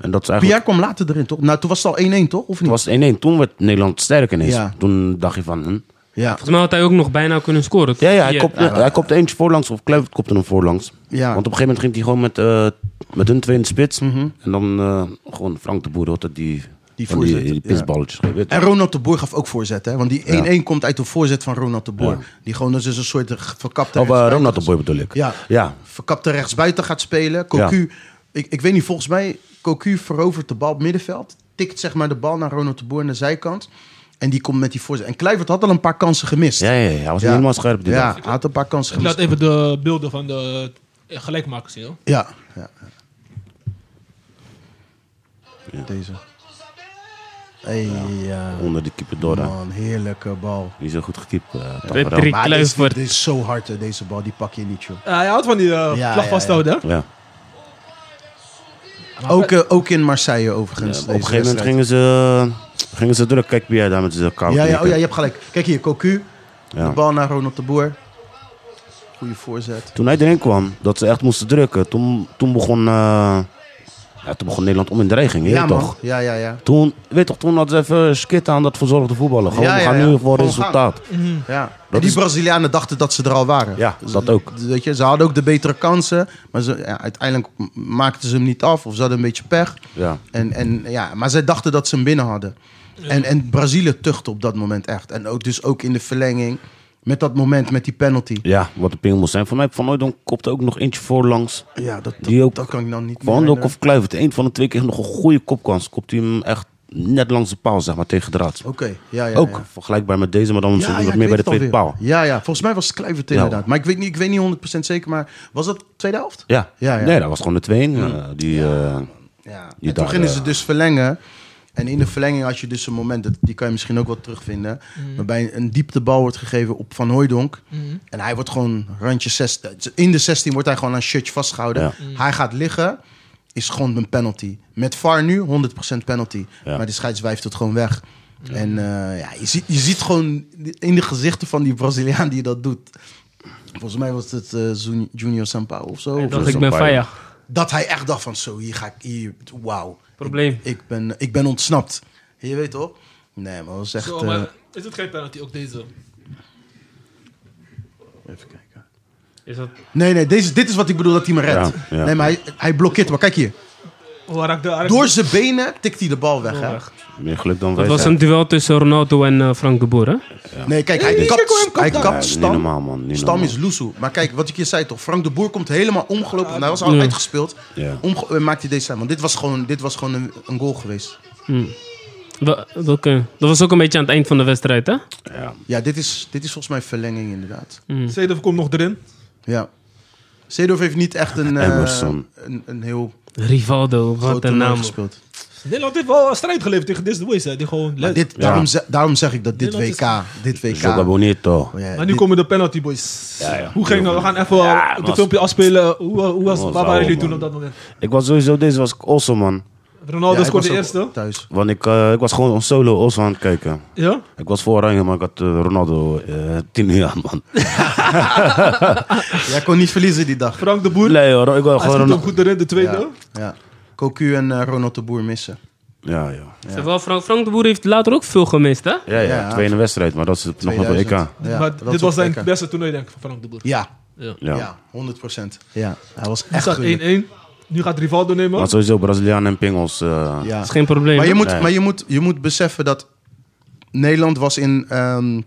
Speaker 1: En dat ze eigenlijk...
Speaker 2: Pierre kwam later erin, toch? Nou, toen was het al 1-1, toch? Of niet?
Speaker 1: Toen was het 1-1. Toen werd Nederland sterk ineens.
Speaker 2: Ja.
Speaker 1: Toen dacht je van... Hm?
Speaker 2: Ja.
Speaker 3: Volgens mij had hij ook nog bijna kunnen scoren.
Speaker 1: Ja, ja, hij
Speaker 3: Hier. nou,
Speaker 1: kopte, hij kopte eentje voorlangs. Of Kluivert kopte hem voorlangs.
Speaker 2: Ja. Mhm.
Speaker 1: Want op een gegeven moment ging hij gewoon met, eh, met hun twee in de spits. En dan eh, gewoon Frank de Boer had dat die...
Speaker 2: Die
Speaker 1: van die,
Speaker 2: voorzet,
Speaker 1: die
Speaker 2: ja.
Speaker 1: pisballetjes. gegeven, weet je.
Speaker 2: En Ronald de Boer gaf ook voorzet, hè? Want die 1-1 komt uit de voorzet van Ronald de Boer.
Speaker 1: Ja.
Speaker 2: Die gewoon dus een soort verkapte...
Speaker 1: Of eh,
Speaker 2: rechtsbuiten-
Speaker 1: Ronald de Boer bedoel ik.
Speaker 2: Ja.
Speaker 1: Ja.
Speaker 2: verkapte rechtsbuiten gaat spelen. Cocu, ik, ik weet niet, volgens mij, Cocu verovert de bal op middenveld. Tikt zeg maar de bal naar Ronald de Boer aan de zijkant. En die komt met die voorzet. En Kluivert had al een paar kansen gemist.
Speaker 1: Ja, ja, ja, hij was
Speaker 2: Ja.
Speaker 1: niet helemaal scherp die
Speaker 2: Ja,
Speaker 1: dag.
Speaker 2: hij had een paar kansen
Speaker 4: Ik laat
Speaker 2: gemist.
Speaker 4: even de beelden van de eh, gelijkmakers zien. hoor.
Speaker 2: Ja. ja. Deze. Hey, ja.
Speaker 1: Onder de keeper door. hè.
Speaker 2: Man, heerlijke bal.
Speaker 1: Die is heel goed gekiept. eh
Speaker 3: Met
Speaker 1: Tafarel.
Speaker 3: drie
Speaker 2: Maar dit is,
Speaker 3: Kluivert.
Speaker 2: dit is zo hard, hè, deze bal. Die pak je niet, joh.
Speaker 4: Ja, hij houdt van die eh,
Speaker 2: ja,
Speaker 4: vlag vasthouden. hè?
Speaker 1: ja.
Speaker 2: Ook, eh, ook in Marseille, overigens.
Speaker 1: Ja, op
Speaker 2: deze
Speaker 1: een gegeven moment
Speaker 2: wedstrijd.
Speaker 1: gingen ze, gingen ze druk. Kijk, Pierre daar met zijn koude
Speaker 2: Ja, ja, oh ja,
Speaker 1: knikker.
Speaker 2: je hebt gelijk. Kijk hier, Cocu.
Speaker 1: Ja.
Speaker 2: De bal naar Ronald de Boer. Goeie voorzet.
Speaker 1: Toen hij erin kwam, dat ze echt moesten drukken. Toen, toen, begon, eh, ja, toen begon Nederland om in dreiging. Ja,
Speaker 2: man.
Speaker 1: toch?
Speaker 2: Ja, ja, ja.
Speaker 1: Toen, weet toch, toen hadden ze even skit aan dat verzorgde voetballen. Gewoon,
Speaker 2: Ja,
Speaker 1: we
Speaker 2: ja,
Speaker 1: gaan
Speaker 2: ja.
Speaker 1: nu voor
Speaker 2: Gewoon Mhm.
Speaker 1: resultaat.
Speaker 2: ja. En
Speaker 1: Dat
Speaker 2: die
Speaker 1: is-
Speaker 2: Brazilianen dachten dat ze er al waren. Dus
Speaker 1: Ja, dat ook.
Speaker 2: Weet je, ze hadden ook de betere kansen. Maar ze, ja, uiteindelijk m- maakten ze hem niet af. Of ze hadden een beetje pech.
Speaker 1: Ja.
Speaker 2: En, en, ja, maar zij dachten dat ze hem binnen hadden. En, en Brazilië tuchtte op dat moment echt. En ook, dus ook in de verlenging. Met dat moment, met die penalty.
Speaker 1: ja, wat de ping moest zijn. Voor mij, Van Hooydonk kopte ook nog eentje voorlangs.
Speaker 2: Ja, dat, dat,
Speaker 1: Die ook-
Speaker 2: dat kan ik dan niet meer
Speaker 1: Van ook
Speaker 2: herinneren.
Speaker 1: of Kluivert. Eén van de twee kreeg nog een goede kopkans. Kopt hij hem echt net langs de paal, zeg maar, tegen de draad.
Speaker 2: Oké, Oh, ja, ja.
Speaker 1: ook
Speaker 2: ja.
Speaker 1: vergelijkbaar met deze, maar dan
Speaker 2: Ja,
Speaker 1: misschien
Speaker 2: ja,
Speaker 1: wat
Speaker 2: ik
Speaker 1: meer bij de
Speaker 2: weet
Speaker 1: tweede
Speaker 2: het alweer.
Speaker 1: paal. Nou.
Speaker 2: Ja, ja, volgens mij was het Kluivert
Speaker 1: Ja.
Speaker 2: inderdaad. Maar ik weet, niet, ik weet niet 100% zeker, maar was dat tweede helft?
Speaker 1: Ja.
Speaker 2: Ja, ja.
Speaker 1: nee, dat was gewoon de 2 die, eh,
Speaker 2: Ja.
Speaker 1: Die
Speaker 2: En toen
Speaker 1: daar,
Speaker 2: gingen ze
Speaker 1: eh,
Speaker 2: dus verlengen. En in de verlenging had je dus een moment, dat, die kan je misschien ook wel terugvinden, waarbij een dieptebal wordt gegeven op Van Hooijdonk. En hij wordt gewoon randje 16. In de 16 wordt hij gewoon aan een shirtje vastgehouden.
Speaker 1: Ja.
Speaker 2: Hij gaat liggen, is gewoon een penalty. Met VAR nu 100% penalty.
Speaker 1: Ja.
Speaker 2: Maar de scheidswijft het gewoon weg. En eh, ja, je, ziet, je ziet gewoon in de gezichten van die Braziliaan die dat doet. Volgens mij was het eh, Jun- Junior Sampaio of zo.
Speaker 3: Hij
Speaker 2: Of-
Speaker 3: dacht, ik ben Faya.
Speaker 2: dat hij echt dacht van zo, hier ga ik, hier, wauw.
Speaker 3: Probleem.
Speaker 2: Ik, ik ben, ik ben ontsnapt. Je weet toch? Nee, maar dat is echt...
Speaker 4: Zo,
Speaker 2: eh,
Speaker 4: maar is het geen penalty, ook deze?
Speaker 2: even kijken.
Speaker 3: Is dat...
Speaker 2: Nee, nee, deze, dit is wat ik bedoel dat hij me redt.
Speaker 1: Ja, ja.
Speaker 2: Nee, maar hij, hij blokkeert maar. Kijk hier.
Speaker 4: Oh, hij raakte- hij raakte-
Speaker 2: Door zijn benen tikt hij de bal weg. Hè?
Speaker 1: meer geluk dan
Speaker 3: Dat was
Speaker 1: wijsheid.
Speaker 3: een duel tussen Ronaldo en eh, Frank de Boer, hè?
Speaker 2: Nee, kijk, hij
Speaker 4: Nee, kijk hoe hij
Speaker 2: kapt,
Speaker 4: hem
Speaker 2: hij
Speaker 4: kapt.
Speaker 1: Ja,
Speaker 2: kapt
Speaker 1: niet
Speaker 2: Stam.
Speaker 1: normaal, man. Niet
Speaker 2: Stam
Speaker 1: normaal.
Speaker 2: is Loesoe. Maar kijk, wat ik je zei toch. Frank de Boer komt helemaal omgelopen. Nou, hij was al
Speaker 3: Ja.
Speaker 2: uitgespeeld.
Speaker 1: Ja.
Speaker 2: Omge- eh, maakt hij deze aan. Want dit was gewoon, dit was gewoon een, een goal geweest.
Speaker 3: Wel- Welke? Dat was ook een beetje aan het eind van de wedstrijd, hè?
Speaker 2: Ja, dit is, dit is volgens mij verlenging inderdaad.
Speaker 4: Zedorf komt nog erin.
Speaker 2: Ja. Seedorf heeft niet echt een, eh,
Speaker 1: Emerson.
Speaker 2: een, een heel
Speaker 3: Rivaldo,
Speaker 2: groot
Speaker 3: wat een
Speaker 2: toernooi
Speaker 3: naam.
Speaker 2: gespeeld.
Speaker 4: Nederland heeft wel een strijd geleverd tegen deze boys. hè, Die gewoon
Speaker 2: Maar dit,
Speaker 1: Ja.
Speaker 2: daarom, ze- daarom zeg ik dat dit
Speaker 4: Nederland
Speaker 2: WK, dit WK.
Speaker 1: Joga bonito.
Speaker 2: Oh, ja,
Speaker 4: Maar Nou, nu
Speaker 2: dit-
Speaker 4: komen de penalty boys.
Speaker 1: Ja, ja.
Speaker 4: Hoe ging dat? We gaan even
Speaker 1: Ja,
Speaker 4: het
Speaker 1: was-
Speaker 4: filmpje afspelen. Hoe, eh, hoe was,
Speaker 1: Was
Speaker 4: waar waren
Speaker 1: ouwe,
Speaker 4: jullie toen op
Speaker 1: man.
Speaker 4: dat moment?
Speaker 1: Ik was sowieso, deze was ik also man.
Speaker 4: Ronaldo
Speaker 2: ja, ik
Speaker 4: scoorde de
Speaker 2: was ook
Speaker 4: eerste.
Speaker 2: Thuis.
Speaker 1: Want ik, eh, ik was gewoon een solo also aan het kijken.
Speaker 4: Ja?
Speaker 1: Ik was voor Oranje, maar ik had eh, Ronaldo eh, tien uur aan, man.
Speaker 2: Jij kon niet verliezen die dag.
Speaker 4: Frank de Boer.
Speaker 1: Nee hoor, ik wil
Speaker 4: hij schiet
Speaker 1: gewoon...
Speaker 4: hem goed erin, de tweede.
Speaker 2: Ja, ja. Cocu en eh, Ronald de Boer missen.
Speaker 1: Ja, ja.
Speaker 3: Ze wel, Frank, Frank de Boer heeft later ook veel gemist, hè?
Speaker 1: Ja,
Speaker 2: Ja.
Speaker 1: ja, tweede wedstrijd, maar dat is nog een WK.
Speaker 2: 2000.
Speaker 1: Ja,
Speaker 2: Ja,
Speaker 4: maar
Speaker 2: dat
Speaker 4: dit
Speaker 2: is
Speaker 4: was
Speaker 2: op
Speaker 4: zijn
Speaker 2: EK.
Speaker 4: beste toernooi, denk ik, van Frank de Boer.
Speaker 2: Ja,
Speaker 1: ja.
Speaker 2: ja, 100 Ja, hij was
Speaker 4: Nu
Speaker 2: echt
Speaker 4: staat 1-1.
Speaker 2: gruwelijk.
Speaker 4: Nu gaat Rivaldo nemen.
Speaker 1: Maar sowieso, Brazilianen en Pingels. eh,
Speaker 2: Ja.
Speaker 3: Dat is geen probleem.
Speaker 2: Maar, je
Speaker 3: hè?
Speaker 2: moet,
Speaker 1: Nee.
Speaker 2: maar je, moet, je moet beseffen dat Nederland was in ehm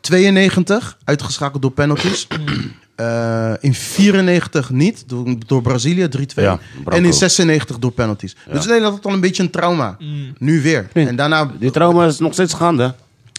Speaker 2: 92 uitgeschakeld door penalties. Eh, in 94 niet, door, door Brazilië 3-2.
Speaker 1: Ja, Branco.
Speaker 2: en in 96 door penalties. Dus Nederland had al een beetje een trauma.
Speaker 1: Mm.
Speaker 2: Nu weer. En daarna,
Speaker 1: Die trauma is nog steeds gaande.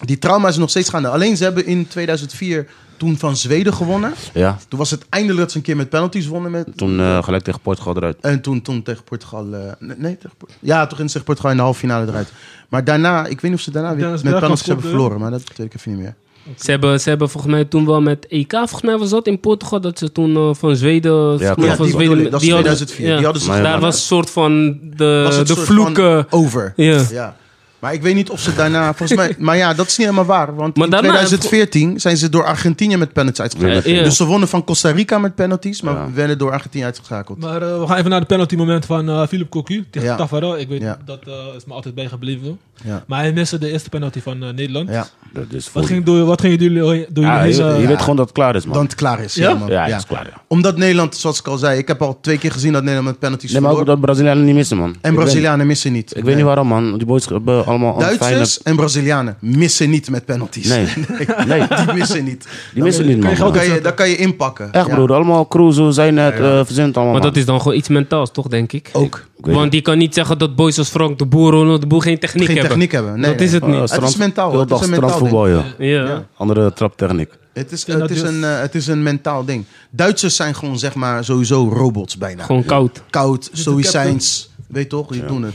Speaker 2: die trauma is nog steeds gaande. Alleen ze hebben in 2004 toen van Zweden gewonnen.
Speaker 1: Ja,
Speaker 2: Toen was het eindelijk dat ze een keer met penalties wonnen. Met,
Speaker 1: toen eh, gelijk tegen Portugal eruit.
Speaker 2: en toen, toen tegen Portugal. eh, nee, nee, tegen Port- ja, toen ging ze tegen Portugal in de halve finale eruit. Maar daarna, ik weet niet of ze daarna weer
Speaker 4: Dennis
Speaker 2: met
Speaker 4: Bergkamp
Speaker 2: penalties hebben
Speaker 4: scoorde.
Speaker 2: verloren, maar dat weet ik even niet meer.
Speaker 3: Ze hebben, ze hebben volgens mij toen wel met EK, volgens mij was dat in Portugal, dat ze toen eh, van Zweden... volgens mij
Speaker 1: klopt.
Speaker 2: Ja,
Speaker 3: van
Speaker 2: die bedoel ik, dat is
Speaker 3: die hadden-
Speaker 2: 2004. Die hadden ze
Speaker 1: Maar ja,
Speaker 3: daar
Speaker 1: maar- Oh,
Speaker 3: was een soort van de,
Speaker 2: Was het
Speaker 3: de
Speaker 2: soort van
Speaker 3: vloek... eh,
Speaker 2: over.
Speaker 3: ja.
Speaker 2: Ja. Maar ik weet niet of ze daarna, volgens mij, maar ja, dat is niet helemaal waar. Want
Speaker 3: Maar
Speaker 2: in
Speaker 3: daarna-
Speaker 2: 2014 zijn ze door Argentinië met penalties uitgeschakeld.
Speaker 3: Ja, ja.
Speaker 2: Dus ze wonnen van Costa Rica met penalties, maar
Speaker 1: Ja.
Speaker 2: werden door Argentinië uitgeschakeld.
Speaker 4: Maar eh, we gaan even naar de penalty moment van eh Philip Cocu tegen
Speaker 2: Ja.
Speaker 4: Taffarel. Ik weet,
Speaker 2: Ja.
Speaker 4: dat eh, is me altijd bijgebleven.
Speaker 2: Ja.
Speaker 4: Maar hij miste de eerste penalty van eh, Nederland.
Speaker 2: Ja.
Speaker 1: Dat is
Speaker 4: Wat
Speaker 1: voor-
Speaker 4: ging, door, wat ging jullie, door jullie
Speaker 1: Ja,
Speaker 4: heen?
Speaker 1: je,
Speaker 4: eh,
Speaker 1: je weet gewoon dat het klaar is, man.
Speaker 2: Dan het klaar is.
Speaker 4: Ja?
Speaker 2: helemaal.
Speaker 1: ja,
Speaker 2: Ja.
Speaker 1: het is klaar. ja.
Speaker 2: Omdat Nederland, zoals ik al zei, ik heb al twee keer gezien dat Nederland met penalties
Speaker 1: Nee, maar ook
Speaker 2: verloor.
Speaker 1: dat Brazilianen niet missen, man.
Speaker 2: En
Speaker 1: Ik weet-
Speaker 2: Brazilianen missen niet.
Speaker 1: Ik weet niet waarom, man. Die boys hebben allemaal een fijne...
Speaker 2: Duitsers en Brazilianen missen niet met penalties.
Speaker 1: Nee, nee.
Speaker 2: Die missen niet.
Speaker 1: Die missen niet, man.
Speaker 2: Dan
Speaker 1: man.
Speaker 2: kan je, dan kan je inpakken.
Speaker 1: Echt,
Speaker 2: Ja.
Speaker 1: broer. Allemaal cruisen, zijn het, eh verzint allemaal,
Speaker 3: Maar dat
Speaker 1: man.
Speaker 3: is dan gewoon iets mentaals, toch, denk ik?
Speaker 2: Ook.
Speaker 1: Ik weet
Speaker 3: Want die kan niet zeggen dat boys als Frank de Boer, Ronald de Boer geen techniek
Speaker 2: Geen
Speaker 3: hebben.
Speaker 2: techniek hebben. Nee,
Speaker 3: dat
Speaker 2: nee.
Speaker 3: is het niet.
Speaker 1: Eh,
Speaker 2: is
Speaker 1: strand-
Speaker 2: mentaal,
Speaker 1: heel
Speaker 2: het is
Speaker 1: dag
Speaker 2: een mentaal
Speaker 1: strandvoetbal, ja.
Speaker 3: ja.
Speaker 1: Andere traptechniek.
Speaker 2: Het is,
Speaker 4: Ja, dat
Speaker 2: het, is
Speaker 4: is-
Speaker 2: een, eh, het is een mentaal ding. Duitsers zijn gewoon, zeg maar, sowieso robots bijna.
Speaker 3: Gewoon koud.
Speaker 2: Koud,
Speaker 4: de
Speaker 2: stoïcijns. Weet toch, die doen het.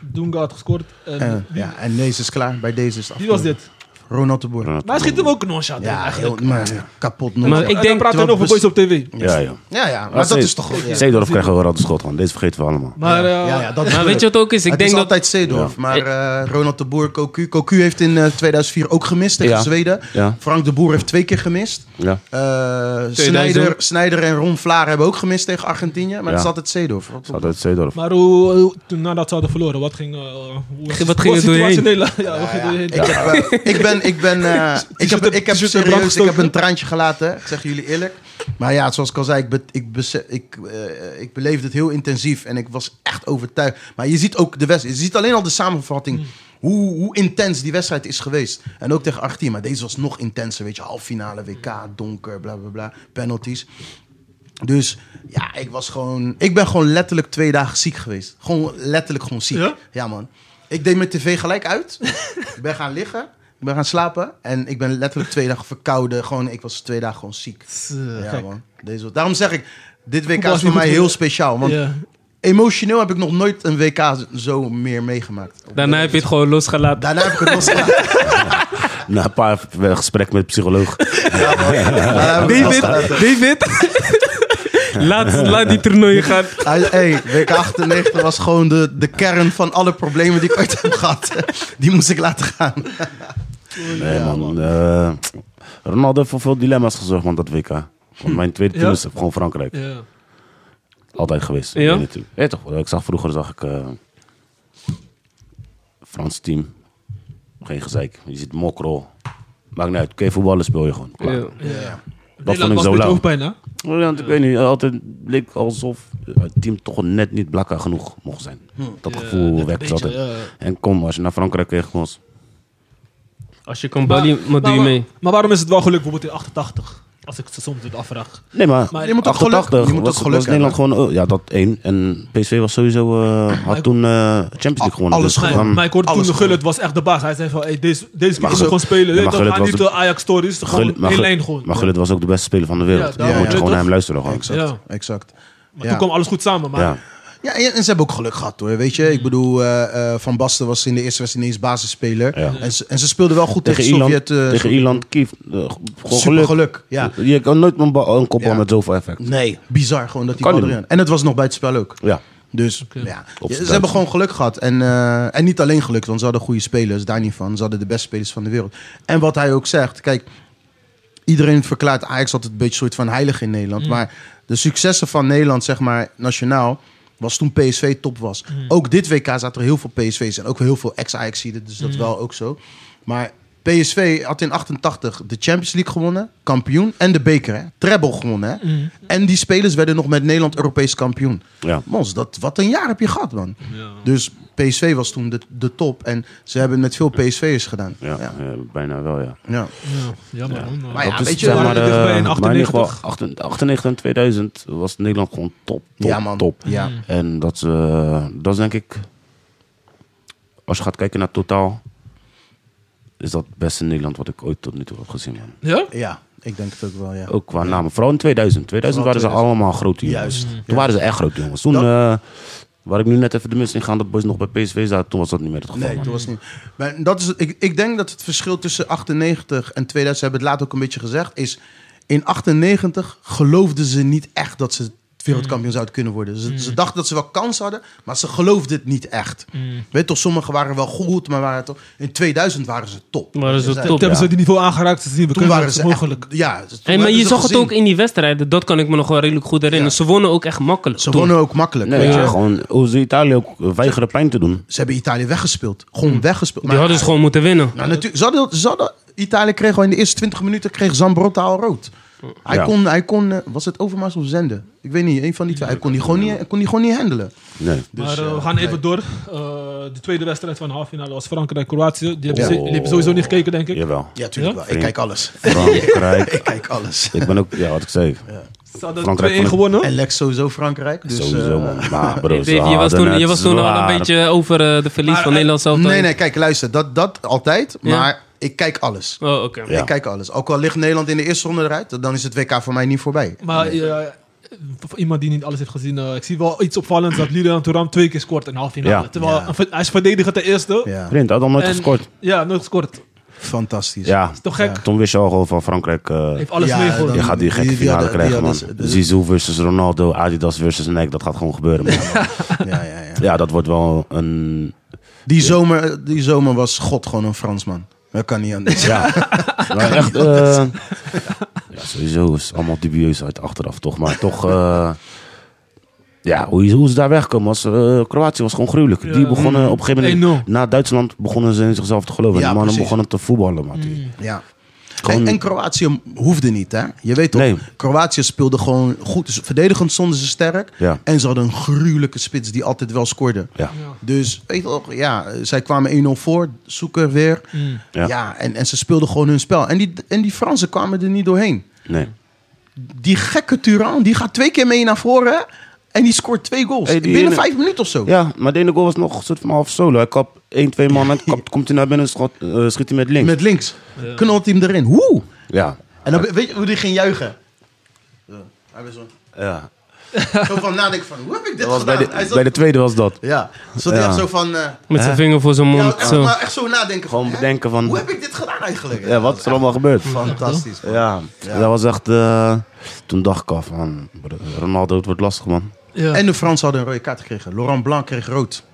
Speaker 4: Dunga had gescoord. En
Speaker 2: Eh,
Speaker 4: wie,
Speaker 2: ja, en deze is klaar. Bij deze is het
Speaker 4: wie was
Speaker 2: afgelopen.
Speaker 4: dit?
Speaker 2: Ronald de Boer.
Speaker 1: Ronald
Speaker 4: Maar hij schiet hem ook nonchalant in,
Speaker 2: Ja,
Speaker 4: eigenlijk.
Speaker 2: heel, maar, ja, kapot. nog.
Speaker 3: Maar
Speaker 4: En
Speaker 3: ik
Speaker 4: dan
Speaker 3: denk-
Speaker 4: praten we nog
Speaker 2: terwijl
Speaker 4: over boys
Speaker 2: bes-
Speaker 4: op tv.
Speaker 1: Ja, ja.
Speaker 2: ja, ja, maar dat is toch goed. Ja,
Speaker 1: Zeedorf krijgt wel altijd schot, man. Deze vergeten we allemaal.
Speaker 4: Maar eh,
Speaker 2: ja, ja, dat is
Speaker 3: Maar weet je wat ook is? Ik
Speaker 2: het
Speaker 3: denk
Speaker 2: is
Speaker 3: dat...
Speaker 2: altijd Seedorf, maar eh, Ronald de Boer, Cocu. Cocu heeft in eh, 2004 ook gemist tegen
Speaker 1: Ja.
Speaker 2: Zweden.
Speaker 1: Ja.
Speaker 2: Frank de Boer heeft twee keer gemist.
Speaker 1: Ja.
Speaker 2: Eh Snijder, Snijder en Ron Vlaar hebben ook gemist tegen Argentinië. Maar
Speaker 1: Ja.
Speaker 2: het is altijd Seedorf.
Speaker 1: Dat is altijd Zeedorf.
Speaker 4: Maar hoe, hoe- toen, nadat ze hadden verloren, wat ging... eh, hoe was-
Speaker 3: Wat ging
Speaker 4: hoe was
Speaker 3: er door je
Speaker 4: situatie
Speaker 3: heen?
Speaker 4: in Nederland? Ja, wat ging er door je heen?
Speaker 2: Ik, heb, eh, ik ben, ik ben, eh, ik heb, ik heb
Speaker 4: t-shirt in brand
Speaker 2: serieus, ik heb
Speaker 4: gestoken.
Speaker 2: een traantje gelaten. Ik zeg jullie eerlijk. Maar ja, zoals ik al zei, ik, be- ik, bese- ik, eh, ik beleefde het heel intensief en ik was echt overtuigd. Maar je ziet ook de wedstrijd, je ziet alleen al de samenvatting. Hoe, hoe intens die wedstrijd is geweest. En ook tegen 18, maar deze was nog intenser. Weet je, halffinale WK, donker, bla bla bla, penalties. Dus ja, ik was gewoon. Ik ben gewoon letterlijk twee dagen ziek geweest. Gewoon letterlijk gewoon ziek.
Speaker 4: Ja?
Speaker 2: Ja, man. Ik deed mijn tv gelijk uit. ik ben gaan liggen. Ik ben gaan slapen. En ik ben letterlijk twee dagen verkouden. Gewoon, ik was twee dagen gewoon ziek.
Speaker 4: Eh,
Speaker 2: Ja,
Speaker 4: gek.
Speaker 2: man. Deze, daarom zeg ik, dit WK
Speaker 4: Voetbal
Speaker 2: is
Speaker 4: is
Speaker 2: voor
Speaker 4: niet
Speaker 2: mij
Speaker 4: goed
Speaker 2: heel
Speaker 4: voor-
Speaker 2: speciaal. Want
Speaker 4: Ja.
Speaker 2: emotioneel heb ik nog nooit een WK zo meer meegemaakt.
Speaker 3: Daarna heb je het gewoon losgelaten.
Speaker 2: Daarna heb ik het losgelaten.
Speaker 1: Na een paar gesprekken met de psycholoog.
Speaker 2: Daarna heb ik het
Speaker 3: David,
Speaker 2: losgelaten.
Speaker 3: David. laat, laat die toernooien gaan.
Speaker 2: Hij- Hey, WK 98 was gewoon de, de kern van alle problemen die ik ooit heb gehad. Die moest ik laten gaan.
Speaker 1: Nee, man. eh, Ronaldo heeft voor veel dilemma's gezorgd, man, dat WK.
Speaker 2: Hm.
Speaker 1: Want mijn tweede team
Speaker 4: Ja?
Speaker 1: is gewoon Frankrijk.
Speaker 4: Ja.
Speaker 1: Altijd geweest.
Speaker 3: Ja?
Speaker 1: Ja? Ja, toch. Ik zag vroeger, zag ik... eh, Frans team. Geen gezeik. Je ziet mokro. Maakt niet uit. Kun je voetballen, speel je gewoon. Klaar.
Speaker 3: Ja.
Speaker 1: Dat vond
Speaker 4: Nederland
Speaker 1: ik
Speaker 4: was
Speaker 1: zo
Speaker 4: met
Speaker 1: lauw.
Speaker 4: hoofdpijn, hè?
Speaker 1: Ja, want ik weet niet, altijd leek alsof het team toch net niet blakker genoeg mocht zijn.
Speaker 2: Hm.
Speaker 1: Dat gevoel
Speaker 4: net een
Speaker 1: wekt
Speaker 4: beetje,
Speaker 1: altijd.
Speaker 4: ja.
Speaker 1: En kom, als je naar Frankrijk kreeg, kom eens.
Speaker 3: Als je kan ballen, wat doe je
Speaker 4: Maar-
Speaker 3: mee?
Speaker 4: Maar waarom is het wel gelukt bijvoorbeeld in 88? Als ik het soms doe afvraag.
Speaker 1: Nee, maar,
Speaker 4: Maar
Speaker 2: je moet ook geluk-
Speaker 1: 88
Speaker 2: je moet
Speaker 1: was,
Speaker 2: ook geluk
Speaker 1: was Nederland gewoon... eh, ja, dat één. En PSV was sowieso, eh, had toen eh, Champions League gewonnen.
Speaker 2: alles
Speaker 1: dus
Speaker 2: gewonnen.
Speaker 1: dan-
Speaker 4: Maar, maar ik hoorde
Speaker 2: Alles
Speaker 4: toen de Gullit was echt de baas. Hij zei van, hey, deze, deze keer
Speaker 1: Maar
Speaker 4: moet je
Speaker 1: Gullit-
Speaker 4: gewoon spelen.
Speaker 1: Ja,
Speaker 4: Weet
Speaker 1: maar
Speaker 4: je toch?
Speaker 1: Gullit
Speaker 4: Ga niet
Speaker 1: was
Speaker 4: de Ajax-stories, gewoon
Speaker 1: Gullit- maar
Speaker 4: één
Speaker 1: Gullit-
Speaker 4: lijn gewoon.
Speaker 1: Maar Gullit was ook de beste speler van de wereld. dan
Speaker 4: Ja, daarom.
Speaker 1: moet je
Speaker 4: Ja,
Speaker 1: gewoon
Speaker 4: toch?
Speaker 1: naar hem luisteren gewoon.
Speaker 2: Exact,
Speaker 4: Ja.
Speaker 2: exact.
Speaker 4: Maar toen kwam alles goed samen. Maar
Speaker 1: Ja.
Speaker 2: Ja, en en ze hebben ook geluk gehad hoor. Weet je, ik bedoel, eh, eh, Van Basten was in de eerste wedstrijd ineens basisspeler.
Speaker 1: Ja.
Speaker 2: En, ze, en ze speelden wel goed tegen,
Speaker 1: Tegen Ierland,
Speaker 2: Sovjet. eh,
Speaker 1: tegen Ierland Kiev. eh, gewoon
Speaker 2: super
Speaker 1: geluk.
Speaker 2: geluk. Ja.
Speaker 1: Je kan nooit een, bal- een kopbal
Speaker 2: Ja.
Speaker 1: met zoveel effect.
Speaker 2: Nee, bizar gewoon dat die
Speaker 1: Kan
Speaker 2: bal
Speaker 1: niet.
Speaker 2: erin. En het was nog bij het spel ook.
Speaker 1: Ja.
Speaker 2: Dus ja,
Speaker 1: Op
Speaker 2: ze
Speaker 1: zijn
Speaker 2: hebben
Speaker 1: Duits.
Speaker 2: gewoon geluk gehad. En, eh, en niet alleen geluk, want ze hadden goede spelers, daar niet van. Ze hadden de beste spelers van de wereld. En wat hij ook zegt, kijk, iedereen verklaart Ajax altijd een beetje een soort van heilig in Nederland. Maar de successen van Nederland, zeg maar, nationaal, was toen PSV top was. Ook dit WK zaten er heel veel PSV's en ook heel veel ex-Ajaxiden, dus dat wel ook zo. Maar PSV had in 88 de Champions League gewonnen, kampioen, en de beker, hè. treble gewonnen. Hè. En die spelers werden nog met Nederland Europees kampioen.
Speaker 1: Ja.
Speaker 2: Mons, dat, wat een jaar heb je gehad, man. Dus PSV was toen de, de top. En ze hebben het met veel PSV'ers gedaan.
Speaker 1: Ja,
Speaker 2: ja.
Speaker 1: eh, bijna wel, ja.
Speaker 2: ja.
Speaker 4: ja, jammer. man.
Speaker 2: Maar ja,
Speaker 1: Dus
Speaker 2: weet je,
Speaker 1: zeg
Speaker 2: we
Speaker 1: maar,
Speaker 4: waren er
Speaker 1: eh,
Speaker 4: dichtbij in
Speaker 1: maar in ieder geval 98
Speaker 4: 98.
Speaker 1: 98 en 2000 was Nederland gewoon top, top,
Speaker 2: ja, man.
Speaker 1: top.
Speaker 2: Ja.
Speaker 1: En dat, eh, dat is denk ik, als je gaat kijken naar totaal, is dat het beste Nederland wat ik ooit tot nu toe heb gezien. Man.
Speaker 4: Ja?
Speaker 2: ja, ik denk het ook wel, ja.
Speaker 1: Ook qua namen, vooral in 2000. 2000 waren ze
Speaker 2: Vooral
Speaker 1: allemaal grote jongens.
Speaker 2: Juist.
Speaker 1: Toen waren ze echt grote jongens. Toen,
Speaker 2: Dat-
Speaker 1: eh, waar ik nu net even de mis in ga, dat boys nog bij PSV zaten, toen was dat niet meer het geval.
Speaker 2: Nee,
Speaker 1: man.
Speaker 2: dat was niet. Maar dat is, ik, ik denk dat het verschil tussen 98 en 2000, ze hebben het laat ook een beetje gezegd, is in 98 geloofden ze niet echt dat ze wereldkampioen zouden kunnen worden. Ze, ze dachten dat ze wel kans hadden, maar ze geloofden het niet echt. Weet je toch, sommigen waren wel goed, maar waren toch, in 2000 waren ze top.
Speaker 3: Waren ze
Speaker 2: Dus, eh,
Speaker 3: top.
Speaker 4: Toen hebben ze die niveau aangeraakt. Ze zien,
Speaker 2: Toen
Speaker 4: we kunnen
Speaker 2: waren
Speaker 4: het
Speaker 2: ze
Speaker 4: mogelijk.
Speaker 2: echt- ja, toen
Speaker 3: Hey, maar
Speaker 2: hebben
Speaker 3: je
Speaker 2: ze
Speaker 3: zag het
Speaker 2: gezien.
Speaker 3: ook in die wedstrijden. Dat kan ik me nog wel redelijk goed herinneren.
Speaker 2: Ja.
Speaker 3: Ze wonnen ook echt makkelijk.
Speaker 2: Ze
Speaker 3: toen.
Speaker 2: wonnen ook makkelijk.
Speaker 1: Nee,
Speaker 2: weet je.
Speaker 1: ja, gewoon hoe ze Italië ook weigeren pijn te doen.
Speaker 2: Ze hebben Italië weggespeeld. Gewoon weggespeeld.
Speaker 3: Die hadden ze gewoon moeten winnen.
Speaker 2: Nou, natuurlijk, ze hadden, ze hadden- Italië kreeg al in de eerste 20 minuten kreeg Zambrotta al rood. Hij
Speaker 1: Ja.
Speaker 2: kon, hij kon eh, was het Overmars of Zenden? Ik weet niet, een van die twee. Hij kon die gewoon niet, hij kon die gewoon niet handelen.
Speaker 1: Nee.
Speaker 2: Dus,
Speaker 4: maar eh,
Speaker 2: eh,
Speaker 4: we gaan even
Speaker 2: nee.
Speaker 4: door. Eh, de tweede wedstrijd van de halve finale was Frankrijk-Kroatië. Die, hebben ze-
Speaker 1: Oh.
Speaker 4: die hebben sowieso niet gekeken, denk ik.
Speaker 1: Jawel.
Speaker 2: Ja, tuurlijk
Speaker 4: Ja?
Speaker 2: wel. Ik kijk alles.
Speaker 1: Frankrijk.
Speaker 2: Ik kijk alles.
Speaker 1: ik ben ook, ja, wat ik zei.
Speaker 4: Ze hadden
Speaker 1: Frankrijk
Speaker 4: 2-1
Speaker 1: van de-
Speaker 4: gewonnen.
Speaker 2: En Lex sowieso Frankrijk. Dus,
Speaker 1: Sowieso,
Speaker 2: eh,
Speaker 1: man. Maar bro,
Speaker 3: Dave,
Speaker 1: ze
Speaker 3: je was
Speaker 1: hadden
Speaker 3: toen, je
Speaker 1: het
Speaker 3: was toen al
Speaker 1: zwaar.
Speaker 3: een beetje over eh, de verlies
Speaker 4: Maar,
Speaker 3: van
Speaker 4: eh,
Speaker 3: Nederland zelf.
Speaker 2: nee, nee, kijk, luister. Dat, dat altijd.
Speaker 3: Ja.
Speaker 2: Maar ik kijk alles.
Speaker 3: Oh, oké.
Speaker 1: Ja.
Speaker 2: Ik kijk alles. Ook al ligt Nederland in de eerste ronde eruit, dan is het WK voor mij niet voorbij.
Speaker 4: Maar eh, voor iemand die niet alles heeft gezien, eh, ik zie wel iets opvallends dat Lilian Thuram twee keer scoort in de halve finale.
Speaker 1: Ja.
Speaker 4: Terwijl
Speaker 2: Ja.
Speaker 4: een ver- hij is verdediger ten eerste.
Speaker 2: Ja,
Speaker 1: Vriend, had al nooit
Speaker 4: En-
Speaker 1: gescoord.
Speaker 4: Ja, nooit gescoord.
Speaker 2: fantastisch.
Speaker 1: Ja,
Speaker 4: Toch gek.
Speaker 1: toen wist je al gewoon van Frankrijk. eh,
Speaker 4: Heeft alles
Speaker 2: Ja,
Speaker 4: meegegooid.
Speaker 2: dan-
Speaker 1: je gaat die gekke
Speaker 2: die- die
Speaker 1: finale
Speaker 2: hadden- die
Speaker 1: krijgen, man.
Speaker 2: hadden ze-
Speaker 1: Zizou versus Ronaldo, Adidas versus Nike, dat gaat gewoon gebeuren, man.
Speaker 2: ja, ja, ja.
Speaker 1: ja, dat wordt wel een...
Speaker 2: Die, zomer, die zomer was God gewoon een Fransman. Dat kan niet anders.
Speaker 1: Ja, maar echt... eh, ja, sowieso is het allemaal dubieus uit achteraf, toch? Maar toch... eh, ja, hoe, hoe ze daar wegkomen was... eh, Kroatië was gewoon gruwelijk. Die begonnen op een gegeven moment...
Speaker 4: 1-0.
Speaker 1: Na Duitsland begonnen ze in zichzelf te geloven.
Speaker 2: Ja,
Speaker 1: en de mannen
Speaker 2: precies.
Speaker 1: begonnen te voetballen, man. Die-
Speaker 2: Ja.
Speaker 1: Gewoon-
Speaker 2: En, en Kroatië hoefde niet, hè? Je weet toch,
Speaker 1: Nee.
Speaker 2: Kroatië speelde gewoon goed. Dus verdedigend stonden ze sterk.
Speaker 1: Ja.
Speaker 2: En ze hadden een gruwelijke spits die altijd wel scoorde.
Speaker 1: Ja.
Speaker 2: Dus, weet je toch, ja, zij kwamen 1-0 voor. Zoeker weer. Ja,
Speaker 1: Ja.
Speaker 2: en, en ze speelden gewoon hun spel. En die, en die Fransen kwamen er niet doorheen.
Speaker 1: Nee.
Speaker 2: Die gekke Turan, die gaat twee keer mee naar voren. hè? En die scoort twee goals.
Speaker 1: Hey, die
Speaker 2: Binnen
Speaker 1: ene-
Speaker 2: vijf minuten of zo.
Speaker 1: Ja, maar de ene goal was nog een soort van half solo. Hij kap 1, 2 man en kap- komt hij naar binnen en schot- eh, schiet hij met links.
Speaker 2: Met links. Knalt hij hem erin. Hoe?
Speaker 1: Ja.
Speaker 2: En dan weet je hoe die ging juichen. Zo, hij was zo.
Speaker 1: ja.
Speaker 2: Zo van nadenken van, hoe heb ik dit
Speaker 1: Dat was bij,
Speaker 2: gedaan? Hij
Speaker 1: de,
Speaker 2: zat-
Speaker 1: bij de tweede was dat.
Speaker 2: Ja, zat hij
Speaker 1: Ja.
Speaker 2: echt zo van... eh,
Speaker 3: Met zijn vinger voor zijn
Speaker 2: ja,
Speaker 3: mond.
Speaker 2: echt,
Speaker 3: zo.
Speaker 2: maar echt zo nadenken van...
Speaker 1: Gewoon
Speaker 2: hè?
Speaker 1: bedenken van-
Speaker 2: Hoe heb ik dit gedaan eigenlijk?
Speaker 1: Ja, wat is er allemaal gebeurd?
Speaker 2: Fantastisch. man.
Speaker 1: Ja, dat was echt... eh, toen dacht ik af, man, Ronaldo, het wordt lastig, man.
Speaker 4: Ja.
Speaker 2: En de Fransen hadden een rode kaart gekregen. Laurent Blanc kreeg rood.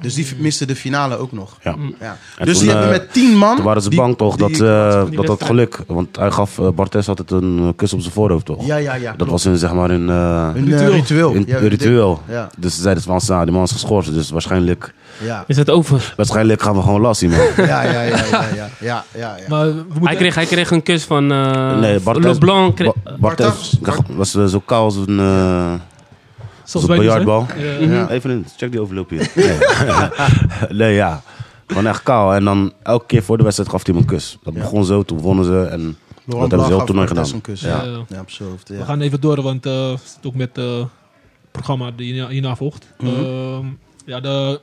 Speaker 2: Dus die miste de finale ook nog.
Speaker 1: Ja.
Speaker 2: Ja. Dus
Speaker 1: Mm. En
Speaker 2: die
Speaker 1: toen,
Speaker 2: hebben
Speaker 1: eh,
Speaker 2: met tien man...
Speaker 1: Toen waren ze
Speaker 2: die-
Speaker 1: bang toch
Speaker 2: die-
Speaker 1: dat, eh,
Speaker 4: die
Speaker 1: dat dat
Speaker 4: wedstrijd.
Speaker 1: geluk... Want hij gaf eh, Bartes altijd een eh, kus op zijn voorhoofd, toch?
Speaker 2: Ja, ja, ja.
Speaker 1: Dat
Speaker 2: klopt.
Speaker 1: was hun, zeg maar, hun... eh,
Speaker 2: Een eh,
Speaker 4: Ritueel.
Speaker 2: ritueel.
Speaker 1: hun-
Speaker 2: Ja,
Speaker 1: hun ritueel.
Speaker 2: Ja.
Speaker 1: Dus ze zeiden van, "Ah, die man is geschorst. Dus waarschijnlijk,
Speaker 2: Ja.
Speaker 3: Is het over?
Speaker 1: waarschijnlijk gaan we gewoon lastig, man.
Speaker 2: Ja, ja, ja, ja, ja, ja, ja, ja.
Speaker 4: Maar we moeten
Speaker 3: Hij kreeg, hij kreeg een kus van eh
Speaker 1: Nee, Bartes,
Speaker 3: Leblanc. kreeg-
Speaker 1: Ba- Bartes
Speaker 2: Bartes.
Speaker 1: dacht- was eh, zo kaal als een, eh, als
Speaker 4: zoals
Speaker 1: een
Speaker 4: wij nu
Speaker 1: biljartbal.
Speaker 4: zijn. Ja.
Speaker 1: Ja. Even in, check die overloop hier. Nee. nee, ja. Gewoon echt kaal. En dan elke keer voor de wedstrijd gaf hij hem een kus. Dat begon zo, toen wonnen ze. En
Speaker 2: Laurent
Speaker 1: hebben ze
Speaker 2: Blanc
Speaker 1: heel
Speaker 2: gaf
Speaker 1: toernooi
Speaker 2: Cortés
Speaker 1: gedaan.
Speaker 2: een kus.
Speaker 1: Ja.
Speaker 2: Ja.
Speaker 4: Eh,
Speaker 2: ja, op zijn hoofd.
Speaker 4: We
Speaker 2: Ja.
Speaker 4: gaan even door, want eh, het zit ook met eh, het programma die hierna, hierna volgt.
Speaker 2: Mhm.
Speaker 4: Ehm, ja, de,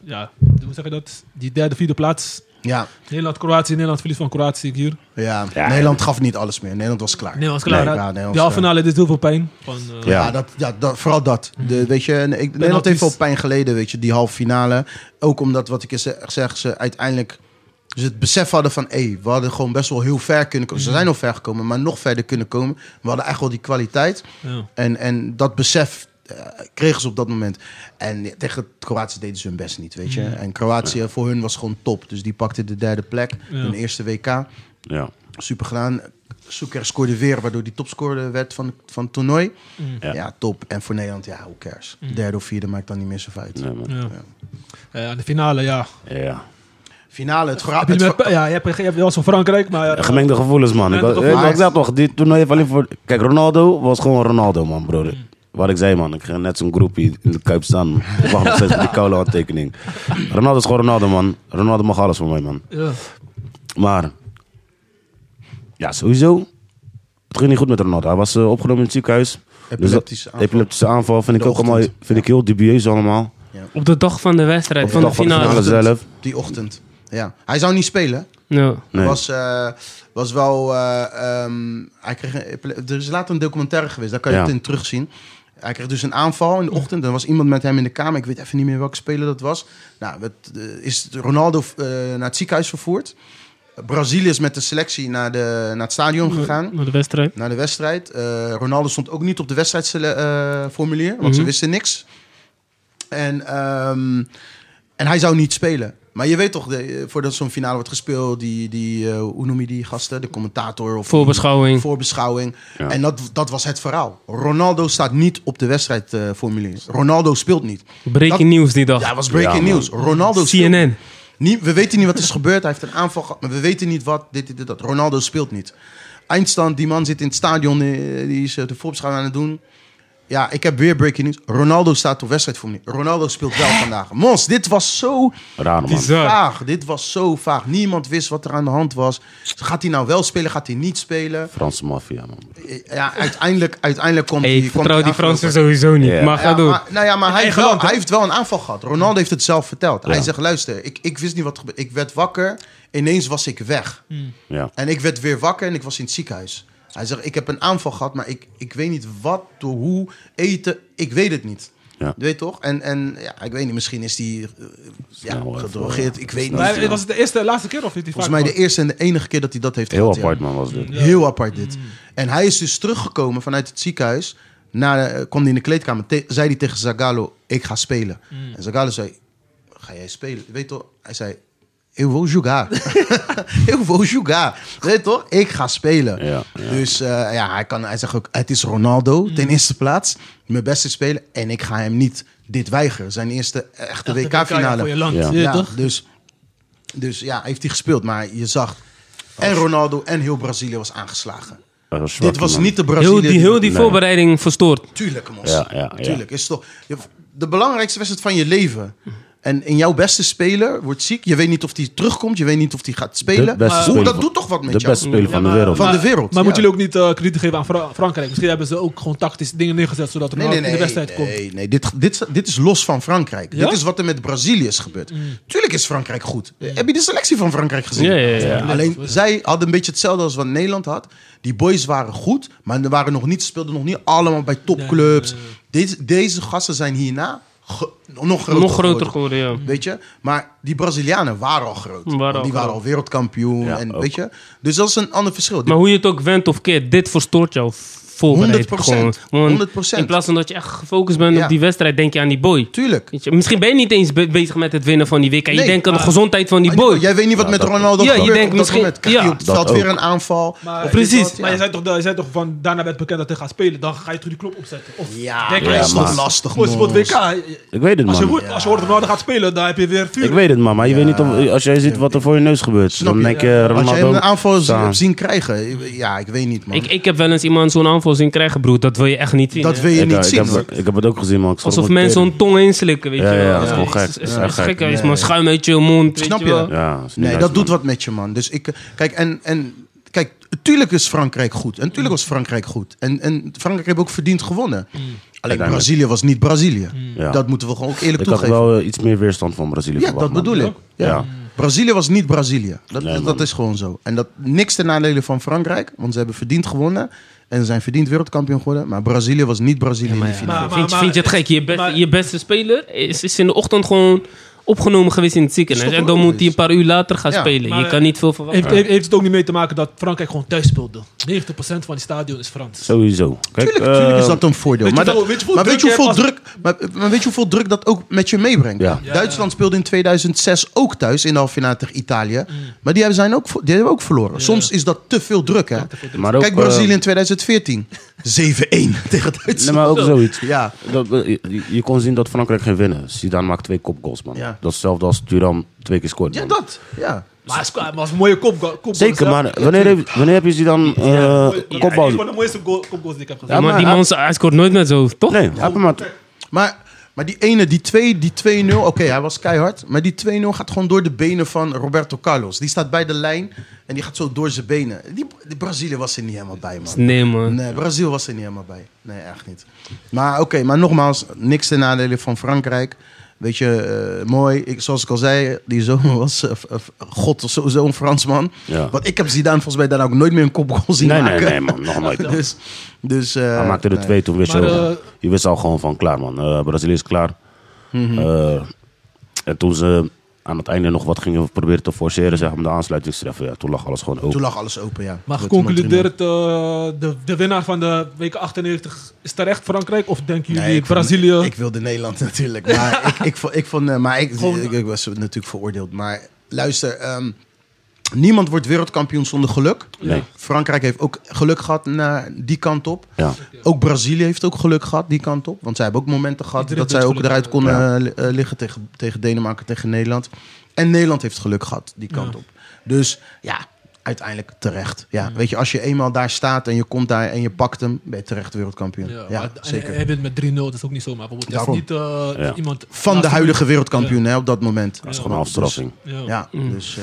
Speaker 4: ja, de- hoe zeg je dat? Die derde, vierde plaats.
Speaker 2: Ja,
Speaker 4: Nederland-Kroatië, Nederland verlies van Kroatië zie ik hier.
Speaker 2: ja.
Speaker 1: Ja.
Speaker 2: Nederland gaf niet alles meer. Nederland was klaar.
Speaker 4: Nederland was klaar.
Speaker 2: Nee, eh,
Speaker 4: hè?
Speaker 2: ja, Nederland
Speaker 4: de
Speaker 2: was
Speaker 4: halve finale deed heel veel pijn. Van, eh,
Speaker 1: Ja.
Speaker 2: Ja, dat, ja dat, vooral dat. De, weet je, en ik, Nederland heeft
Speaker 4: Mhm. Penalties.
Speaker 2: veel pijn geleden, weet je, die halve finale. Ook omdat, wat ik je zeg, zeg, ze uiteindelijk ze het besef hadden van... hé, we hadden gewoon best wel heel ver kunnen
Speaker 4: Mhm.
Speaker 2: komen. Ze zijn al ver gekomen, maar nog verder kunnen komen. We hadden echt wel die kwaliteit.
Speaker 4: ja.
Speaker 2: En, en dat besef eh, kregen ze op dat moment. En tegen Kroatië deden ze hun best niet, weet je. En Kroatië voor hun was gewoon top. Dus die pakte de derde plek,
Speaker 4: Ja.
Speaker 2: hun eerste WK.
Speaker 1: Ja.
Speaker 2: Super gedaan. Soeker scoorde weer, waardoor die topscorer werd van, van het toernooi.
Speaker 1: Ja.
Speaker 2: Ja. top. En voor Nederland, ja, hoe cares. Derde of vierde maakt dan niet meer zoveel uit.
Speaker 1: Nee, man.
Speaker 4: Ja. Eh, de finale, ja.
Speaker 1: Ja.
Speaker 2: Finale, het verhaal...
Speaker 4: Heb je,
Speaker 2: Het
Speaker 4: niet
Speaker 2: ver-
Speaker 4: meer- ja, je hebt, je hebt wel zo Frankrijk, maar... ja,
Speaker 1: Gemengde gevoelens, man. Ik,
Speaker 4: Gemengde
Speaker 1: ik, ik
Speaker 2: gevoelens.
Speaker 1: zeg toch, dit toernooi heeft alleen voor... Kijk, Ronaldo was gewoon Ronaldo, man, broer. Wat ik zei, man. Ik ging net zo'n groepje in de Kuip staan. Ik wacht nog steeds op die koude handtekening. Ronaldo is gewoon Ronaldo, man. Ronaldo mag alles voor mij, man.
Speaker 4: ja.
Speaker 1: Maar... Ja, sowieso. Het ging niet goed met Ronaldo. Hij was eh, opgenomen in het ziekenhuis. dus
Speaker 2: Epileptische
Speaker 1: dat-
Speaker 2: aanval.
Speaker 1: Epileptische aanval vind ik
Speaker 2: De
Speaker 1: ook allemaal...
Speaker 2: ochtend.
Speaker 1: Vind ik heel dubieus allemaal.
Speaker 3: Op de dag van de wedstrijd,
Speaker 1: Op de
Speaker 3: van de
Speaker 1: dag van de
Speaker 3: finale.
Speaker 1: finale.
Speaker 2: Ochtend.
Speaker 1: zelf.
Speaker 2: Die ochtend. Ja. Hij zou niet spelen.
Speaker 3: Ja.
Speaker 1: Nee.
Speaker 2: Was, eh, was wel... eh, ehm, hij kreeg een, epile- er is later een documentaire geweest. Daar kan je
Speaker 1: Ja.
Speaker 2: het in terugzien. Hij kreeg dus een aanval in de ochtend. Er was iemand met hem in de kamer. Ik weet even niet meer welke speler dat was. Nou, het, eh, is Ronaldo eh, naar het ziekenhuis vervoerd. Brazilië is met de selectie naar, de, naar het stadion gegaan.
Speaker 3: Naar de wedstrijd.
Speaker 2: Naar de wedstrijd. Eh, Ronaldo stond ook niet op de wedstrijdformulier, want ze
Speaker 3: Mhm.
Speaker 2: wisten niks. En, ehm, en hij zou niet spelen. Maar je weet toch, de, eh, voordat zo'n finale wordt gespeeld, die, die eh, hoe noem je die gasten? De commentator of
Speaker 3: Voorbeschouwing.
Speaker 2: voorbeschouwing.
Speaker 1: Ja.
Speaker 2: En dat, dat was het verhaal. Ronaldo staat niet op de wedstrijdformulier. Ronaldo speelt niet.
Speaker 3: Breaking
Speaker 2: Dat-
Speaker 3: nieuws die dag.
Speaker 2: Ja, het was breaking
Speaker 1: Ja, man.
Speaker 2: news. Ronaldo speelt
Speaker 3: CNN.
Speaker 2: niet, we weten niet wat is gebeurd. Hij heeft een aanval gehad, maar we weten niet wat. Dit, dit, dit, dat. Ronaldo speelt niet. Eindstand, die man zit in het stadion. eh, Die is eh, de voorbeschouwing aan het doen. Ja, ik heb weer breaking news. Ronaldo staat op wedstrijd voor me. Ronaldo speelt wel vandaag. Mons, dit was zo
Speaker 1: Raar, man.
Speaker 2: vaag. Dit was zo vaag. Niemand wist wat er aan de hand was. Gaat hij nou wel spelen? Gaat hij niet spelen?
Speaker 1: Franse maffia, man.
Speaker 2: Eh, Ja, uiteindelijk, uiteindelijk komt
Speaker 3: Hey,
Speaker 2: hij-
Speaker 3: ik
Speaker 2: komt
Speaker 3: vertrouw
Speaker 2: hij
Speaker 3: die
Speaker 2: aangelopen.
Speaker 3: Fransen sowieso niet.
Speaker 1: Ja.
Speaker 3: Maar ga
Speaker 2: Ja,
Speaker 3: door.
Speaker 2: maar- nou ja, maar hij heeft,
Speaker 4: eigen
Speaker 2: wel,
Speaker 4: land, hè?
Speaker 2: hij heeft wel een aanval gehad. Ronaldo heeft het zelf verteld.
Speaker 1: Ja.
Speaker 2: Hij zegt, luister, ik, ik wist niet wat er gebeurde. Ik werd wakker, ineens was ik weg.
Speaker 1: Ja.
Speaker 2: En ik werd weer wakker en ik was in het ziekenhuis. Hij zegt, ik heb een aanval gehad, maar ik, ik weet niet wat, door hoe, eten, ik weet het niet.
Speaker 1: Ja.
Speaker 2: Je Weet toch? En, en ja, ik weet niet, misschien is die eh, ja,
Speaker 1: Snel even,
Speaker 2: gedrogeerd.
Speaker 1: ja.
Speaker 2: Ik weet
Speaker 1: Snel.
Speaker 2: niet.
Speaker 4: Maar was het de eerste, laatste keer of heeft hij
Speaker 2: Volgens mij de eerste en de enige keer dat hij dat heeft
Speaker 1: Heel
Speaker 2: gehad. ja.
Speaker 1: apart, man, was dit.
Speaker 2: Heel apart dit. En hij is dus teruggekomen vanuit het ziekenhuis. Naar, eh, kwam hij in de kleedkamer. Te- zei hij tegen Zagallo, ik ga spelen.
Speaker 1: Mm.
Speaker 2: En Zagallo zei, ga jij spelen? Weet toch? Hij zei, eu vou jogar. eu vou jogar. Weet toch? Ik ga spelen.
Speaker 1: Ja, Mm.
Speaker 2: Dus eh, ja, hij, kan, hij zegt ook, het is Ronaldo ten eerste plaats. Mijn beste speler. En ik ga hem niet dit weigeren. Zijn eerste echte WK-finale.
Speaker 4: Voor je land,
Speaker 1: Ja.
Speaker 4: ja.
Speaker 2: Ja,
Speaker 4: toch?
Speaker 2: dus, dus ja, heeft hij gespeeld. Maar je zag, en Ronaldo en heel Brazilië was aangeslagen.
Speaker 1: Hij was zwak,
Speaker 2: Dit was
Speaker 1: man.
Speaker 2: niet de Brazilië.
Speaker 3: Heel die, heel die
Speaker 1: Nee.
Speaker 3: voorbereiding verstoord.
Speaker 2: Tuurlijk, mos.
Speaker 1: Ja, ja, ja.
Speaker 2: Tuurlijk. Is toch, je- de belangrijkste wedstrijd van je leven. En in jouw beste speler wordt ziek. Je weet niet of die terugkomt. Je weet niet of die gaat
Speaker 1: De
Speaker 2: spelen.
Speaker 1: beste
Speaker 2: Maar,
Speaker 1: speler
Speaker 2: dat
Speaker 1: van-
Speaker 2: doet toch wat met
Speaker 1: De
Speaker 2: jou?
Speaker 1: beste speler van
Speaker 4: Ja,
Speaker 1: de
Speaker 4: maar-
Speaker 1: wereld.
Speaker 2: Van
Speaker 1: man.
Speaker 2: de wereld.
Speaker 4: Maar moet
Speaker 2: ja.
Speaker 4: jullie ook niet eh krediet geven aan Fra- Frankrijk? Misschien hebben ze ook gewoon tactisch dingen neergezet, zodat er
Speaker 2: Nee, nee, nee.
Speaker 4: in de wedstrijd komt.
Speaker 2: nee, nee. Dit, dit, dit is los van Frankrijk.
Speaker 4: Ja?
Speaker 2: Dit is wat er met Brazilië is gebeurd. Tuurlijk is Frankrijk goed. Heb je de selectie van Frankrijk gezien?
Speaker 3: Mm. Ja, ja, ja.
Speaker 2: Alleen zij hadden een beetje hetzelfde als wat Nederland had. Die boys waren goed, maar er waren nog niet, speelden nog niet allemaal bij topclubs. Deze, deze gasten zijn hierna ge- nog groter,
Speaker 3: Nog groter
Speaker 2: geworden.
Speaker 3: geworden, ja.
Speaker 2: Weet je? Maar die Brazilianen waren al groot.
Speaker 3: Waren
Speaker 2: Want
Speaker 3: al
Speaker 2: die waren
Speaker 3: groot.
Speaker 2: al wereldkampioen.
Speaker 1: Ja,
Speaker 2: en,
Speaker 1: ook.
Speaker 2: weet je? Dus dat is een ander verschil.
Speaker 3: Maar hoe je het ook went of keert, dit verstoort jouw voorbereiding.
Speaker 2: 100%,
Speaker 3: gewoon. Want
Speaker 2: 100%.
Speaker 3: In plaats van dat je echt gefocust bent
Speaker 2: Ja.
Speaker 3: op die wedstrijd, denk je aan die boy.
Speaker 2: Tuurlijk.
Speaker 3: Weet je, misschien ben je niet eens be- bezig met het winnen van die WK.
Speaker 2: Nee,
Speaker 3: je denkt aan de
Speaker 4: maar-
Speaker 3: gezondheid van die
Speaker 2: Maar
Speaker 3: boy.
Speaker 2: Jij weet niet wat
Speaker 1: Ja,
Speaker 2: met
Speaker 1: dat-
Speaker 2: Ronaldo
Speaker 3: Ja, je
Speaker 2: gebeurt op
Speaker 3: denkt
Speaker 2: dat
Speaker 3: misschien-
Speaker 2: moment. Krijgt
Speaker 3: ja.
Speaker 2: hij op het
Speaker 1: Dat
Speaker 2: veld weer
Speaker 1: ook.
Speaker 2: een aanval.
Speaker 4: Maar,
Speaker 2: Of
Speaker 3: precies.
Speaker 2: dit, wat,
Speaker 4: Maar
Speaker 2: ja.
Speaker 4: je zei, toch, je zei toch van daarna werd bekend dat hij gaat spelen, dan ga je toch die knop opzetten? Of
Speaker 2: Ja,
Speaker 4: denk
Speaker 1: maar
Speaker 4: je,
Speaker 1: dat is toch
Speaker 4: "Oh,
Speaker 2: lastig,
Speaker 4: voor- voor het
Speaker 2: man."
Speaker 4: WK.
Speaker 1: Ik weet het,
Speaker 4: Als je,
Speaker 1: man.
Speaker 4: hoort, als je hoort dat Ronaldo gaat spelen, dan heb je weer vuur.
Speaker 1: Ik weet het, man. Maar je weet niet of, als jij ziet wat er voor je neus gebeurt.
Speaker 2: Snap
Speaker 1: dan
Speaker 2: je?
Speaker 1: denk je,
Speaker 2: Als
Speaker 1: Ronaldo...
Speaker 2: jij hem een aanval
Speaker 1: staan.
Speaker 2: hebt zien krijgen. Ja, ik weet niet, man.
Speaker 3: Ik, ik heb wel eens iemand zo'n aanval zien krijgen, broer. Dat wil je echt niet zien.
Speaker 2: dat
Speaker 3: hè.
Speaker 2: wil je
Speaker 1: Ik, eh,
Speaker 2: niet
Speaker 1: ik
Speaker 2: zien. hoor.
Speaker 1: heb, ik heb het ook gezien, man. Ik schrok
Speaker 3: Alsof
Speaker 1: me
Speaker 3: mensen
Speaker 1: tering.
Speaker 3: hun tong inslikken, weet
Speaker 1: Ja,
Speaker 3: je wel.
Speaker 1: ja, dat is gewoon gek.
Speaker 3: Is,
Speaker 1: Dat
Speaker 3: is,
Speaker 1: is
Speaker 3: is
Speaker 1: echt gek.
Speaker 3: gek, is maar schuim uit je mond, weet
Speaker 2: Snap
Speaker 3: je
Speaker 2: je?
Speaker 3: wel.
Speaker 1: Ja, is niet
Speaker 2: Nee,
Speaker 1: nice,
Speaker 2: dat doet
Speaker 1: man.
Speaker 2: wat met je, man. Dus ik, eh, kijk, en, en Kijk, tuurlijk is Frankrijk goed. En tuurlijk was Frankrijk goed. En, en Frankrijk heeft ook verdiend gewonnen.
Speaker 3: Mm.
Speaker 2: Alleen
Speaker 1: Uiteindelijk.
Speaker 2: Brazilië was niet Brazilië.
Speaker 1: Ja.
Speaker 2: Dat moeten we gewoon ook eerlijk
Speaker 1: Ik had
Speaker 2: toegeven.
Speaker 1: wel eh, iets meer weerstand van Brazilië
Speaker 2: Ja,
Speaker 1: verwacht,
Speaker 2: dat bedoel
Speaker 1: man.
Speaker 2: ik. Ja.
Speaker 1: Ja.
Speaker 2: Brazilië was niet Brazilië. Dat,
Speaker 1: Nee,
Speaker 2: dat
Speaker 1: man.
Speaker 2: is gewoon zo. En dat niks ten nadele van Frankrijk, want ze hebben verdiend gewonnen. En ze zijn verdiend wereldkampioen geworden. Maar Brazilië was niet Brazilië in de finale.
Speaker 4: Maar-
Speaker 3: vind, je-
Speaker 4: maar-
Speaker 3: vind je het gek? Je, best-
Speaker 4: maar-
Speaker 3: je beste speler is, is in de ochtend gewoon opgenomen geweest in het ziekenhuis.
Speaker 2: Is toch
Speaker 3: En dan
Speaker 2: logisch?
Speaker 3: moet hij een paar uur later gaan
Speaker 2: Ja,
Speaker 3: spelen.
Speaker 4: maar-
Speaker 3: je kan niet veel verwachten.
Speaker 4: Heeft, heeft, heeft het ook niet mee te maken dat Frankrijk gewoon thuis speelde? 90% van die stadion is Frans.
Speaker 1: Sowieso. Kijk,
Speaker 2: Tuurlijk, tuurlijk is
Speaker 1: eh,
Speaker 2: dat een voordeel.
Speaker 4: weet
Speaker 2: Maar
Speaker 4: je
Speaker 2: dat-
Speaker 4: wel- weet je hoeveel
Speaker 2: maar weet je
Speaker 4: druk je
Speaker 2: hoeveel druk
Speaker 4: hebt
Speaker 2: maar- maar weet je hoeveel druk dat ook met je meebrengt?
Speaker 1: Ja.
Speaker 2: Duitsland speelde in 2006 ook thuis in de halve finale tegen Italië. Maar die hebben, zijn ook, vo- die hebben ook verloren. Soms is dat te veel druk, hè?
Speaker 1: maar ook,
Speaker 2: Kijk Brazilië
Speaker 1: eh,
Speaker 2: in 2014. 7-1 tegen Duitsland.
Speaker 1: Nee, maar ook zoiets.
Speaker 2: Ja.
Speaker 1: Dat, eh, je, je kon zien dat Frankrijk ging winnen. Zidane maakt twee kopgoals, man.
Speaker 2: Ja.
Speaker 1: Dat is hetzelfde als Turan twee keer scoort.
Speaker 2: ja,
Speaker 1: man.
Speaker 2: dat. Ja.
Speaker 4: Maar het is- maar het was een mooie kopgoal. kopgoal
Speaker 1: Zeker,
Speaker 4: zelf.
Speaker 1: maar wanneer, heb- wanneer heb je Zidane eh
Speaker 4: Mooi-
Speaker 1: kopbal?
Speaker 4: Een van de mooiste goal- kopgoals die ik heb gezien.
Speaker 1: Ja,
Speaker 3: maar,
Speaker 1: maar
Speaker 3: die
Speaker 1: hij-
Speaker 3: man, hij scoort nooit met zo, toch?
Speaker 1: Nee, hij heeft hem maar...
Speaker 2: Eh, Maar, maar die ene, die 2, die 2-0, oké, hij was keihard. Maar die 2-0 gaat gewoon door de benen van Roberto Carlos. Die staat bij de lijn en die gaat zo door zijn benen. Die, die Brazilië was er niet helemaal bij, man.
Speaker 3: Nee, man.
Speaker 2: Nee, Brazil was er niet helemaal bij. Nee, echt niet. Maar oké, maar nogmaals, niks ten nadele van Frankrijk. Weet je, eh, mooi. Ik, zoals ik al zei, die zoon was eh, f- f- god of sowieso een Fransman.
Speaker 1: Ja.
Speaker 2: Want ik heb Zidane volgens mij daarna ook nooit meer een kopgoal zien
Speaker 1: Nee, nee,
Speaker 2: maken.
Speaker 1: nee, man. Nog nooit.
Speaker 2: Dus, dus, eh,
Speaker 1: Hij maakte er
Speaker 2: nee.
Speaker 1: twee, toen wist je,
Speaker 4: Maar,
Speaker 1: al-
Speaker 4: eh,
Speaker 1: je wist al gewoon van klaar, man. Eh, Brazilië is klaar.
Speaker 4: Mhm.
Speaker 1: Eh, en toen ze aan het einde nog wat gingen proberen te forceren, zeg maar, de aansluitingstreffer, ja, toen lag alles gewoon
Speaker 2: Toen
Speaker 1: open.
Speaker 2: lag alles open, ja.
Speaker 4: Maar
Speaker 2: Dat- dat-
Speaker 4: geconcludeerd, eh, de, de winnaar van de week 98 is terecht Frankrijk? Of denken jullie
Speaker 2: Nee, ik vond-
Speaker 4: Brazilië?
Speaker 2: Ik wilde Nederland natuurlijk. Maar ik, ik, vond- ik, vond, eh, maar ik, ik, ik was natuurlijk veroordeeld. Maar luister, ehm, niemand wordt wereldkampioen zonder geluk.
Speaker 1: Nee.
Speaker 2: Frankrijk heeft ook geluk gehad naar die kant op.
Speaker 1: Ja.
Speaker 2: Ook Brazilië heeft ook geluk gehad die kant op. Want zij hebben ook momenten gehad
Speaker 4: Iedereen
Speaker 2: dat zij
Speaker 4: heeft
Speaker 2: ook
Speaker 4: geluk,
Speaker 2: eruit
Speaker 4: ja.
Speaker 2: konden eh, li- eh, liggen tegen, tegen Denemarken, tegen Nederland. En Nederland heeft geluk gehad die kant op. Dus ja, uiteindelijk terecht. Ja, Weet je, als je eenmaal daar staat en je komt daar en je pakt hem, ben je terecht wereldkampioen. Ja,
Speaker 4: maar- en-
Speaker 2: zeker.
Speaker 4: En hij wint met 3-0, dat is ook niet zomaar. Bijvoorbeeld, het is
Speaker 2: Daarom.
Speaker 4: niet eh,
Speaker 1: Ja.
Speaker 4: iemand...
Speaker 2: van de huidige wereldkampioen hè, op dat moment.
Speaker 1: Dat is gewoon een afstraffing.
Speaker 4: Ja.
Speaker 2: Ja, dus,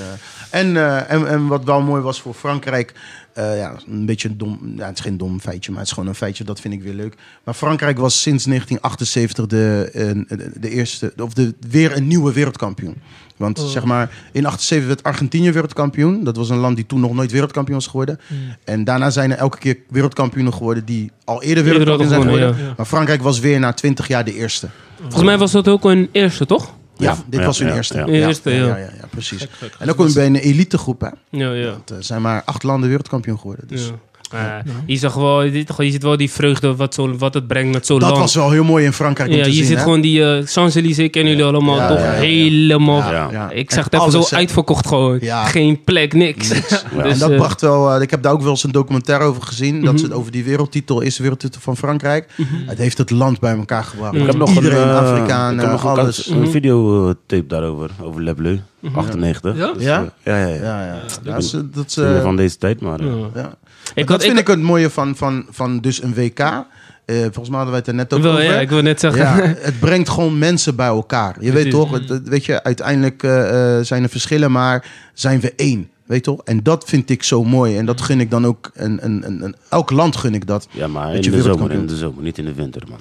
Speaker 2: eh, en, eh, en, en wat wel mooi was voor Frankrijk. eh, ja, een beetje een dom. Ja, het is geen dom feitje, maar het is gewoon een feitje. Dat vind ik weer leuk. Maar Frankrijk was sinds 1978 de, eh, de- de eerste. Of de, weer een nieuwe wereldkampioen. Want zeg maar, in 78 werd Argentinië wereldkampioen. Dat was een land die toen nog nooit wereldkampioen was geworden. En daarna zijn er elke keer wereldkampioenen geworden die al eerder wereldkampioen zijn
Speaker 3: gewonnen,
Speaker 2: geworden.
Speaker 4: ja.
Speaker 2: Maar Frankrijk was weer na 20 jaar de eerste.
Speaker 3: Volgens mij was dat ook een eerste, toch?
Speaker 2: Ja,
Speaker 1: Ja,
Speaker 2: dit
Speaker 1: ja,
Speaker 2: was hun
Speaker 1: ja,
Speaker 2: eerste.
Speaker 1: ja.
Speaker 3: Eerste, ja.
Speaker 2: ja, ja, ja, precies. En dan kom je bij een elitegroep, hè.
Speaker 3: Ja, ja.
Speaker 2: Want, eh, zijn maar acht landen wereldkampioen geworden. Dus.
Speaker 3: ja. Eh, je, zag wel, je ziet- je ziet wel die vreugde wat, zo, wat het brengt met zo'n
Speaker 2: Dat
Speaker 3: land.
Speaker 2: was wel heel mooi in Frankrijk om
Speaker 3: ja,
Speaker 2: te
Speaker 3: je
Speaker 2: zien,
Speaker 3: ziet
Speaker 2: hè?
Speaker 3: gewoon die eh Champs-Élysées, kennen jullie allemaal,
Speaker 2: Ja,
Speaker 3: toch?
Speaker 2: ja, ja, ja.
Speaker 3: Helemaal.
Speaker 1: Ja.
Speaker 2: Ja.
Speaker 3: Ik
Speaker 2: En
Speaker 3: zag het even
Speaker 2: alles,
Speaker 3: zo
Speaker 2: hè.
Speaker 3: uitverkocht gewoon.
Speaker 2: Ja.
Speaker 3: Geen plek, niks.
Speaker 1: Ja.
Speaker 2: En dat
Speaker 3: eh,
Speaker 2: bracht wel... eh, ik heb daar ook wel eens een documentaire over gezien. Dat ze het over die wereldtitel, eerste wereldtitel van Frankrijk.
Speaker 3: Mhm.
Speaker 2: Het heeft het land bij elkaar gebracht.
Speaker 1: Ik heb nog
Speaker 2: Mm. Iedereen,
Speaker 1: een, eh,
Speaker 2: Afrikaan,
Speaker 1: ik heb nog een,
Speaker 2: alles. Mm. Mhm.
Speaker 1: kans- een videotape daarover, over Le Bleu, 98.
Speaker 4: Ja?
Speaker 1: Dus,
Speaker 2: Ja?
Speaker 1: eh, ja, ja, ja.
Speaker 2: ja, ja. dat is... Dat is
Speaker 1: Ik ben
Speaker 2: eh,
Speaker 1: niet van deze tijd, maar... eh,
Speaker 3: ja.
Speaker 2: ja.
Speaker 3: Ik
Speaker 2: dat
Speaker 3: had,
Speaker 2: vind ik
Speaker 3: ik,
Speaker 2: het mooie van, van, van dus een WK. Eh, volgens mij hadden wij het er net ook
Speaker 3: wil,
Speaker 2: over.
Speaker 3: ja, ik wil net zeggen.
Speaker 2: Ja, het brengt gewoon mensen bij elkaar. Je weet
Speaker 3: Precies.
Speaker 2: toch, het- het- weet je, uiteindelijk eh, eh, zijn er verschillen, maar zijn we één. Weet toch? En dat vind ik zo mooi. En dat gun ik dan ook. Een, een, een, een- elk land gun ik dat.
Speaker 1: Ja, maar in
Speaker 2: Dat je
Speaker 1: de, zomer,
Speaker 2: wereldkampioen-
Speaker 1: in de zomer, niet in de winter, man.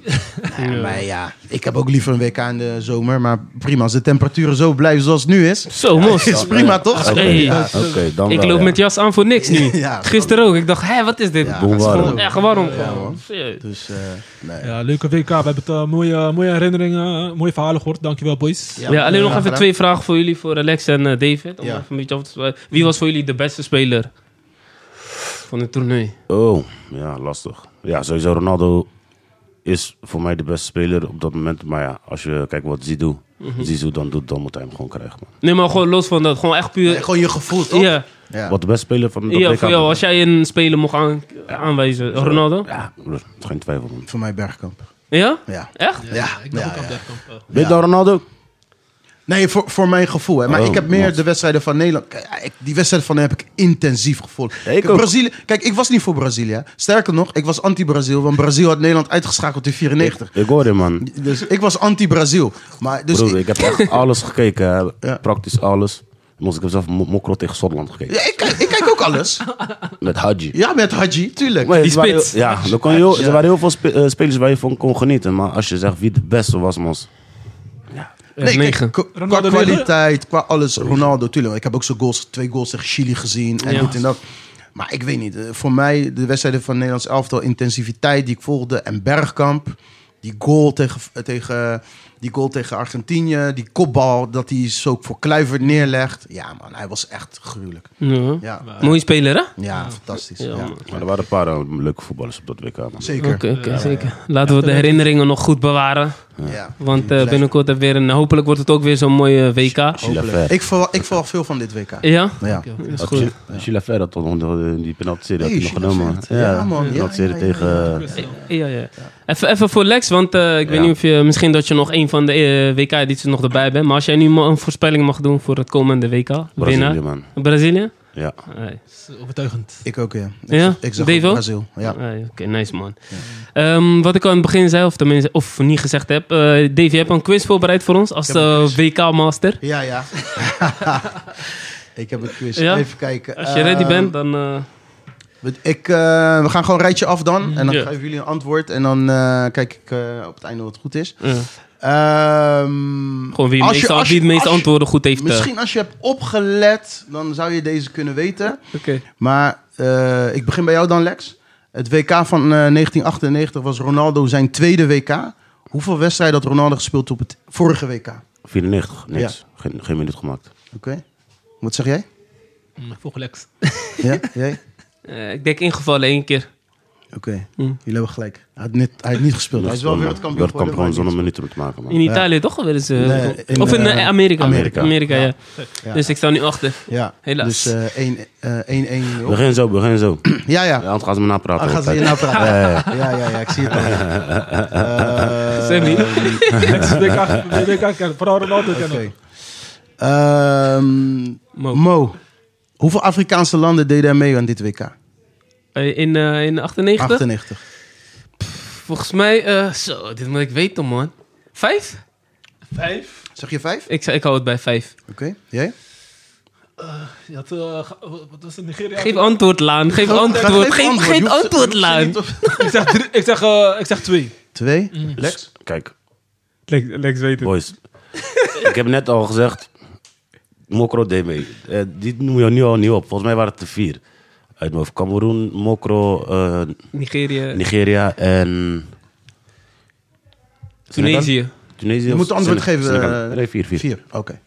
Speaker 2: Ja, maar ja, ik heb ook liever een WK in de zomer. Maar prima, als de temperaturen zo blijven zoals het nu is.
Speaker 3: Zo, mos.
Speaker 2: Is prima toch?
Speaker 1: Oké,
Speaker 3: Hey.
Speaker 1: ja, oké, dan
Speaker 3: Ik
Speaker 1: wel,
Speaker 3: loop
Speaker 1: ja.
Speaker 3: met jas aan voor niks nu.
Speaker 2: Ja.
Speaker 3: Gisteren ook. Ik dacht, hé, wat is dit?
Speaker 2: Ja,
Speaker 3: Het is
Speaker 1: warm.
Speaker 3: gewoon echt warm. gewoon.
Speaker 2: Dus, eh, nee.
Speaker 4: Ja, leuke WK. We hebben het, eh, mooie, mooie herinneringen, eh, mooie verhalen gehoord. Dankjewel, boys.
Speaker 3: Ja, alleen nog
Speaker 2: graag
Speaker 3: even
Speaker 2: gedaan.
Speaker 3: twee vragen voor jullie, voor Alex en eh, David. Om
Speaker 2: Ja.
Speaker 3: even een beetje af te sp- Wie was voor jullie de beste speler van het toernooi?
Speaker 1: Oh, ja, lastig. Ja, sowieso Ronaldo is voor mij de beste speler op dat moment. Maar ja, als je kijkt wat Zidou,
Speaker 2: Mhm.
Speaker 1: Zidou dan doet, dan moet hij hem gewoon krijgen, man.
Speaker 3: Nee, maar gewoon los van dat. Gewoon echt
Speaker 2: Nee,
Speaker 3: puur...
Speaker 2: gewoon je gevoel toch?
Speaker 3: Ja,
Speaker 2: Ja.
Speaker 1: Wat de beste speler van dat
Speaker 3: ja
Speaker 1: WK
Speaker 3: voor jou. Als
Speaker 1: betreft.
Speaker 3: jij een speler mocht aan, aanwijzen.
Speaker 1: Zo,
Speaker 3: Ronaldo?
Speaker 1: Ja, broer, geen twijfel, man.
Speaker 2: Voor mij Bergkamp.
Speaker 3: Ja?
Speaker 2: Ja.
Speaker 3: Echt?
Speaker 2: Ja,
Speaker 4: ik dacht
Speaker 2: ja,
Speaker 4: ook
Speaker 2: ja.
Speaker 4: aan Bergkamp. eh.
Speaker 1: Weet je dan Ronaldo?
Speaker 2: Nee, voor, voor mijn gevoel. Hè. Maar
Speaker 1: Oh,
Speaker 2: ik heb meer
Speaker 1: wat.
Speaker 2: de wedstrijden van Nederland. Kijk, ik- die wedstrijden van heb ik intensief gevolgd.
Speaker 1: ik ook.
Speaker 2: Brazilië, kijk, ik was niet voor Brazilië. hè. Sterker nog, ik was anti-Brazil. Want Brazil had Nederland uitgeschakeld in 94.
Speaker 1: Ik hoor hem, man.
Speaker 2: Dus ik was anti-Brazil. Maar dus
Speaker 1: Broer,
Speaker 2: ik-
Speaker 1: ik heb echt alles gekeken, hè.
Speaker 2: Ja.
Speaker 1: praktisch alles. Moest ik heb zelf Mo- Mokro tegen Schotland gekeken.
Speaker 2: Ja, ik, kijk- ik kijk ook alles.
Speaker 1: Met Hadji.
Speaker 2: Ja, met Haji, tuurlijk.
Speaker 1: Maar
Speaker 3: Die
Speaker 1: er waren
Speaker 3: spits.
Speaker 1: heel- ja, er, kon heel, er waren heel veel spe- eh, spelers waar je van kon genieten. Maar als je zegt wie de beste was, mos.
Speaker 2: Nee, kijk,
Speaker 3: negen.
Speaker 2: qua- qua
Speaker 4: Ronaldo negen?
Speaker 2: kwaliteit, qua alles. Ronaldo, tuurlijk. Ik heb ook zo goals, twee goals tegen Chili gezien en
Speaker 3: Ja.
Speaker 2: dit en dat. Maar ik weet niet. eh, Voor mij, de wedstrijden van Nederlands elftal, intensiviteit die ik volgde en Bergkamp. Die goal tegen, eh, tegen, die goal tegen Argentinië, die kopbal, dat hij zo ook voor Kluivert neerlegt. Ja man, hij was echt gruwelijk.
Speaker 3: Ja.
Speaker 2: Ja, ja,
Speaker 3: Mooie speler, hè?
Speaker 2: fantastisch.
Speaker 3: Ja,
Speaker 2: Ja.
Speaker 3: man.
Speaker 1: Maar er waren een paar eh, leuke voetballers op dat WK. man.
Speaker 2: Zeker.
Speaker 3: Oké, oké, zeker. Laten we de herinneringen nog goed bewaren.
Speaker 2: Ja.
Speaker 3: Want eh, binnenkort hebben we weer een... Hopelijk wordt het ook weer zo'n mooie WK.
Speaker 1: Gilaffer.
Speaker 2: Ik verwacht ik verwacht veel van dit WK.
Speaker 3: Ja?
Speaker 2: Ja.
Speaker 3: Dat is
Speaker 1: Had
Speaker 3: goed.
Speaker 1: Gil- Gilaffer had toch nog, eh, die penalty-serie had
Speaker 2: Hey,
Speaker 1: hij nog
Speaker 2: Gilles
Speaker 1: genomen.
Speaker 2: Vert. Ja, man. Ja,
Speaker 1: penalty-serie
Speaker 2: ja, ja,
Speaker 1: tegen... eh,
Speaker 3: Ja, ja. Even, even voor Lex, want eh, ik weet
Speaker 1: Ja.
Speaker 3: niet of je... Misschien dat je nog een van de eh, WK-edities nog erbij bent. Maar als jij nu ma- een voorspelling mag doen voor het komende WK.
Speaker 1: Brazilië,
Speaker 3: winnaar.
Speaker 1: man.
Speaker 3: Brazilië?
Speaker 1: Ja.
Speaker 3: Hey.
Speaker 4: Overtuigend.
Speaker 2: Ik ook, ja. Ik,
Speaker 3: Ja?
Speaker 2: ik zag ook
Speaker 3: Dave ook?
Speaker 2: Brazil. Ja.
Speaker 3: Hey, Ah, Oké, nice man. Ehm, wat ik al in het begin zei, of tenminste of niet gezegd heb. eh Dave, je hebt een quiz voorbereid voor ons als
Speaker 2: heb een
Speaker 3: eh, WK-master.
Speaker 2: Ja, ja. ik heb een quiz.
Speaker 3: Ja?
Speaker 2: Even kijken.
Speaker 3: Als je ready
Speaker 2: Eh,
Speaker 3: bent, dan... eh,
Speaker 2: we- Ik, eh, we gaan gewoon een rijtje af dan. En dan
Speaker 3: Ja.
Speaker 2: geven jullie een antwoord. En dan eh, kijk ik eh, op het einde wat het goed is.
Speaker 3: ja.
Speaker 2: Ehm,
Speaker 3: Gewoon wie,
Speaker 2: als je-
Speaker 3: het meeste,
Speaker 2: als
Speaker 3: wie
Speaker 2: je-
Speaker 3: het meeste
Speaker 2: als je-
Speaker 3: antwoorden goed heeft. eh.
Speaker 2: Misschien als je hebt opgelet, dan zou je deze kunnen weten.
Speaker 3: Oké.
Speaker 2: Maar eh, ik begin bij jou dan, Lex. Het WK van eh, 1998 was Ronaldo zijn tweede WK. Hoeveel wedstrijden had Ronaldo gespeeld op het vorige WK? Oké.
Speaker 1: 94, niks. Geen, geen minuut gemaakt.
Speaker 2: Wat zeg jij?
Speaker 4: Mm, Volg Lex.
Speaker 2: Ja, jij?
Speaker 3: Eh, ik denk ingevallen één keer.
Speaker 2: Oké,
Speaker 3: Hm.
Speaker 2: jullie hebben gelijk. Hij had, net, hij had niet gespeeld. Hij is wel wereldkampioen
Speaker 1: Wereldkampioen
Speaker 2: geworden. maar
Speaker 1: zonder
Speaker 2: niet.
Speaker 1: minuten te maken, man.
Speaker 3: In Italië toch wel eens. eh,
Speaker 2: Nee, in,
Speaker 3: of in
Speaker 2: eh,
Speaker 3: eh, Amerika.
Speaker 1: Amerika.
Speaker 3: ja.
Speaker 2: Ja.
Speaker 3: Dus ik sta nu achter.
Speaker 2: Ja,
Speaker 3: Helaas.
Speaker 2: dus eh, één- eh, 1-1. joh.
Speaker 1: Begin zo, begin zo.
Speaker 2: ja, ja.
Speaker 1: Ja, anders gaan ze me napraten.
Speaker 2: Dan gaat ze
Speaker 1: altijd.
Speaker 2: je nou praten. Ja, ja, ja, ik zie het al. Eh,
Speaker 3: Sammy.
Speaker 4: Lex, WK, WK kennen. Vooral Ronaldo
Speaker 2: Oké.
Speaker 4: kennen.
Speaker 2: Ehm,
Speaker 3: Mo.
Speaker 2: Mo, hoeveel Afrikaanse landen deden er mee aan dit WK?
Speaker 3: Eh, in, eh, in 98?
Speaker 2: 98.
Speaker 3: Volgens mij, eh, zo, dit moet ik weten man. Vijf?
Speaker 4: Vijf.
Speaker 2: Zeg je vijf?
Speaker 3: Ik, zei- ik hou het bij vijf.
Speaker 2: Oké, jij?
Speaker 4: Je had, eh, ge- wat was het, Nigeria?
Speaker 3: Geef antwoord, Laan. Geef antwoord. Geef,
Speaker 2: antwoord. Je
Speaker 3: geef
Speaker 2: hoeft ze-
Speaker 3: antwoord,
Speaker 2: je hoeft ze
Speaker 3: Laan.
Speaker 2: niet op-
Speaker 4: ik, zeg drie- ik, zeg, eh, ik zeg twee.
Speaker 2: Twee?
Speaker 3: Mm.
Speaker 1: Lex? Dus Kijk,
Speaker 3: Lex, weet
Speaker 1: boys. ik heb net al gezegd... Mokro deed mee. Eh, die noem je nu al niet op. Volgens mij waren het er vier. Uit mijn hoofd. Cameroen, Mokro, eh,
Speaker 3: Nigeria.
Speaker 1: Nigeria en...
Speaker 3: Tunesië.
Speaker 1: Tunesië.
Speaker 2: Je
Speaker 1: of
Speaker 2: moet het antwoord
Speaker 1: Senegal?
Speaker 2: geven.
Speaker 1: Senegal.
Speaker 2: eh,
Speaker 1: nee, vier, vier.
Speaker 2: Vier, oké.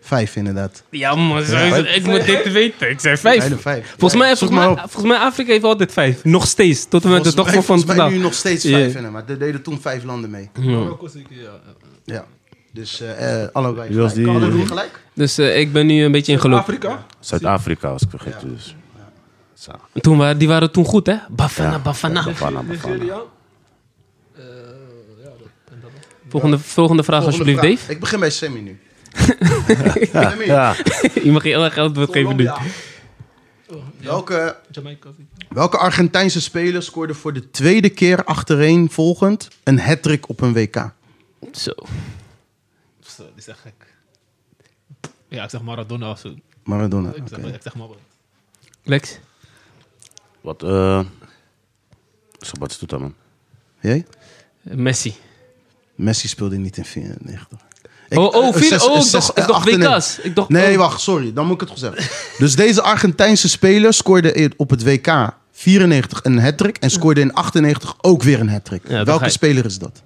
Speaker 2: Vijf inderdaad.
Speaker 3: Ja, man. zo- Ik moet dit weten. Ik zei vijf.
Speaker 2: Bijna vijf.
Speaker 3: Volgens mij,
Speaker 2: Ja, zoek
Speaker 3: volgens, mij,
Speaker 2: maar op.
Speaker 3: volgens mij Afrika heeft altijd vijf. Nog steeds. Tot en met de
Speaker 2: Volgens
Speaker 3: dag
Speaker 2: mij-
Speaker 3: van
Speaker 2: volgens mij
Speaker 3: vandaag.
Speaker 2: nu nog steeds vijf
Speaker 3: Ja.
Speaker 2: in, maar er deden toen vijf landen mee.
Speaker 4: Marokko zeker, Oh. ja.
Speaker 2: Ja. Dus eh, eh, allebei
Speaker 1: Wie was
Speaker 2: gelijk.
Speaker 1: die-
Speaker 2: Allebei gelijk?
Speaker 3: Dus eh, ik ben nu een beetje in geloof.
Speaker 4: Afrika.
Speaker 1: Zuid-Afrika was ik vergeten. Dus. Zo.
Speaker 3: Toen waren, die waren toen goed, hè? Bafana, Bafana.
Speaker 1: Bafana, Bafana.
Speaker 4: Nigeria.
Speaker 3: Volgende, volgende vraag,
Speaker 2: Volgende
Speaker 3: alsjeblieft,
Speaker 2: vraag.
Speaker 3: Dave.
Speaker 2: Ik begin bij Sammy nu. Sammy,
Speaker 1: Ja,
Speaker 3: Je mag je erg antwoord geven nu.
Speaker 2: welke,
Speaker 4: Jamaica. zeker.
Speaker 2: welke Argentijnse speler scoorde voor de tweede keer achtereen volgend een hat op een WK?
Speaker 3: Zo.
Speaker 4: Zo, die is echt gek. Ja, ik zeg Maradona of zo. Ik
Speaker 2: Maradona.
Speaker 4: zeg,
Speaker 2: oké.
Speaker 4: ik zeg Maradona.
Speaker 3: Lex?
Speaker 1: wat eh... Sabat doet dat man.
Speaker 2: Jij?
Speaker 3: Messi.
Speaker 2: Messi speelde niet in 94. Ik-
Speaker 3: Oh, oh,
Speaker 2: eh,
Speaker 3: vier,
Speaker 2: zes-
Speaker 3: oh ik
Speaker 2: zes-
Speaker 3: dacht, ik
Speaker 2: eh,
Speaker 3: dacht
Speaker 2: 98.
Speaker 3: WK's. Ik dacht,
Speaker 2: Nee,
Speaker 3: oh.
Speaker 2: wacht, sorry. Dan moet ik het goed zeggen. Dus deze Argentijnse speler scoorde in- op het WK 94 een hat en scoorde in 98 ook weer een hat
Speaker 3: dat ga
Speaker 2: Welke
Speaker 3: ik.
Speaker 2: speler is dat?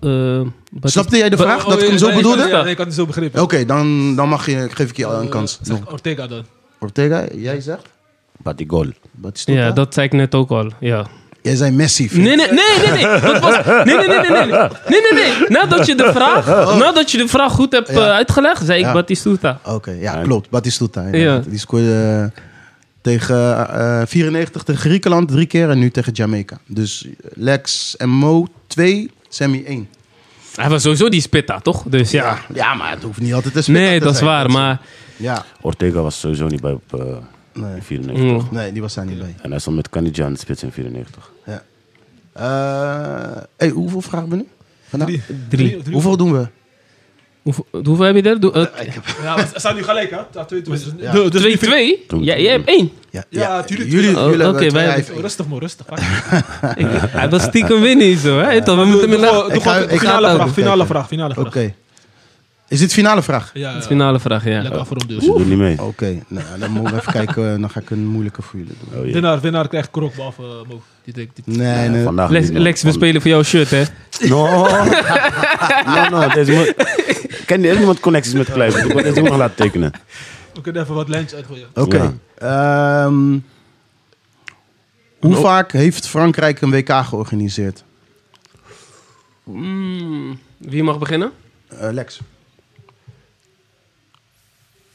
Speaker 3: Eh, Batist-
Speaker 2: Snapte jij de
Speaker 3: Ba-
Speaker 2: vraag? dat ik hem
Speaker 4: oh, ja,
Speaker 2: zo
Speaker 4: nee,
Speaker 2: bedoelde?
Speaker 4: kan- Ja, nee, ik had het zo begrepen.
Speaker 2: Oké, dan, dan mag je, geef ik je al een
Speaker 4: Eh,
Speaker 2: kans.
Speaker 4: Zeg
Speaker 2: Nog.
Speaker 4: Ortega dan.
Speaker 2: Ortega, jij zegt?
Speaker 1: Batigol.
Speaker 2: Batistuta?
Speaker 3: Ja, dat zei ik net ook al. Ja.
Speaker 2: Jij zei Messi. vriend.
Speaker 3: Nee, nee, nee, nee, nee. Dat was, nee, nee, nee, nee, nee, nee, nee, nee. Nadat je de vraag, nadat je de vraag goed hebt eh, uitgelegd, zei ik
Speaker 2: Ja.
Speaker 3: Batistuta.
Speaker 2: Oké, ja, klopt. Batistuta. inderdaad.
Speaker 3: Ja.
Speaker 2: Die scoorde eh, tegen eh, eh, 94 tegen Griekenland drie keer en nu tegen Jamaica. Dus Lex en Mo 2, Sammy 1.
Speaker 3: Hij was sowieso die spitta, toch? Dus ja.
Speaker 2: ja, maar het hoeft niet altijd te spelen.
Speaker 3: Nee, dat is waar, maar
Speaker 2: Ja,
Speaker 1: Ortega was sowieso niet bij op eh,
Speaker 2: nee.
Speaker 1: 94.
Speaker 3: mm,
Speaker 2: nee, die was daar niet bij.
Speaker 1: En hij stond met Kanidja in de spits in 94.
Speaker 2: Ja. Eh, hey, hoeveel vragen we nu? Vandaag?
Speaker 4: Drie.
Speaker 3: drie.
Speaker 4: Drie.
Speaker 2: Hoeveel doen we?
Speaker 3: Hoeveel, hoeveel heb je er? Doe- eh,
Speaker 2: Ik heb-
Speaker 4: Ja, maar ze staan nu gelijk, hè? Ja, twee, twee.
Speaker 2: Ja.
Speaker 4: De- dus
Speaker 3: twee,
Speaker 4: die-
Speaker 3: twee?
Speaker 1: Toen-
Speaker 3: Ja, jij hebt één.
Speaker 2: ja,
Speaker 4: Ja,
Speaker 2: ja,
Speaker 4: tuurlijk,
Speaker 2: jullie,
Speaker 4: tuurlijk.
Speaker 3: Oh,
Speaker 2: jullie
Speaker 3: oké,
Speaker 2: hebben
Speaker 3: wij-
Speaker 2: wij,
Speaker 4: Oh, Rustig, man, rustig. Doe-
Speaker 3: Ik- Hij wil stiekem winnen hier zo, hè? Toch, we moeten
Speaker 4: doe
Speaker 3: hem
Speaker 4: gewoon-
Speaker 3: lachen.
Speaker 4: Oh, doe
Speaker 2: ga- ik
Speaker 4: gewoon
Speaker 2: ga
Speaker 4: Finale
Speaker 3: het
Speaker 4: vraag,
Speaker 2: ook
Speaker 4: finale
Speaker 2: kijken.
Speaker 4: vraag, finale
Speaker 2: Oké.
Speaker 4: vraag.
Speaker 2: Is dit finale vraag?
Speaker 4: Ja, ja.
Speaker 3: Finale vraag, ja.
Speaker 4: Lekker afronden.
Speaker 1: Dus je
Speaker 4: dus.
Speaker 1: doet niet mee.
Speaker 2: Oké, nou, dan moeten we even kijken. eh, Dan ga ik een moeilijke voor jullie doen.
Speaker 1: Oh, jee.
Speaker 4: Winnaar, winnaar krijgt krok, behalve eh, Mo. Die denkt, die-
Speaker 2: Nee,
Speaker 1: Ja,
Speaker 2: nee.
Speaker 1: vandaag
Speaker 3: Lex,
Speaker 1: niet, man.
Speaker 3: Lex, we
Speaker 1: Van-
Speaker 3: spelen voor jouw shirt, hè?
Speaker 1: No. no, no. Deze moet... Ken je iemand connecties met Kluivert? Ik word deze jongen laten tekenen.
Speaker 4: We kunnen even wat lijntjes uitgooien.
Speaker 2: Oké. ehm, hoe vaak heeft Frankrijk een WK georganiseerd?
Speaker 3: Mm, wie mag beginnen?
Speaker 2: Eh, Lex.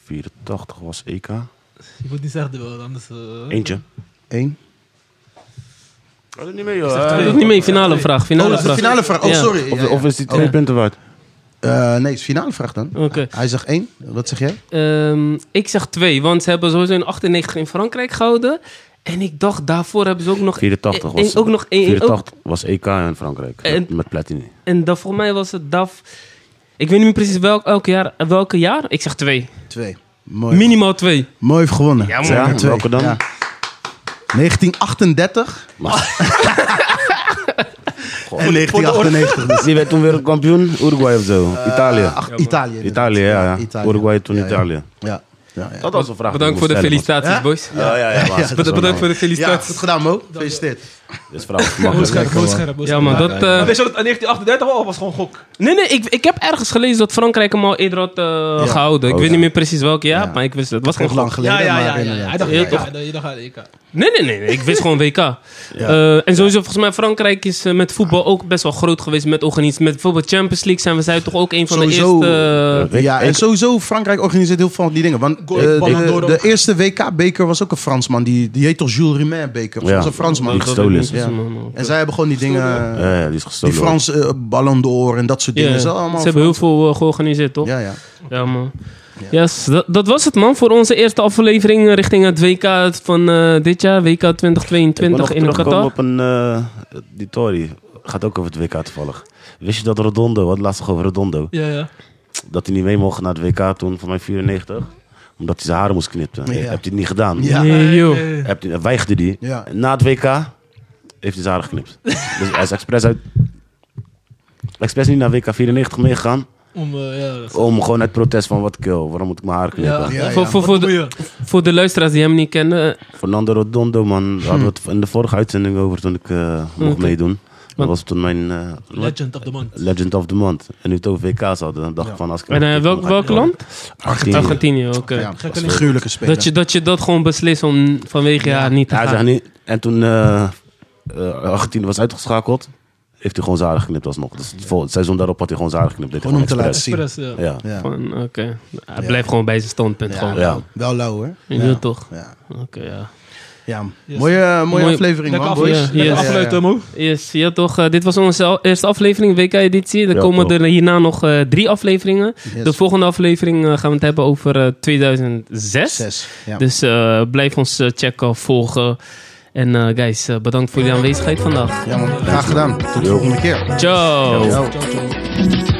Speaker 1: 84 was EK.
Speaker 4: Je moet niet zeggen, wel, anders... eh,
Speaker 1: Eentje.
Speaker 2: Eén.
Speaker 1: Dat doet niet mee,
Speaker 3: Hij
Speaker 1: joh.
Speaker 3: doet niet mee, finale vraag.
Speaker 2: Oh,
Speaker 3: Finale
Speaker 2: dat is de
Speaker 3: Nou, vraag.
Speaker 2: finale vraag. Oh,
Speaker 3: Ja.
Speaker 2: sorry. Ja,
Speaker 1: Of,
Speaker 2: ja.
Speaker 1: of is die twee
Speaker 3: Ja.
Speaker 1: punten waard?
Speaker 2: Eh, nee, het is finale vraag dan.
Speaker 3: Oké.
Speaker 2: Hij zegt één. Wat zeg jij?
Speaker 3: Ehm, ik zeg twee, want ze hebben sowieso in 98 in Frankrijk gehouden. En ik dacht, daarvoor hebben ze ook nog...
Speaker 1: 84
Speaker 3: één-
Speaker 1: was,
Speaker 3: ook nog één- één- ook-
Speaker 1: 84 was EK in Frankrijk.
Speaker 3: En-
Speaker 1: met Platini.
Speaker 3: En dat, voor mij was het DAF... Ik weet niet meer precies welk, elk jaar, welke jaar. Ik zeg twee.
Speaker 2: Twee. Mooi.
Speaker 3: Minimaal twee.
Speaker 2: Mooi heeft gewonnen.
Speaker 3: Ja, man.
Speaker 2: Zijn er
Speaker 1: Ja,
Speaker 2: twee.
Speaker 1: welke dan?
Speaker 2: Ja. 1938 en 1998. dus.
Speaker 1: Die werd toen wereldkampioen. Uruguay of zo. Italië.
Speaker 2: Eh, ach, Italië.
Speaker 1: Italië, ja. ja.
Speaker 2: Italië.
Speaker 1: Uruguay toen
Speaker 2: Ja, ja.
Speaker 1: Italië.
Speaker 2: Ja. Ja, ja.
Speaker 1: Dat was een vraag. die
Speaker 3: Bedankt
Speaker 1: ik
Speaker 3: voor de
Speaker 1: moest stellen,
Speaker 3: felicitaties,
Speaker 2: Ja?
Speaker 3: boys.
Speaker 1: man. Ja, ja, ja. maar-
Speaker 2: Ja,
Speaker 1: dat is wel
Speaker 3: Bedankt voor de
Speaker 2: ja, goed
Speaker 3: felicitaties.
Speaker 2: gedaan, Mo. Gefeliciteerd.
Speaker 1: nou- Dit is vraag.
Speaker 4: Mo
Speaker 1: gemakkelijk.
Speaker 4: scherp, Mo scherp, Mo
Speaker 3: Ja, man,
Speaker 4: scherp.
Speaker 3: dat...
Speaker 4: Maar
Speaker 3: eh,
Speaker 4: Weet je dat het 1938 al was gewoon gok?
Speaker 3: Nee, nee, ik, ik heb ergens gelezen dat Frankrijk hem al eerder had eh, gehouden. Ik
Speaker 1: Oh,
Speaker 3: weet
Speaker 1: ja.
Speaker 3: niet meer precies welk jaar,
Speaker 2: Ja.
Speaker 3: maar ik wist het. Het was
Speaker 2: Nog
Speaker 3: gewoon
Speaker 2: lang
Speaker 3: lang.
Speaker 2: geleden, maar inderdaad.
Speaker 4: Hij dacht,
Speaker 3: Ja,
Speaker 4: EK,
Speaker 3: toch?
Speaker 4: hij dacht, hij dacht, EK.
Speaker 3: Nee, nee, nee, nee, ik wist gewoon WK. Eh, en sowieso, volgens mij, Frankrijk is eh, met voetbal ook best wel groot geweest met organisatie. Met bijvoorbeeld Champions League zijn we zij toch ook een van
Speaker 2: Sowieso,
Speaker 3: de eerste... eh,
Speaker 2: ja, en
Speaker 1: ik-
Speaker 2: sowieso, Frankrijk organiseert heel veel van die dingen. Want eh,
Speaker 4: Goal, bal aan
Speaker 2: de,
Speaker 4: door
Speaker 2: de
Speaker 4: ook.
Speaker 2: eerste WK-beker was ook een Fransman. Die, die heet toch Jules Rimet-beker? Dat
Speaker 1: Ja.
Speaker 2: was een Fransman.
Speaker 1: Die gestolen is.
Speaker 2: Ja. En zij hebben gewoon die dingen... eh,
Speaker 1: Ja, ja, die is
Speaker 2: die
Speaker 1: gestolen.
Speaker 2: Franse eh, Ballon d'Or en dat soort
Speaker 3: Ja,
Speaker 2: dingen. Is
Speaker 3: Ze
Speaker 2: dat allemaal
Speaker 3: hebben heel veel eh, georganiseerd, toch?
Speaker 2: Ja, ja.
Speaker 3: Ja, man. Yes, dat, dat was het, man. Voor onze eerste aflevering eh, richting het WK van eh, dit jaar. WK
Speaker 1: Ik wil nog
Speaker 3: 2022 in
Speaker 1: terugkomen
Speaker 3: Qatar.
Speaker 1: op een... eh, die Tory. Gaat ook over het WK toevallig. Wist je dat Redondo, wat laatst nog over Redondo,
Speaker 4: Ja, ja.
Speaker 1: dat hij niet mee mocht naar het WK toen van mijn 94? Omdat hij zijn haren moest knippen.
Speaker 2: Ja.
Speaker 1: Heb hij het niet gedaan?
Speaker 2: Ja.
Speaker 3: Nee, joh.
Speaker 1: Heb die- weigde die.
Speaker 2: Ja.
Speaker 1: Na het WK heeft hij zijn haren geknipt. dus hij is expres uit... Expres niet naar WK 94 meegegaan.
Speaker 4: Om, eh, ja, dat-
Speaker 1: Om gewoon uit protest van wat kill. Waarom moet ik mijn haar knippen?
Speaker 2: Ja,
Speaker 3: Voor,
Speaker 2: ja.
Speaker 3: voor, voor,
Speaker 4: Wat
Speaker 3: de,
Speaker 4: moet je?
Speaker 3: voor de luisteraars die hem niet kennen, eh,
Speaker 1: Fernando Rodondo, man. Daar hadden we het in de vorige uitzending over toen ik eh, mocht
Speaker 3: Oké.
Speaker 1: meedoen. Dat
Speaker 3: Want-
Speaker 1: was toen mijn eh, wat?
Speaker 4: Legend of the month.
Speaker 1: Legend of the Month. En nu het over WK's hadden. Dan dacht ik van als ik...
Speaker 3: En eh, welk,
Speaker 1: ga ik
Speaker 3: welk
Speaker 1: gewoon-
Speaker 3: land?
Speaker 1: Argentinië.
Speaker 3: Argentinië, oké.
Speaker 2: Ja,
Speaker 4: Gekke
Speaker 2: dat is een
Speaker 4: link.
Speaker 2: gruwelijke speler.
Speaker 3: Dat je, dat je dat gewoon beslist om vanwege haar niet te
Speaker 1: Ja, hij
Speaker 3: gaan.
Speaker 1: zegt niet. En toen eh, eh, Argentinië was uitgeschakeld, heeft hij gewoon zijn haren geknipt alsnog. Dus het vol- het seizoen daarop had hij gewoon zijn haren geknipt. Deed hij
Speaker 2: Gewoon om te
Speaker 1: gewoon
Speaker 2: laten
Speaker 1: expres.
Speaker 2: zien.
Speaker 4: Express, ja.
Speaker 1: Ja.
Speaker 2: Ja.
Speaker 3: Van, Oké, hij blijft gewoon bij zijn standpunt.
Speaker 2: Ja.
Speaker 3: Gewoon.
Speaker 1: Ja.
Speaker 2: Wel lauw, hoor.
Speaker 3: Je doet toch?
Speaker 2: Ja.
Speaker 3: Oké, ja.
Speaker 2: Ja.
Speaker 4: Yes.
Speaker 2: Mooie, mooie,
Speaker 3: Mooi-
Speaker 2: aflevering, man,
Speaker 4: Lekker afleid-
Speaker 2: boys.
Speaker 3: boys.
Speaker 4: lekker
Speaker 3: Ja, ja, ja.
Speaker 4: afluiten, Mo.
Speaker 3: Yes, ja toch. eh, dit was onze al- eerste aflevering, WK-editie. Er
Speaker 1: Ja,
Speaker 3: komen
Speaker 1: klopt.
Speaker 3: er hierna nog eh, drie afleveringen.
Speaker 2: Yes.
Speaker 3: De volgende aflevering eh, gaan we het hebben over eh, 2006.
Speaker 2: Zes. Ja.
Speaker 3: Dus eh, blijf ons eh, checken, volgen. En eh, guys, eh, bedankt voor jullie aanwezigheid vandaag.
Speaker 2: ja, man. Graag gedaan. Tot de volgende keer.
Speaker 3: Ciao.
Speaker 2: Ciao.
Speaker 4: Ciao, ciao.